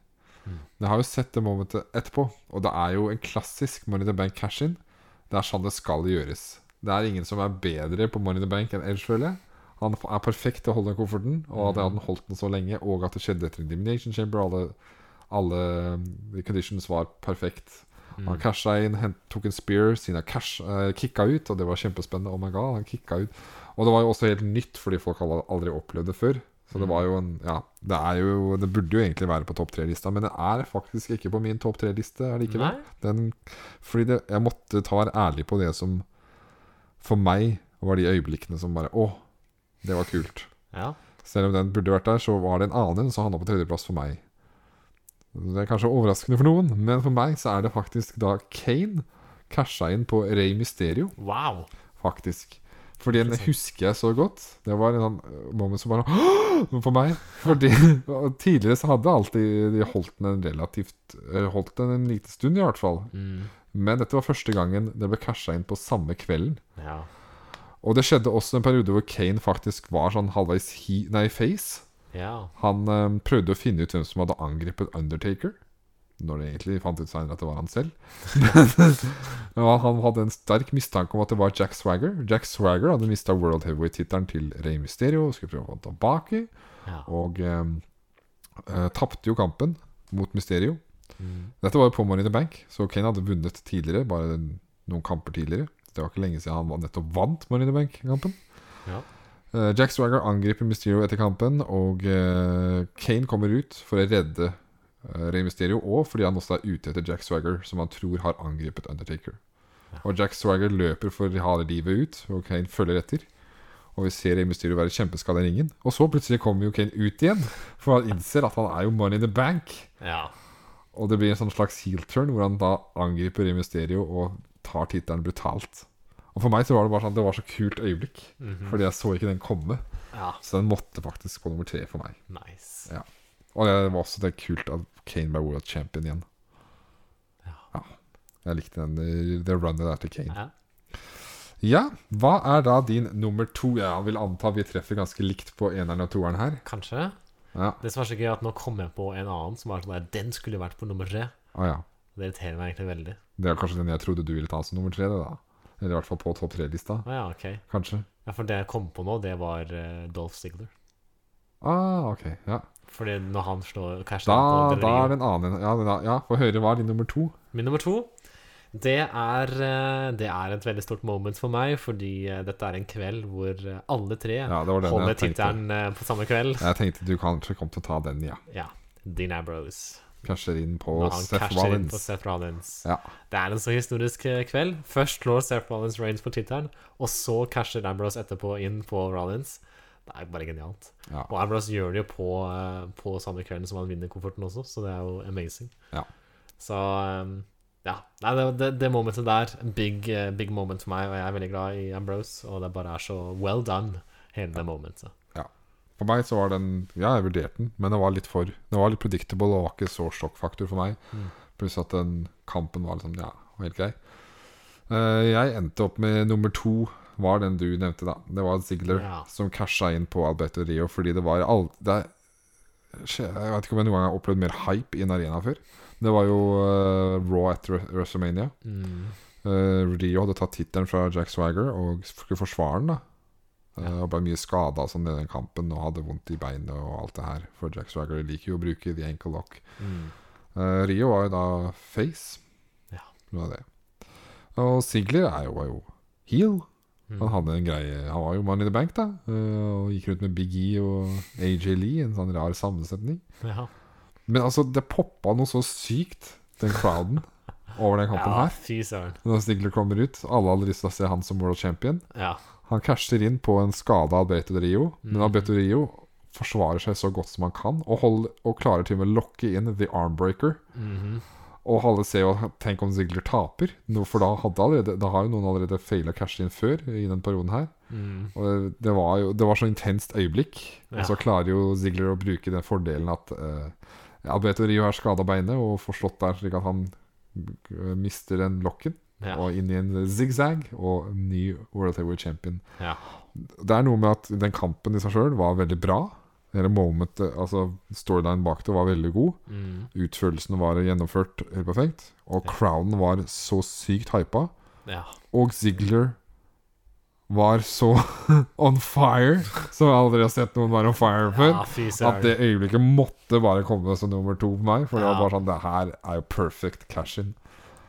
Mm. Men jeg har jo sett det momentet etterpå, og det er jo en klassisk Money in the Bank cash-in. Det er sånn det skal gjøres. Det er ingen som er bedre på Money in the Bank enn Edge, føler jeg. Han er perfekt til å holde den kofferten, og Mm. at han holdt den så lenge, og at det skjedde etter Elimination Chamber. Alle, alle the conditions var perfekt. Mm. Han casha inn, hent, tok en spear, Sina cash, eh, kicka ut, og det var kjempespennende. Oh my god, han kicka ut. Og det var jo også helt nytt, fordi folk hadde aldri opplevd det før. Så det var jo en Ja, det er jo Det burde jo egentlig være på topp tre-lista, men det er faktisk ikke på min topp tre-liste allikevel. Nei? Den, fordi det, jeg måtte ta være ærlig på det som for meg var de øyeblikkene som bare Å, det var kult. Ja. Selv om den burde vært der, så var det en annen som havna på tredjeplass for meg. Det er kanskje overraskende for noen, men for meg så er det faktisk da Kane casha inn på Rey Mysterio, Wow. faktisk. For den husker jeg så godt. Det var en sånn øh, moment som bare «Åh!» For meg. Fordi [LAUGHS] og tidligere så hadde alltid de holdt den en relativt øh, Holdt den en liten stund, i hvert fall. Mm. Men dette var første gangen det ble casha inn på samme kvelden. Ja. Og det skjedde også en periode hvor Kane faktisk var sånn halvveis he, nei, face. ja. Han eh, prøvde å finne ut hvem som hadde angrepet Undertaker. Når det egentlig fant ut senere at det var han selv. [LAUGHS] Men ja, han hadde en sterk mistanke om at det var Jack Swagger. Jack Swagger hadde mista World Heavyweight-tittelen til Rey Mysterio og skulle prøve å få den tilbake. ja. Og eh, eh, tapte jo kampen mot Mysterio. Mm. Dette var jo på Money in the Bank, så Kane hadde vunnet tidligere. Bare noen kamper tidligere. Det var ikke lenge siden han var- nettopp vant Money in the Bank-kampen. ja. Eh, Jack Swagger angriper Mysterio etter kampen, og eh, Kane kommer ut for å redde eh, Rey Mysterio, og fordi han også er ute etter Jack Swagger, som han tror har angrepet Undertaker. Og Jack Swagger løper for harde livet ut, og Kane følger etter. Og vi ser Rey Mysterio være kjempeskada i ringen. Og så plutselig kommer jo Kane ut igjen, [LAUGHS] for han innser at han er jo money in the bank. ja. Og det blir en sånn slags heel turn, hvor han da angriper Rey Mysterio og tar tittelen brutalt. Og for meg så var det bare sånn Det var så kult øyeblikk, Mhm. fordi jeg så ikke den komme. ja. Så den måtte faktisk på nummer tre for meg. Nice. Ja. Og det var også det kult at Kane ble world champion igjen. Ja. Jeg likte den, eh, det runnet der til Kane. Ja. Ja, hva er da din nummer to? Jeg vil anta vi treffer ganske likt på eneren og toeren her. Kanskje. Ja, Det som er så gøy, er at nå kom jeg på en annen som er sånn der Den skulle vært på nummer tre. Å Ah, ja. Det irriterer meg egentlig veldig. Det er kanskje den jeg trodde du ville ta som nummer tre, det da. Eller i hvert fall på topp tre-lista, Å ja, ok. kanskje. Ja, for det jeg kom på nå, det var eh, Dolph Ziggler. Ah, ok, ja. Fordi når han slår cashen Da, inn på da er Del Rio det en annen Ja, da, ja få høre hva er din nummer to. Min nummer to, det er, eh, det er et veldig stort moment for meg, fordi eh, dette er en kveld hvor eh, alle tre Ja, det var den holder jeg tenkte. tittelen eh, på samme kveld. Jeg tenkte du kanskje kom til å ta den, ja. Ja. Dean Ambrose. Casher inn på Når han Seth casher inn på Rollins. Seth Rollins. Ja. Det er en så historisk eh, kveld. Først slår Seth Rollins Reigns på tittelen, og så casher Ambrose etterpå inn på Rollins. Det er bare genialt. Ja. Og Ambrose gjør det jo på, eh, på samme kvelden som han vinner kofferten også, så det er jo amazing. Ja. Så eh, ja. Nei, det, det, det momentet der, big, eh, big moment for meg, og jeg er veldig glad i Ambrose, og det bare er så well done, hele det momentet. For meg så var den Ja, jeg vurderte den, men det var litt for Det var litt predictable og var ikke så sjokkfaktor for meg. Mm. Pluss at den kampen var liksom Ja, var helt grei. Eh, jeg endte opp med nummer to, var den du nevnte, da. Det var Ziggler Ja. som casha inn på Alberto Rio fordi det var alt det, er- skje- Jeg vet ikke om jeg noen gang har opplevd mer hype i en arena før. Det var jo eh, Raw etter WrestleMania. Mm. Eh, Rio hadde tatt tittelen fra Jack Swagger og skulle forsvare den. da Eh, Og ble mye skada sånn, i den kampen og hadde vondt i beinet og alt det her. For Jack Swagger liker jo å bruke the ankle lock. Mm. Eh, Rio var jo da face. Ja. Det var det. Og Ziggler er jo, var jo heel. Mm. Han hadde en greie Han var jo Money in the Bank, da. eh, Og gikk rundt med Big E og AJ Lee. En sånn rar sammensetning. Ja. Men altså, det poppa noe så sykt, den [LAUGHS] crowden, over den kampen ja, her. fy søren. Når Ziggler kommer ut, alle hadde lyst til å se han som world champion. Ja. Han casher inn på en skada Alberto de Rio, men Mhm. Alberto de Rio forsvarer seg så godt som han kan, og, hold, og klarer til og med å lokke inn The Armbreaker. Mhm. Og alle ser jo Tenk om Ziggler taper, Nå- for da, hadde allerede, da har jo noen allerede faila cashe inn før i den perioden her. mm. Og det var jo Det var så intenst øyeblikk. Ja. Og så klarer jo Ziggler å bruke den fordelen at eh, Alberto Rio har skada beinet og får slått der, slik at han eh, mister den lokken ja. og inn i en zigzag og ny World Heavyweight Champion. Ja. Det er noe med at den kampen i seg sjøl var veldig bra. Hele momentet, altså Storylinen bak det var veldig god. Mm. Utførelsen var gjennomført helt perfekt. Og crowden var så sykt hypa. ja. Og Ziggler var så [LAUGHS] on fire, som jeg aldri har sett noen være on fire før. Ja, Ah, fy At det søren. øyeblikket måtte bare komme som nummer to på meg. For det Ja. var bare sånn Det her er jo perfect cash-in. Ja,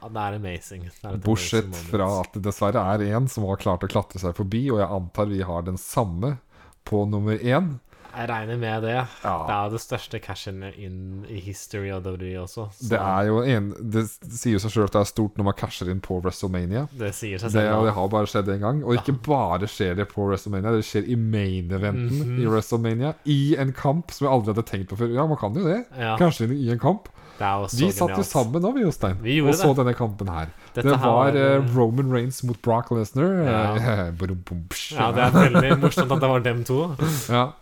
Ah, Det er amazing. Det er et Bortsett amazing moment. fra at det dessverre er en som har klart å klatre seg forbi, og jeg antar vi har den samme på nummer én. Jeg regner med det. Det Ja, er jo det største cashen in i history av WWE også. så det er jo en Det sier jo seg sjøl at det er stort når man casher inn på WrestleMania. det sier seg Det, selv. og det har bare skjedd én gang. Og ikke bare skjer det på WrestleMania, det skjer i main-eventen i Mhm. WrestleMania. I en kamp som jeg aldri hadde tenkt på før. Ja, man kan jo det. Ja. Kanskje inn i en kamp. da. Det er jo så Vi satt jo genialt. sammen nå, vi, Jostein, Vi gjorde og så det. denne kampen her. Dette det her var, var, eh, eh, Roman Reigns mot Brock Lesnar. Ja. Eh, [LAUGHS] brum, bum, psh. Ja, det er veldig morsomt at det var dem to. Ja,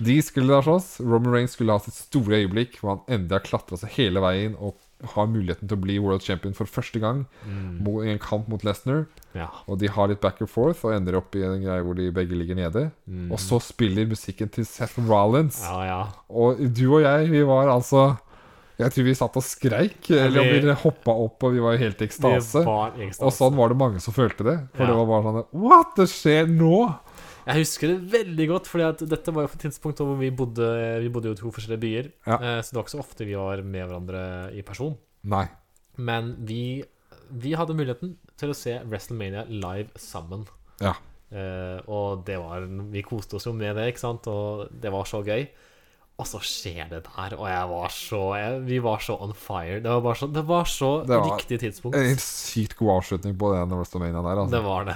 De skulle da slåss. Roman Reigns skulle ha sitt store øyeblikk hvor han endelig har klatra seg hele veien og har muligheten til å bli world champion for første gang Mm. mo- i en kamp mot Lesnar. Ja. Og de har litt back and forth og ender opp i en greie hvor de begge ligger nede. Mm. Og så spiller musikken til Seth Rollins. ja, ja. Og du og jeg, vi var altså Jeg tror vi satt og skreik. Eller vi- vi hoppa opp, og vi var helt i Det ekstase. var i ekstase. Og sånn var det mange som følte det. For Ja. det var bare sånn What? Det skjer nå? Jeg husker det veldig godt, fordi at dette var jo på et tidspunkt hvor vi bodde, vi bodde jo i to forskjellige byer. Ja. eh, Så det var ikke så ofte vi var med hverandre i person. Nei. Men vi, vi hadde muligheten til å se WrestleMania live sammen. Ja. Eh, og det var en- Vi koste oss jo med det, ikke sant? Og det var så gøy. Og så skjer det der, og jeg var så jeg, Vi var så on fire. Det var, bare så, det var så Det var- riktig tidspunkt. En helt sykt god avslutning på den WrestleMania der. Altså. Det var det.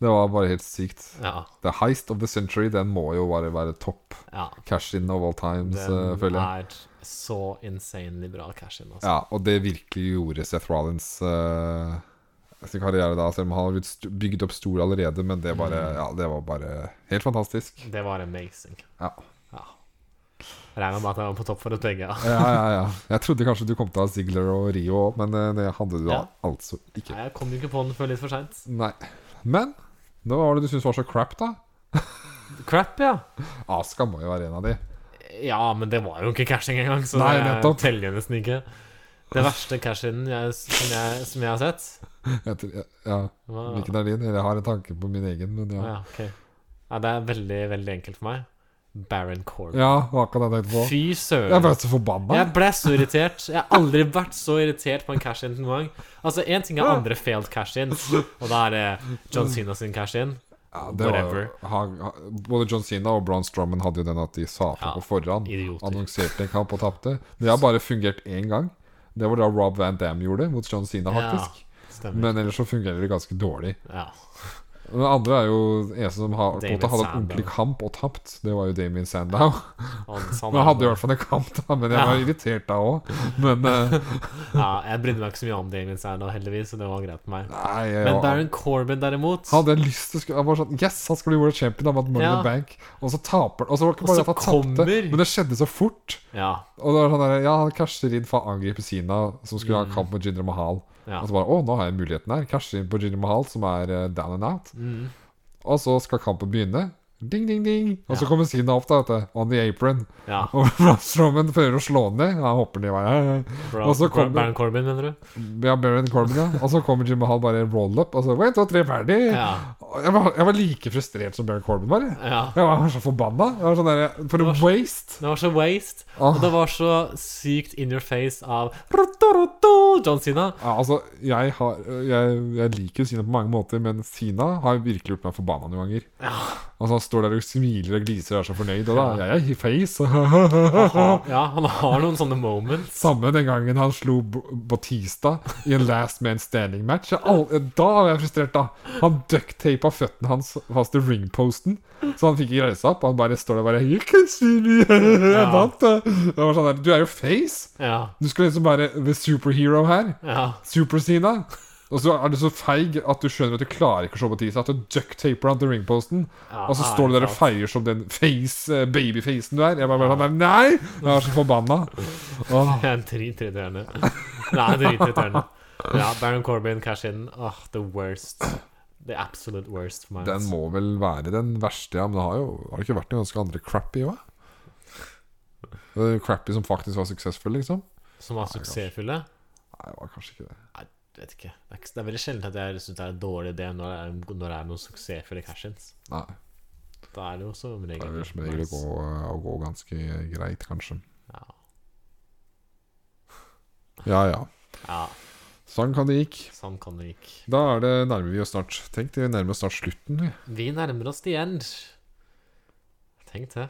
Det var bare helt sykt. Ja. The Heist of the Century den må jo bare være topp. ja. Cash in of all times, eh, Den føler jeg. er så insanely bra cash-in, altså. Ja, og det virkelig gjorde Seth Rollins eh, sin karriere da, selv om han har blitt st- bygd opp stor allerede. Men det, bare, ja, det var bare helt fantastisk. Det var amazing. Ja. Ja. Regner med at jeg var på topp for et begge. ja. [LAUGHS] Ja, ja, ja. Jeg trodde kanskje du kom til å ha Ziggler og Rio òg, men eh, det hadde du da Ja. altså ikke. Nei, Jeg kom jo ikke på den før litt for seint. Nei. Men hva var det du syntes var så crap, da? Crap, ja. Aska må jo være en av de. Ja, men det var jo ikke cashing engang, så Nei, det nettopp. teller jo nesten ikke. Det verste cash-in jeg, som, jeg, som jeg har sett Jeg tror- ja, var, hvilken er din? Eller Jeg har en tanke på min egen, men ja. ja, ok. ja, Det er veldig, veldig enkelt for meg. Baron Corbin. Ja, hva kan jeg tenke på? Fy Jeg søren. ble så forbanna. Jeg ble så irritert. Jeg har aldri vært så irritert på en cash-in noen gang. Altså, én ting er andre failed cash-ins, og da er det John Cena sin cash-in. Ja, det var, jo- Whatever. han, han- både John Cena og Braun Strowman hadde jo den at de sa Ja, fra på forhånd. idioter. Annonserte en kamp og tapte. Det har bare fungert én gang. Det var da Rob Van Dam gjorde det, mot John Cena, faktisk. Ja, stemmer. Men ellers så fungerer det ganske dårlig. Ja. Den andre er jo en som har, på en Damien måte hadde en Sandow. ordentlig kamp og tapt. Det var jo Damien [LAUGHS] Sandow. Han, han Men han er- hadde i hvert fall en kamp, da. Men jeg var Ja. irritert da òg. Men eh, Ja, jeg brydde meg ikke så mye om Damien Sandow, heldigvis, så det var greit for meg. nei jeg, Men var- Baron Corbin, derimot Han hadde lyst til å skulle Han var sånn Yes, han skal bli world champion. Han vant Money in Ja. the Bank. Og så taper han. Og så var det Og ikke bare så at han tapte, kommer- men det skjedde så fort. Ja. Og det var sånn der, Ja, han casher inn for å angripe Sina, som skulle ha en kamp mot Jinder Mahal. Mm. ja. Og så bare Å, nå har jeg muligheten her. Casher inn på Jinder Mahal, som er eh, down and out. Mm. Og så skal kampen begynne. Ding, ding, ding. Og så Ja. kommer Sina opp, da. Vet du, on the apron. Ja. Og [LAUGHS] Braun Strowman prøver å slå han ned. Han hopper ned i veien. Bra, Og bra, så kommer- Baron Corbin, mener du? Ja, Baron Corbin, ja. Og så kommer Jim Hall bare roll up. Og så Wait, og tre ferdig. Ja. Jeg, var, jeg var like frustrert som Baron Corbin var. Jeg, ja. jeg var så forbanna. Jeg var sånn der, For a waste. Det var så waste, Åh. og det var så sykt in your face av rototo, John Sina. [LAUGHS] Ja, altså, jeg, har, jeg, jeg liker Sina på mange måter, men Sina har virkelig gjort meg forbanna noen ganger. Altså, han står der og smiler og gliser og er så fornøyd, og da jeg er i face. Aha. Ja, han har noen sånne moments. [LAUGHS] Samme den gangen han slo B- Batista i en Last Man Standing-match. Jeg al- Da var jeg frustrert, da. Han ducktapa føttene hans fast til ringposten, så han fikk ikke reise opp. Han bare står der og bare You can see me, jeg Ja. vant! Det var sånn der, Du er jo face! Ja, Du skal liksom være the superhero her. ja, Super-Sina. Og så er du så feig at du skjønner at du klarer ikke å se Batista. At du ducktaper han til ringposten. Ja, [LAUGHS] og så står du der og sant. feier som den face, eh, babyfacen du er. Jeg bare, bare sånn, Nei! Jeg var så forbanna. Åh. Jeg er en dritirriterende. Nei, dritirriterende. Ja, Baron Corbin, cash in. Åh, the worst. The absolute worst for meg. altså. Den må vel være den verste, ja. Men det har jo har det ikke vært noen ganske andre crappy òg? Crappy som faktisk var suksessfulle, liksom? Som var suksessfulle. Nei, det var kanskje ikke det. Nei, vet ikke. Det er, ikke- det er veldig sjelden at jeg syns det er en dårlig idé når det er, når det er noen suksessfulle cash-ins. Nei, Da er det jo som det regel er vel som regel å nice. gå, eh, å gå ganske greit, kanskje. Ja. Ja ja. ja, Sånn kan det gikk. sånn kan det gikk. Da er det nærmer vi oss snart Tenk, vi nærmer oss snart slutten. vi. Vi nærmer oss the end. Tenk det.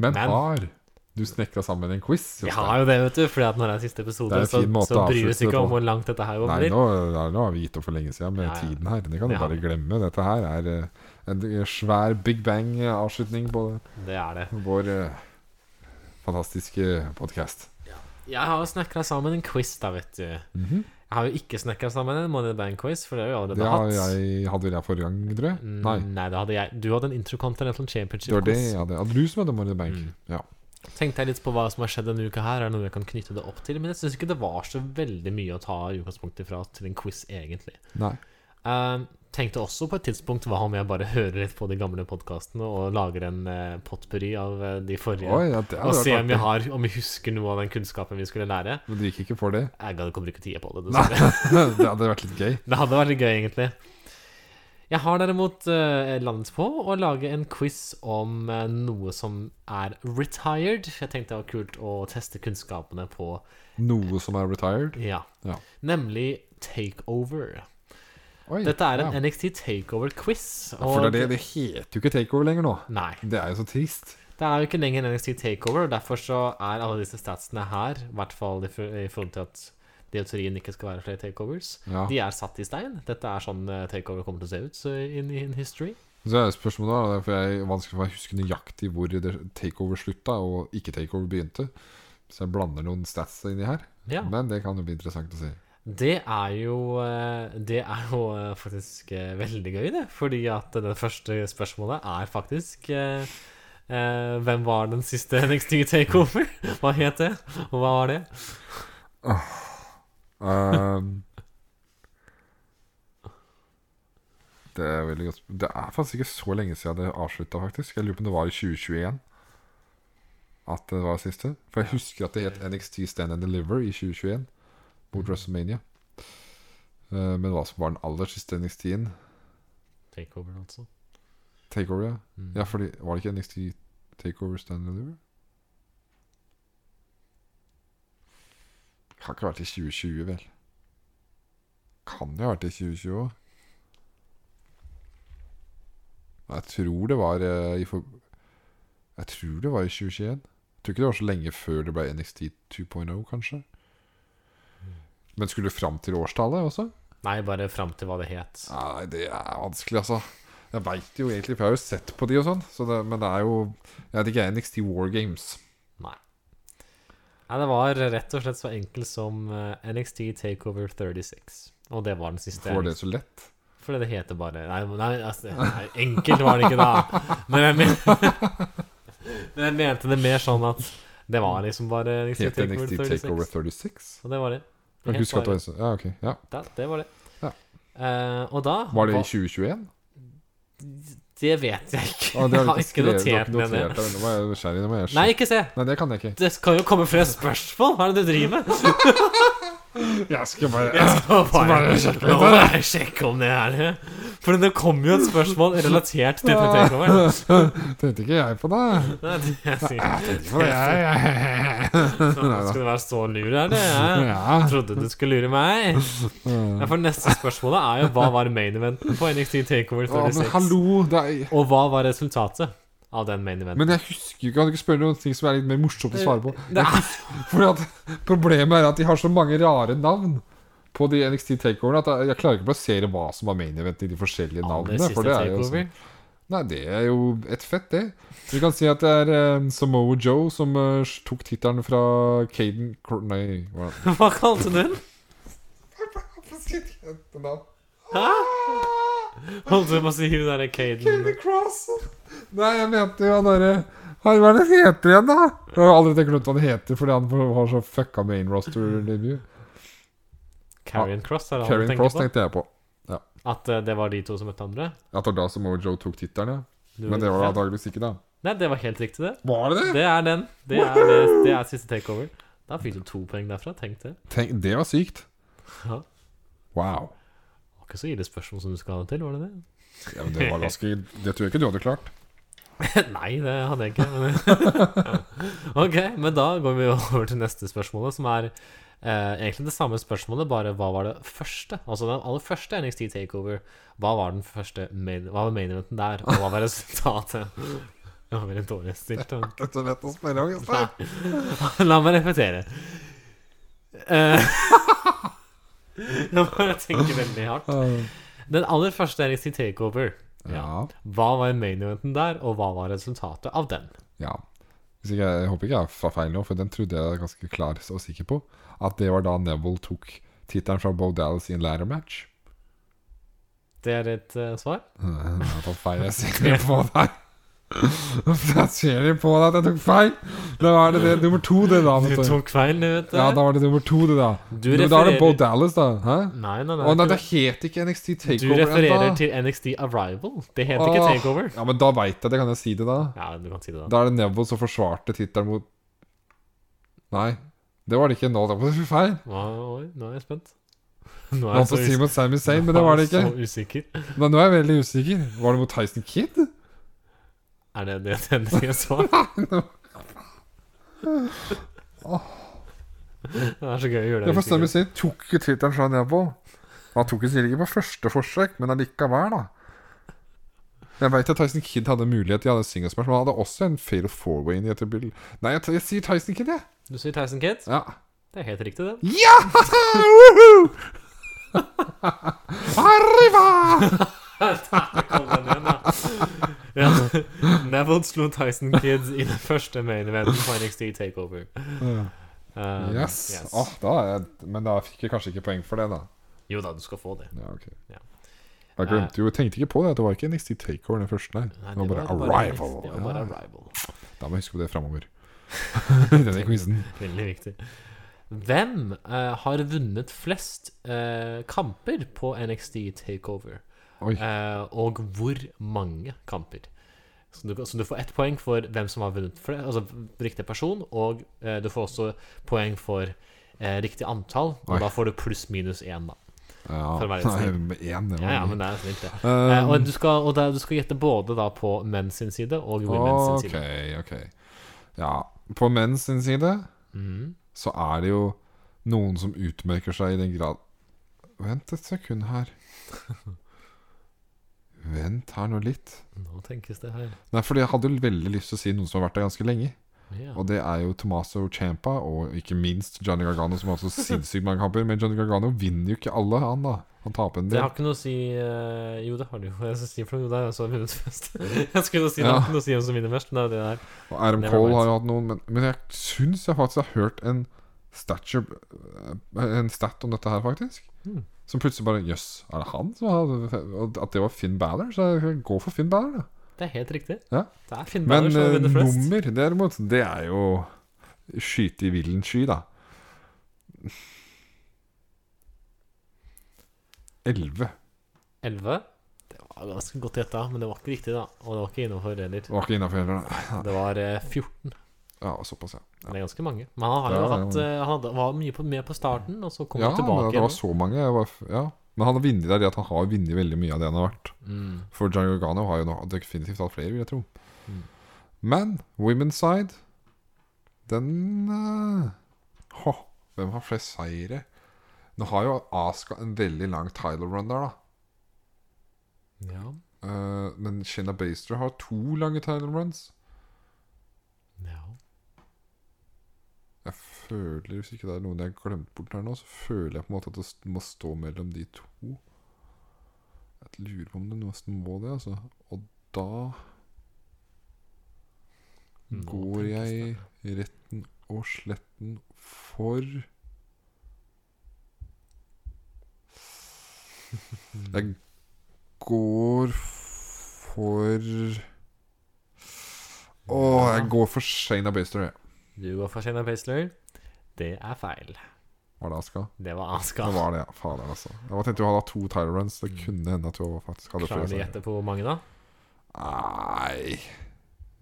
Men, Men- har du snekra sammen en quiz? Vi Jostein? har jo det, vet du. Fordi at når det er siste Det er episode, en så, fin måte så å bryr vi oss avslutte det ikke om på. hvor langt dette her Nei, blir. nå, nei, nå har vi gitt opp for lenge siden med Ja, ja. tiden her. Det kan du Ja. bare glemme. Dette her er eh, en svær big bang-avslutning på Det er det. vår eh, fantastiske podkast. Jeg har jo snekra sammen en quiz, da, vet du. Jeg har jo ikke snekra sammen en Money in the Bank-quiz, for det har vi Mhm. Det allerede har hatt. jeg, hadde vel jeg forrige gang, tror jeg? Mm, Nei. Nei, det hadde jeg. Du hadde en Intercontinental Det var det Championship-quiz. jeg hadde. Hadde du som hadde Money in the Bank? Mm. Ja. Tenkte jeg litt på hva som har skjedd denne uka her, er det noe jeg kan knytte det opp til? Men jeg syns ikke det var så veldig mye å ta i utgangspunktet fra til en quiz, egentlig. Nei. Eh, tenkte også på et tidspunkt hva om jeg bare hører litt på de gamle podkastene og lager en uh, potpurri av eh, de forrige, Oi, ja, det hadde og se om vært vi, artig. har, om vi husker noe av den kunnskapen vi skulle lære. Men det gikk ikke for det. [LAUGHS] Jeg gadd ikke å bruke tida på det. dessverre. det hadde vært litt gøy. Det hadde vært litt gøy, egentlig. Jeg har derimot eh, landet på å lage en quiz om eh, noe som er retired. Jeg tenkte det var kult å teste kunnskapene på Noe som er retired. Ja. Ja. Nemlig takeover. Oi, Dette er en ja. NXT Takeover-quiz. Ja, For det, er det, det heter jo ikke takeover lenger nå. Nei. Det er jo så trist. Det er jo ikke lenger en NXT Takeover, og derfor så er alle disse statsene her, i hvert fall i for- i forhold til at det i teorien ikke skal være flere takeovers, Ja. de er satt i stein. Dette er sånn eh, takeover kommer til å se ut så in, in history. Så er spørsmålet da, for jeg er vanskelig for meg å huske nøyaktig hvor det takeover slutta og ikke takeover begynte. Så jeg blander noen stats inni her. Ja. Men det kan jo bli interessant å se. Det er jo eh, Det er jo eh, faktisk eh, veldig gøy, det. Fordi at det første spørsmålet er faktisk eh, eh, Hvem var den siste [LAUGHS] NXT Takeover? Hva het det? Og hva var det? Ehm, det er veldig godt Det er faktisk ikke så lenge siden det avslutta, faktisk. Jeg lurer på om det var i 2021 at det var siste. For jeg husker at det het NXT Stand and Deliver i 2021 mot WrestleMania. Eh, men hva som var den aller siste NXT-en Takeover, altså. Takeover, ja. Mm. Ja, fordi Var det ikke NXT Takeover Stand and Deliver? Kan ikke ha vært i 2020, vel? Kan jo ha vært i 2020 òg. Jeg tror det var eh, i for... Jeg tror det var i 2021. Jeg tror ikke det var så lenge før det ble NXT 2.0, oh, kanskje. Men skulle du fram til årstallet også? Nei, bare fram til hva det het. Nei, det er vanskelig, altså. Jeg veit jo egentlig, for jeg har jo sett på de og sånn. Så det, men det er jo Jeg vet ikke, NXT War Games. Nei. Nei, det var rett og slett så enkelt som eh, NXT Takeover 36. Og det var den siste. Får det så lett? Fordi det heter bare Nei, nei, altså, nei enkelt var det ikke da. Men jeg, men, [LAUGHS] men jeg mente det mer sånn at det var liksom bare NXT Het NXT Takeover 36. Takeover 36? Og det var det. Jeg Helt husker at det bare. var en sånn- Ja, ok. Ja. Da, det var det. Ja. Eh, og da [LAUGHS] Var det i hva- 2021? Det vet jeg ikke. Å, det jeg har har du ikke skrevet, notert du har meg ikke det. notert det. Nå må jeg nysgjerrig. Nå må jeg Nei, ikke se! Nei, det kan jeg ikke. Det kan jo komme flere spørsmål! Hva er det du driver med? Jeg skal bare [LAUGHS] Nå bare bare sjekke, sjekke nå litt må jeg sjekke om det er det. For det kom jo et spørsmål relatert til TPT-kommer. [LAUGHS] Tenkte ikke jeg på det. Nei, det er sikkert. For jeg, Skal du være så lur, er det? Jeg Ja. trodde du skulle lure meg. Ja, for neste spørsmålet er jo hva var main eventen på NXT Takeover Å, men 36? hallo, det er Og hva var resultatet av den main eventen? Men jeg husker jo ikke, kan du ikke spørre noen ting som er litt mer morsomt å svare på? Det er Fordi at Problemet er at de har så mange rare navn på de NXT takeoverne at jeg klarer ikke å plassere hva som var main event i de forskjellige aller navnene. siste For det er jo sånn. takeover. Nei, det er jo et fett, det. Du kan si at det er eh, Samoa Joe som eh, tok tittelen fra Caden Cro- Nei, hva [LAUGHS] Hva kalte du den? Hæ? Holdt du på å si hun derre Caden Caden Cross. Nei, jeg mente jo han derre Hva er det han heter igjen, da? Jeg har aldri tenkt rundt hva han heter fordi han har så fucka main roster-debut. Carrion Cross? Er det han du Karen tenker Cross på? tenkte jeg på. At eh, det var de to som møtte andre? At det var da Samoa Joe tok tittelen, ja. Du- Men det var ja. antakeligvis ikke, da. Nei, det var helt riktig, det. Var det Det er den. Det er, det, det er siste takeover. Da fikk du to poeng derfra. Tenk det. Tenk, det var sykt. Ja. Wow. Det var ikke så ille spørsmål som du skal ha det til, var det [LAUGHS] det? Ja, men det var ganske Det tror jeg ikke du hadde klart. Nei, det hadde jeg ikke. Men [LAUGHS] ok, men da går vi over til neste spørsmål, som er eh, egentlig det samme spørsmålet, bare hva var det første? Altså den aller første NXT Takeover. Hva var den første main, Hva var main eventen der, og hva var resultatet? [LAUGHS] Det var veldig dårlig stilt. da. [LAUGHS] Dette vet å spørre om, Nei. La meg repetere. Eh, [LAUGHS] Nå må jeg tenke veldig hardt. Den aller første NXT Takeover. Ja. Hva var main eventen der, og hva var resultatet av den? ja. Hvis ikke, jeg håper ikke jeg sa feil nå, for den trodde jeg var ganske klar og sikker på. At det var da Neville tok tittelen fra Bo Dallas i en ladder-match. Det er et eh, svar. Jeg har tatt feil. Jeg ser det på deg. Jeg ser det på deg at jeg tok feil! Da var det det nummer to, det, da. Du vet du. tok feil, du vet det. Ja, da var det nummer to, det, da. Du Men Da er det Bo refererer- Dallas, da. Hæ? Nei, nei, nei. Å nei, du- det het ikke NXT du Takeover refererer enda. til NXT Arrival. Det heter ikke Åh. Takeover. Ja, men da veit jeg det, kan jeg si det da? Ja, du kan si det da. Da er det Neville som forsvarte tittelen mot Nei, det var det ikke nå. Det var så feil. Hva- Oi, nå er jeg spent. Nå Det var på å si usikker. mot Sami Zayn, men det var det Nå er ikke. jeg Så usikker. Nei, nå er jeg veldig usikker. Var det mot Tyson Kidd? Er det det tendelige [LAUGHS] svar? Det er så gøy å gjøre Ja, det. for Sami usikker. Zayn tok jo tittelen fra Neville. Han tok jo sikkert ikke på første forsøk, men allikevel, da. Jeg veit at Tyson Kidd hadde mulighet, de hadde singelsmatch, men han hadde også en fail four-way inn i et bil. Nei, jeg, jeg sier Tyson Kidd, jeg. Du sier Tyson Kidd. Ja. Det er helt riktig, det. Ja! [LAUGHS] Woohoo! [LAUGHS] Arriva! Kom den igjen, da. Ja. Neville slo Tyson Kidd i den første main eventen på NXT Takeover. Um, Yes. Åh, da er jeg, men da fikk jeg kanskje ikke poeng for det, da. Jo da, du skal få det. Ja, ok. Ja. Jeg glemte jo, jeg tenkte ikke på det. at Det var ikke NXT Takeover den første, nei. Nei, Det var bare Arrival. Det var bare Ja, Arrival. Da må jeg huske på det framover. [LAUGHS] Denne quizen. [LAUGHS] Veldig viktig. Hvem eh, har vunnet flest eh, kamper på NXT Takeover? Oi. Eh, og hvor mange kamper? Så du, så du får ett poeng for hvem som har vunnet fle- altså riktig person, og eh, du får også poeng for eh, riktig antall. Og Oi. da får du pluss-minus én, da. Ja, For å være litt nei, snill. med én, det var Ja, ja, mye. men det er snilt, det. Um, Eh, og du skal, og da, du skal gjette både da på menn sin side og women's sin Ok, side. ok. Ja, på menns sin side Mhm. så er det jo noen som utmerker seg i den grad Vent et sekund her. Vent her nå litt. Nå tenkes det her. Nei, fordi jeg hadde jo veldig lyst til å si noen som har vært der ganske lenge. Ja. Og det er jo Tomaso Champa, og ikke minst Johnny Gargano, som har så sinnssykt mange kamper. Men Johnny Gargano vinner jo ikke alle, han da. Han taper en Det del. har ikke noe å si eh, Jo, det har det jo. Jeg skal si for noe, det er jo så vunnet [LAUGHS] mest. Jeg skulle jo si det Ja. har ikke noe å si hvem som vinner mest, men det er jo det der. Og Adam Never Cole mind. har jo hatt noen, men, men jeg syns jeg faktisk har hørt en stature eh, En stat om dette her, faktisk. Hmm. Som plutselig bare Jøss, er det han som hadde og At det var Finn Balor? Så jeg går for Finn Balor, da. Det er helt riktig. Ja. Det er Finn Men Balor som har eh, vunnet flest. nummer, derimot, det er jo skyte i villen sky, da. Elleve. 11. Det var Ja, ganske godt gjetta, men det var ikke riktig, da. Og det var ikke innafor heller. Det var ikke innafor heller, nei. Det var eh, 14. Ja, såpass, ja. Det er ganske mange. Men han har jo Ja, ja, hatt eh, Han hadde, var mye på, med på starten, og så kom ja, han men tilbake. det var igjen. så mange. Jeg var, f- ja. Men han har vunnet der i at han har vunnet veldig mye av det han har vært. Mm. For John Organo har jo nå definitivt hatt flere, vil jeg tro. Mm. Men women's side, den eh, Hå, Hvem har flest seire? Nå har jo Aska en veldig lang title run der, da. Ja. Eh, men Shinna Baster har to lange title runs. ja. Jeg føler, Hvis ikke det er noen jeg har glemt bort her nå, så føler jeg på en måte at det st- må stå mellom de to. Jeg lurer på om det nesten må det, altså. Og da Nå går tenkes jeg det. retten og sletten for [LAUGHS] Jeg går for Å, jeg går for Shayna Baster, jeg. Du går for Shayna Pacler. Det er feil. Var det Aska? Det var Aska. Det var det, ja. Fader, altså. Jeg tenkte hun hadde hatt to title runs. Det kunne hende at hun faktisk hadde Mm. Klarer du å flere. gjette på hvor mange, da? Nei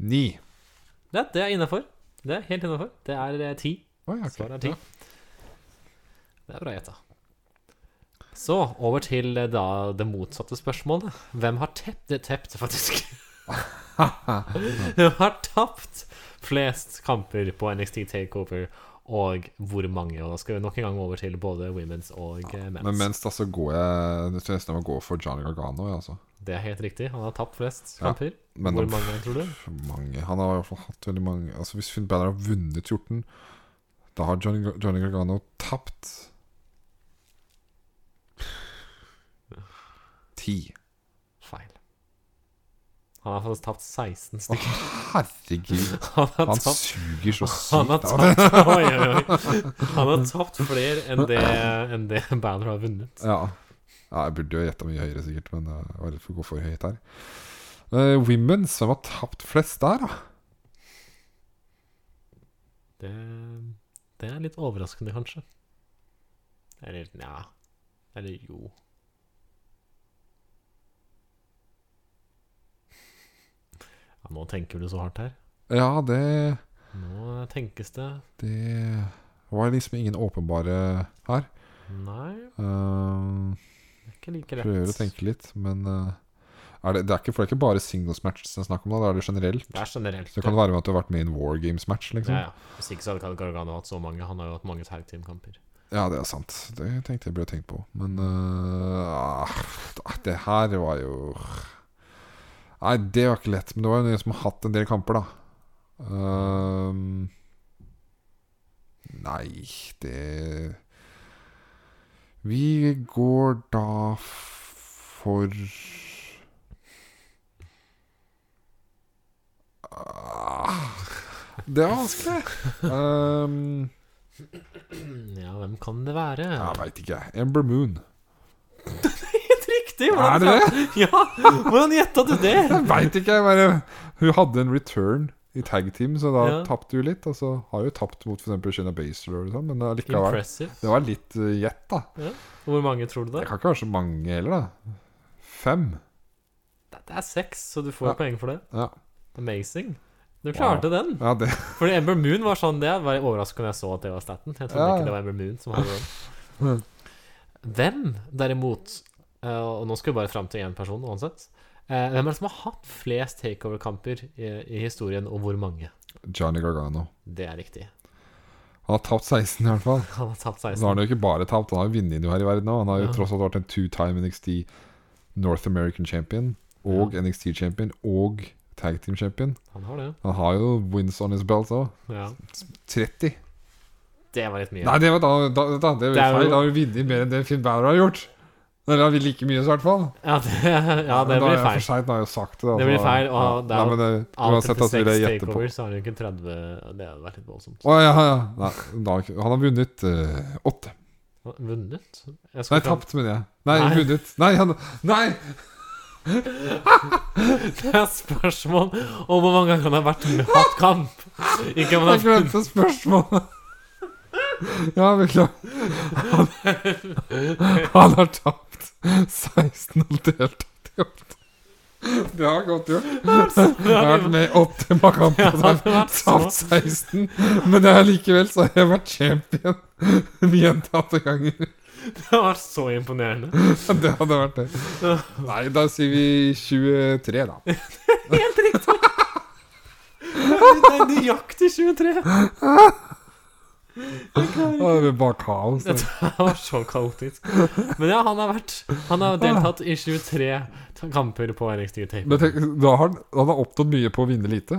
Ni. Det, det er innafor. Det er helt innafor. Det er eh, ti. Oi, ok. Svaret er ti. Det er bra gjetta. Så over til eh, da det motsatte spørsmålet. Hvem har tept det tept, [LAUGHS] faktisk? Hvem har tapt flest kamper på NXT Takeover, og hvor mange? Og da skal vi nok en gang over til både women's og eh, Ja. men's. Men mens da så går jeg Jeg tror nesten jeg må gå for Johnny Gargano. Ja, altså. Det er helt riktig. Han har tapt flest Ja, kamper. men hvor han- mange, tror du? For mange. Han har i hvert fall hatt veldig mange Altså Hvis Finn Balor har vunnet 14, da har Johnny, Gar- Johnny Gargano tapt Ti. Feil. Han har faktisk tapt 16 stykker. [LAUGHS] Herregud. Han har Han tapt suger så Han har sykt. av det. tapt oi, oi, oi. Han har tapt flere enn det, enn det Banner har vunnet. Ja. ja jeg burde jo gjette mye høyere, sikkert, men eh, jeg var redd for å gå for høyt her. Uh, Women's, hvem har tapt flest der, da? Det, det er litt overraskende, kanskje. Eller nja Eller jo. Ja, nå tenker du så hardt her. Ja, det Nå tenkes det Det var liksom ingen åpenbare her. Nei, Eh, det er ikke like lett. prøver å tenke litt, men eh, er det, det, er ikke, for det er ikke bare singles match det er snakk om, da, da er det generelt. Det er generelt. Så det kan være med at du har vært med i en War Games-match, liksom. ja, Ja, ja. Hvis ikke så hadde Gargano hatt så mange. Han har jo hatt mange tag team-kamper. det er sant. Det tenkte jeg burde tenkt på. Men eh, ah, det her var jo Nei, det var ikke lett. Men det var jo noen som har hatt en del kamper, da. Ehm, nei, det Vi går da for Ah, Det er vanskelig. Ehm, Ja, hvem kan det være? jeg veit ikke. jeg. Ember Moon. Helt [LAUGHS] riktig! Er det det? Ja, hvordan gjetta du det? Jeg veit ikke. Jeg bare, hun hadde en return i tag team, så da Ja. tapte hun litt. Og så har hun tapt mot f.eks. Shina Baser og sånn, men allikevel Impressive. Det var litt eh, gjett, da. Hvor mange tror du Det det? kan ikke være så mange heller, da. Fem. Det det er seks, så du får Ja. poeng for det. Ja, Amazing. Du klarte den. ja det Fordi Ember Moon var sånn Det var overraskende jeg så at det var staten. Jeg trodde Ja. ikke det var Ember Moon som hadde den. [LAUGHS] Hvem, derimot eh, Og nå skal vi bare fram til én person uansett. Eh, Hvem er det som har hatt flest takeover-kamper i, i historien, og hvor mange? Johnny Gargano. Det er riktig. Han har tapt 16, i hvert fall. Han har tapt Så har 16. han jo ikke bare tapt, han har jo vunnet noe her i verden òg. Han har jo Ja. tross alt vært en two-time NXT North American champion og NXT champion og tag team champion. Han har det. Han har jo wins on his belt òg. Ja. 30. Det var litt mye. Nei, det var da, da, da det Det er var feil. jo- Da har vi vunnet mer enn det Finn Balor har gjort. Eller har vi like mye, i hvert fall. Ja, det, [LAUGHS] ja, det Men da er blir jeg feil. for seint, nå har jeg jo sagt det. altså. Det blir feil, og det er Nei, jo- men det, Av uansett, da så vil 36 jeg gjette på. takeovers så har han jo ikke 30 Det hadde vært litt voldsomt. Å, ja, ja, ja. Nei, da, har ikke- han har vunnet eh, åtte. Vunnet? Jeg Nei, skal fram- tapt, mener jeg. Nei, Nei. vunnet. Nei, han, nei! Det er spørsmål om hvor mange ganger han har vært med hatt kamp. Ikke om han Jeg har glemte spørsmålet. [LAUGHS] Ja, beklager. [LAUGHS] Han, han har tapt 16 og deltatt i åtte. Det har godt gjort. Jeg har vært med i åtte Ja, det makamper har vært så. samt 16, men det er likevel så har jeg vært champion [LAUGHS] gjentatte ganger. [LAUGHS] Det var så imponerende. Det hadde vært det. Nei, da sier vi 23, da. Helt riktig! Det er nøyaktig 23. Da er vi bare kaos. da. Dette var så kaotisk. Men ja, han har vært Han har deltatt i 23 t- kamper på NXT Tape. Men tenk, da har han, han har oppnådd mye på å vinne lite.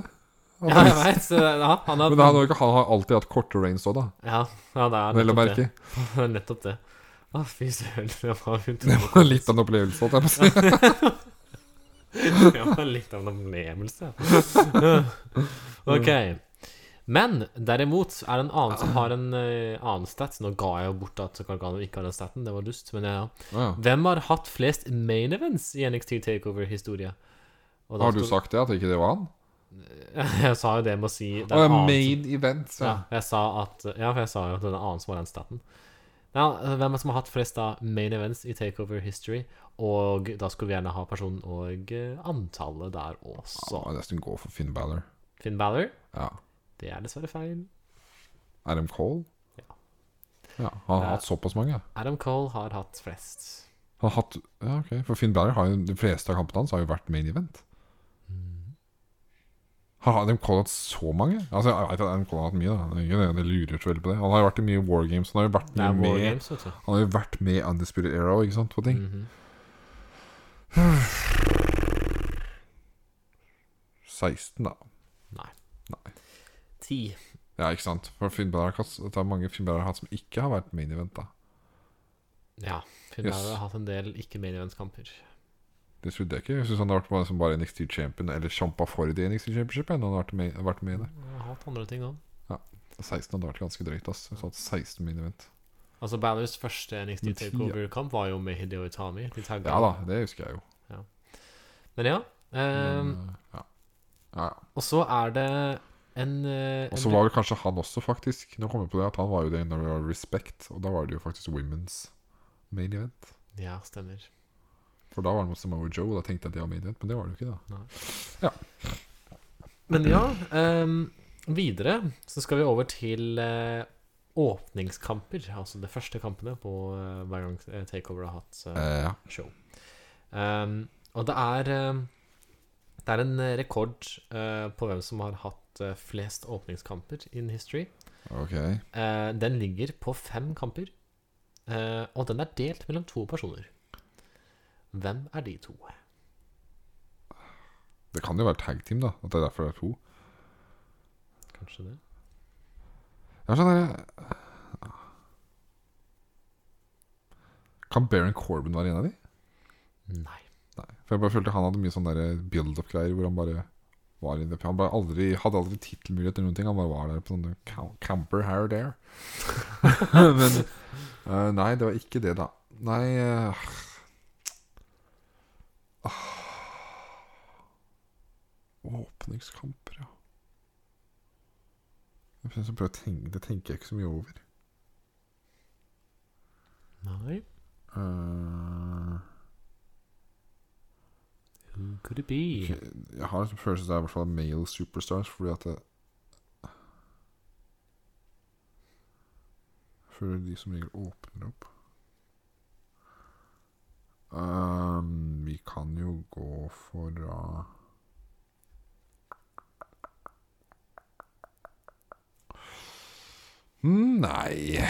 Han- Ja, jeg vet, så det- ja, han har Men han har, ikke, han har alltid hatt korte reigns òg, da. Ja, ja, det er Vel å nettopp det. merke. Det er nettopp det. Å, fy søren. Det var Det utrolig. var litt av en opplevelse. holdt jeg på å si. [LAUGHS] Ja, det er litt av en opplevelse. [LAUGHS] ja. ok. Men derimot er det en annen som har en eh, annen stat. Nå ga jeg jo bort at Gargano ikke har den staten, det var dust. Men ja. Ja, ja. Hvem har hatt flest main events i NXT Takeover-historie? Og da Har du sto- sagt det? At ikke det var han? [LAUGHS] Jeg sa jo det med å si det Å, er ja, en annen main event. ja, Ja. jeg sa at Ja, for jeg sa jo at det er en annen som har den staten. Ja, hvem er det som har hatt flest da main events i Takeover history? Og da skulle vi gjerne ha personen og eh, antallet der Så også. må jeg nesten gå for Finn Balor. Finn Balor. Ja. Det er dessverre feil. Adam Cole? Ja. Ja, han har Ja. hatt såpass mange. Adam Cole har hatt flest. Han har hatt, ja, ok, For Finn Balor har jo de fleste av kampene hans har jo vært main event. Mm. Har Adam Cole hatt så mange? Altså, jeg vet at Adam Cole har hatt mye, da. Det er ikke det, det lurer så veldig på det. Han har jo vært i mye War Games. Han har jo vært Det mye er War med Games, vet du. Han har jo vært med i Undisputed Era og ikke sant, på ting. [SIGHS] Mhm. 16, da. Ti. Ja, ikke sant. For Finn Balor har ikke hatt- det er mange Finn Balor har hatt som ikke har vært main event, da. Ja. Finn Yes. Balor har hatt en del ikke main event-kamper. Det trodde jeg ikke. Jeg synes han har vært med som bare NXT Champion, eller kjempa for det i NXT Championship. enn Han har vært med, vært med i det. Han har hatt andre ting òg. 16 hadde vært ganske drøyt, ass. Så hatt 16 main event. Altså, Balors første NXT Men ti, ja. Takeover-kamp var jo med Hideo Itami. De tagga. Ja da, det husker jeg jo. Men ja. eh, Men, eh, ja. Ja, ja. og så er det en eh, Og en så var vel kanskje han også, faktisk. Nå kommer jeg på det, at han var jo det når det var Respect, og da var det jo faktisk Women's main event. Ja, stemmer. For da var det mot Samoa Joe, og da tenkte jeg at det var main event, men det var det jo ikke, da. Men ja, ehm, videre så skal vi over til eh, åpningskamper. Altså de første kampene på eh, hver gang eh, Takeover har hatt eh, Eh, ja. show. Ehm, og det er ehm, Det er en eh, rekord eh, på hvem som har hatt eh, flest åpningskamper in history. Ok. Eh, den ligger på fem kamper, eh, og den er delt mellom to personer. Hvem er de to? Det kan jo være tag team, da. At det er derfor det er to. Kanskje det? Det er sånn der, Kan Baron Corbin være en av de? Nei. Nei. For jeg bare følte han hadde mye sånn der build-up-greier hvor han bare var i det. Han bare aldri, hadde aldri tittelmulighet eller noen ting. Han bare var der på sånne cam- camper her og der. Men eh, Nei, det var ikke det, da. Nei eh, ah. Åpningskamper, ja. Jeg prøver å prøve å tenke, det tenker jeg ikke så mye over. Nei. Eh, Who could it be? Jeg har liksom en følelse det er i hvert fall male superstars, fordi at det Jeg føler de som regel åpner opp. Ehm, vi kan jo gå for uh, da Mm, Nei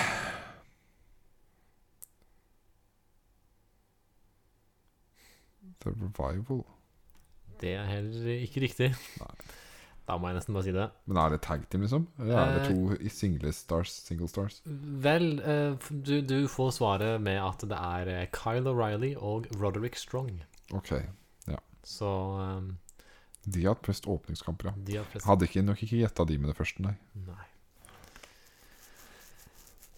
The Revival. Det er heller ikke riktig. Da må jeg nesten bare si det. Men er det tag team, liksom? Eller er det Eh, to i single stars? Single stars? Vel, eh, f- du, du får svaret med at det er eh, Kyle O'Reilly og Roderick Strong. Ok. Så eh, De har hatt flest åpningskamper, ja. de har flest Hadde ikke, nok ikke gjetta de med det første, nei. Nei.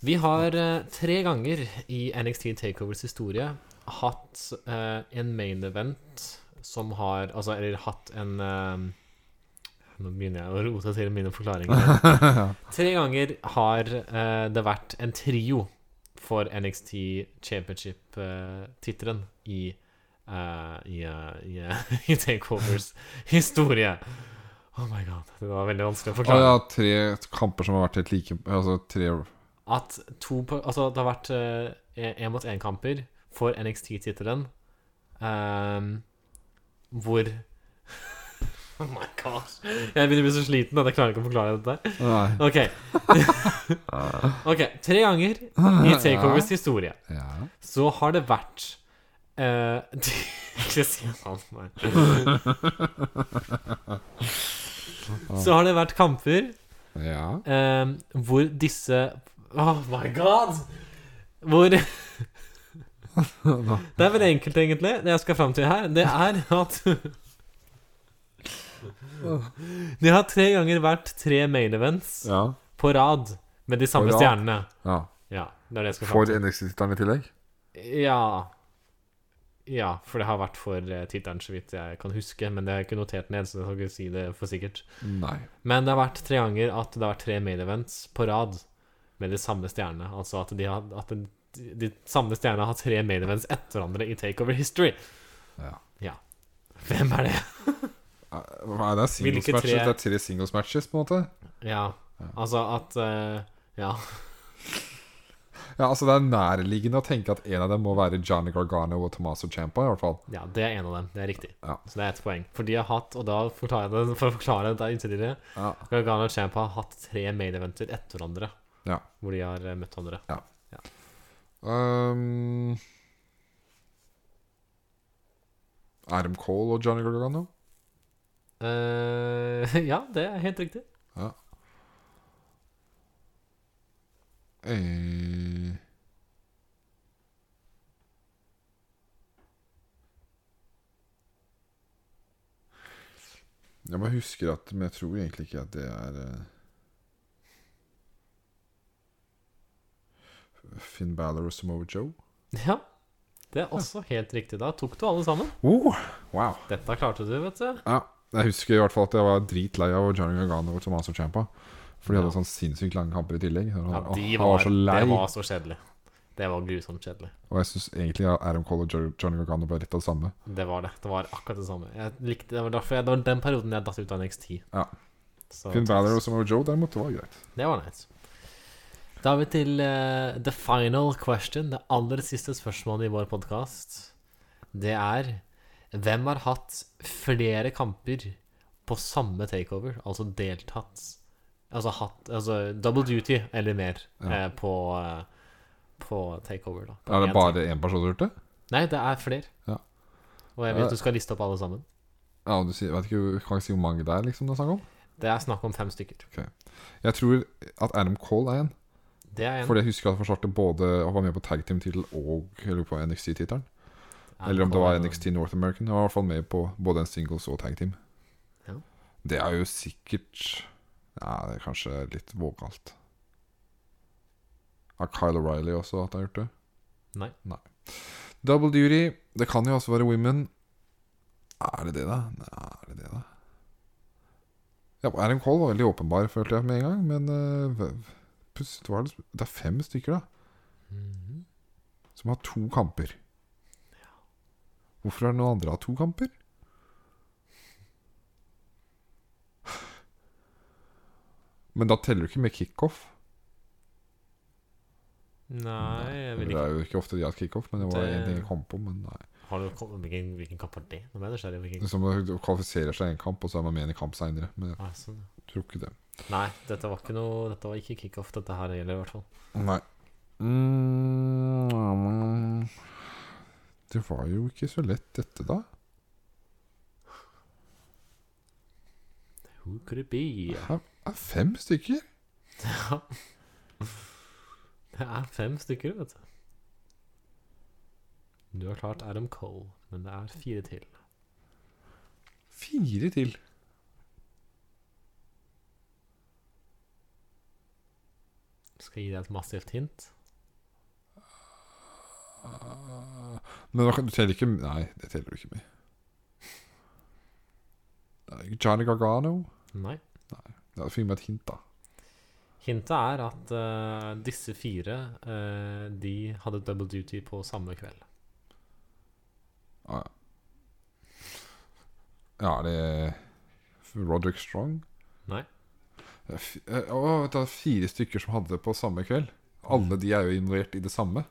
Vi har eh, tre ganger i NXT Takeovers historie hatt eh, en main event som har Altså, eller hatt en eh, Nå begynner jeg å rote til mine forklaringer. Tre ganger har eh, det vært en trio for NXT Championship-tittelen i eh, eh, i, eh, i, eh, i [LAUGHS] Takeovers historie. Oh my god, det var veldig vanskelig å Og jeg forklare. har tre kamper som har vært helt like Altså tre At to på, altså, det har vært én mot én-kamper for NXT-tittelen, ehm, hvor [LAUGHS] Oh my god. Jeg begynner å bli så sliten at jeg klarer ikke å forklare dette. her. Nei. Ok. [LAUGHS] ok, Tre ganger i Takeovers historie Ja. så har det vært eh, [LAUGHS] Ikke si sånn, nei. Så har det vært kamper [LAUGHS] ja. eh, hvor disse Oh my god! Hvor [LAUGHS] Det er veldig enkelt, egentlig. Det jeg skal fram til her, det er at [LAUGHS] Det har tre ganger vært tre main events ja. på rad med de samme rad. stjernene. ja. Ja, det er det jeg skal fram til. For NXT-tittelen i tillegg? Ja. Ja, for det har vært for eh, tittelen, så vidt jeg kan huske. Men det har jeg ikke notert ned, så jeg kan ikke si det for sikkert. Nei. Men det har vært tre ganger at det har vært tre main events på rad med de samme stjernene. Altså at de, har, at de, de samme stjernene har tre main events etter hverandre i Takeover History. Ja. Ja. Hvem er det? Nei, det er singles Hvilke tre- matches. Det er tre singles matches, på en måte. Ja, altså at eh, Ja. Ja, altså Det er nærliggende å tenke at en av dem må være Johnny Gargano og Tommaso Ciampa. I hvert fall Ja, det er en av dem. Det er riktig. Ja. Så det er ett poeng. For de har hatt, og da forklarer jeg det for å forklare dette ytterligere Ja. Gargano og Champa har hatt tre main eventer etter hverandre Ja. hvor de har eh, møtt hverandre. um, Adam Cole og Johnny Gargano? Eh, [LAUGHS] ja, det er helt riktig. Ja. Eh. Jeg bare husker at Men jeg tror egentlig ikke at det er eh, Finn Balor og Samoa Joe. Ja, det er også helt riktig. Da tok du alle sammen. Oh, wow. Dette klarte du, vet du. Ja, jeg husker i hvert fall at jeg var dritlei av Johnny Gargano og Tommaso Ciampa. For de hadde sånn sinnssykt lange kamper i tillegg. Og Ja, han- de han var, var så lei. Det var så kjedelig. Det var grusomt kjedelig. Og jeg syns egentlig at Adam Cole og Jo- Johnny Gargano var rett av det samme. Det var det. Det var akkurat det samme. Jeg likte, det var derfor jeg, det var den perioden jeg datt ut av NXT. Ja. Så, Finn Balor og Samoa Joe derimot, det var greit. Det var nice. Da er vi til eh, the final question, det aller siste spørsmålet i vår podkast. Det er Hvem har hatt flere kamper på samme takeover? Altså deltatt Altså hatt altså double duty eller mer eh, på, eh, på takeover, da. På Er det en bare én person som har gjort det? ting. Nei, det er flere. Ja. Eh, Og jeg vil at du skal liste opp alle sammen. Ja, du sier, vet ikke, jeg kan ikke si hvor mange det er liksom det er snakk om. Det er snakk om fem stykker. Jeg tror at Adam Cole er en. Det er en. Fordi jeg husker at han forsvarte både å være med på tag team-tittel og eller på NXT-tittelen. Eller om det var NXT North American. Han var i hvert fall med på både en singles og tag team. Ja. Det er jo sikkert Ja, det er kanskje litt vågalt. Har Kyle O'Reilly også at han har gjort det? Nei. Double duty. Det kan jo også være women. Er det det, da? Nei, er det det, da? Ja, Adam Cole var veldig åpenbar, følte jeg med en gang. Men eh, hva- puss, hva er det, som- det er fem stykker, da, Mhm. som har to kamper. Hvorfor er det noen andre har to kamper? Men da teller du ikke med kickoff. Nei, jeg vil Det ikke er jo ikke ofte de har kickoff, men det var Det- en ting jeg kom på. Men nei. Har du kom, hvilken, hvilken kamp var det? Nå ble jeg nysgjerrig. Hvilken Som å kvalifisere seg i en kamp, og så er man med i en kamp seinere. Men jeg ah, sånn. ja. tror ikke det. Nei, dette var ikke noe Dette var ikke kickoff, dette her gjelder i hvert fall. Nei. Mm, det var jo ikke så lett, dette, da. Who could it be? Her er fem stykker. Det er fem stykker, vet du. Du har klart Adam Cole, men det er fire til. Fire til. Skal jeg gi deg et massivt hint? Men da kan- du teller ikke Nei, det teller du ikke med. Nei, Johnny Gargano Nei. Ja, Fikk meg et hint, da. Hintet er at eh, disse fire eh, De hadde double duty på samme kveld. Ah, ja. Ja, det er Roderick Strong. Nei. Det er fi- eh, Å, det er fire stykker som hadde det på samme kveld. Alle de er jo involvert i det samme.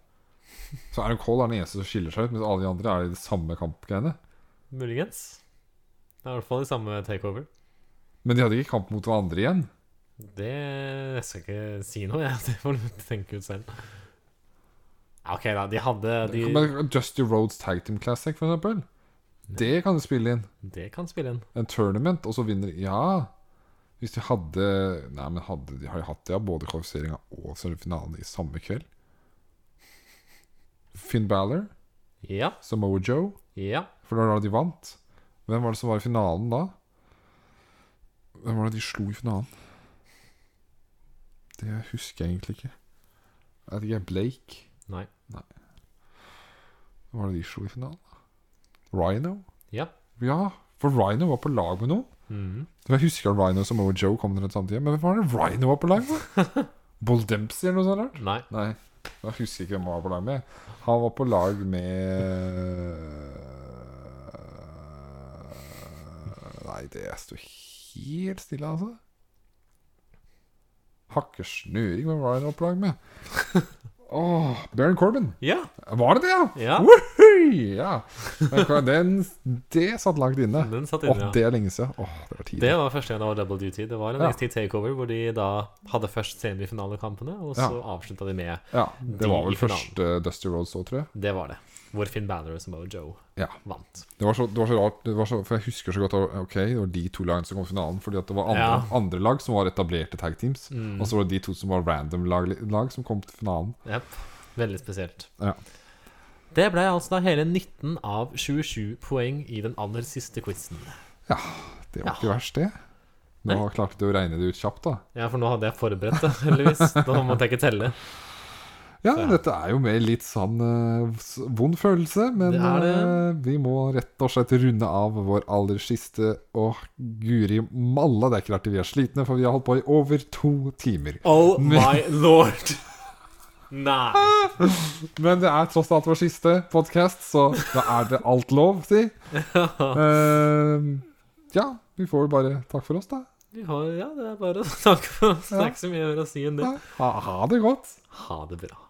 Så Aaron Cole er den eneste som skiller seg ut, mens alle de andre er i det samme kampgreiene. Muligens. Det er i hvert fall i samme takeover. Men de hadde ikke kamp mot hverandre igjen. Det Jeg skal ikke si noe, jeg. [LAUGHS] Det får du tenke ut selv. Ja, OK, da. De hadde de, Men Justy Roads Tag Team Classic, for eksempel. Det kan du spille inn. Det kan spille inn. En tournament, og så vinner Ja! Hvis de hadde Nei, men hadde, de har jo hatt det, ja. Både kvalifiseringa og finalen i samme kveld. Finn Balor, Ja. Samoa Joe, Ja. for det var da de vant. Hvem var det som var i finalen da? Hvem var det de slo i finalen? Det husker jeg egentlig ikke. Jeg vet ikke. Blake? Nei. Hva var det de slo i finalen? da? Rhino? Ja. Ja, for Rhino var på lag med noen. Mhm. Jeg husker Rhino som Moe Joe kom til den samtidig, men hvem var det Rhino var på lag med? [LAUGHS] Bull Dempsey eller noe sånt? rart? Nei. Nei, jeg husker ikke hvem han var på lag med. Han var på lag med Nei, det står helt stille, altså. Hakkesnøring, hvem var han på lag med? [LAUGHS] Åh, Baron Corbin. Ja. Var det det, ja? ja. Woohoo! Ja. Men hva- Den, det satt langt inne. Den satt Åh, inne, ja. det er lenge siden. Åh, det var tidlig. Det var første gang det var double duty. Det var en Ja. NXT takeover hvor de da hadde først semifinalekampene, og så avslutta de med ja, det var de i vel finalen. første Dusty Roads òg, tror jeg. Det var det. Hvor Finn Balor og Samoa Joe Ja. vant. Det var så, det var så rart, det var så, for jeg husker så godt Ok, det var de to lagene som kom i finalen. Fordi at det var andre, Ja. Mm. andre lag som var etablerte tag teams. Og så var det de to som var random lag, lag som kom til finalen. Jep. Veldig spesielt. Ja. Det ble altså da hele 19 av 27 poeng i den aller siste quizen. Det Ja. var ikke verst, det. Nå klarte du å regne det ut kjapt, da. Ja, for nå hadde jeg forberedt det, heldigvis. Da måtte jeg ikke telle. Ja, dette er jo mer litt sånn eh, s- vond følelse, men Det er det. eh, vi må rett og slett runde av vår aller siste. Åh, guri malla, det er ikke rart vi er slitne, for vi har holdt på i over to timer. Oh my lord! Nei. Men det er tross alt vår siste podkast, så da er det alt lov, si. Eh, ja, vi får vel bare takk for oss, da. Vi har, ja, det er bare å takke for oss. Det er ikke så mye mer å si enn det. Ha, ha det godt. Ha det bra.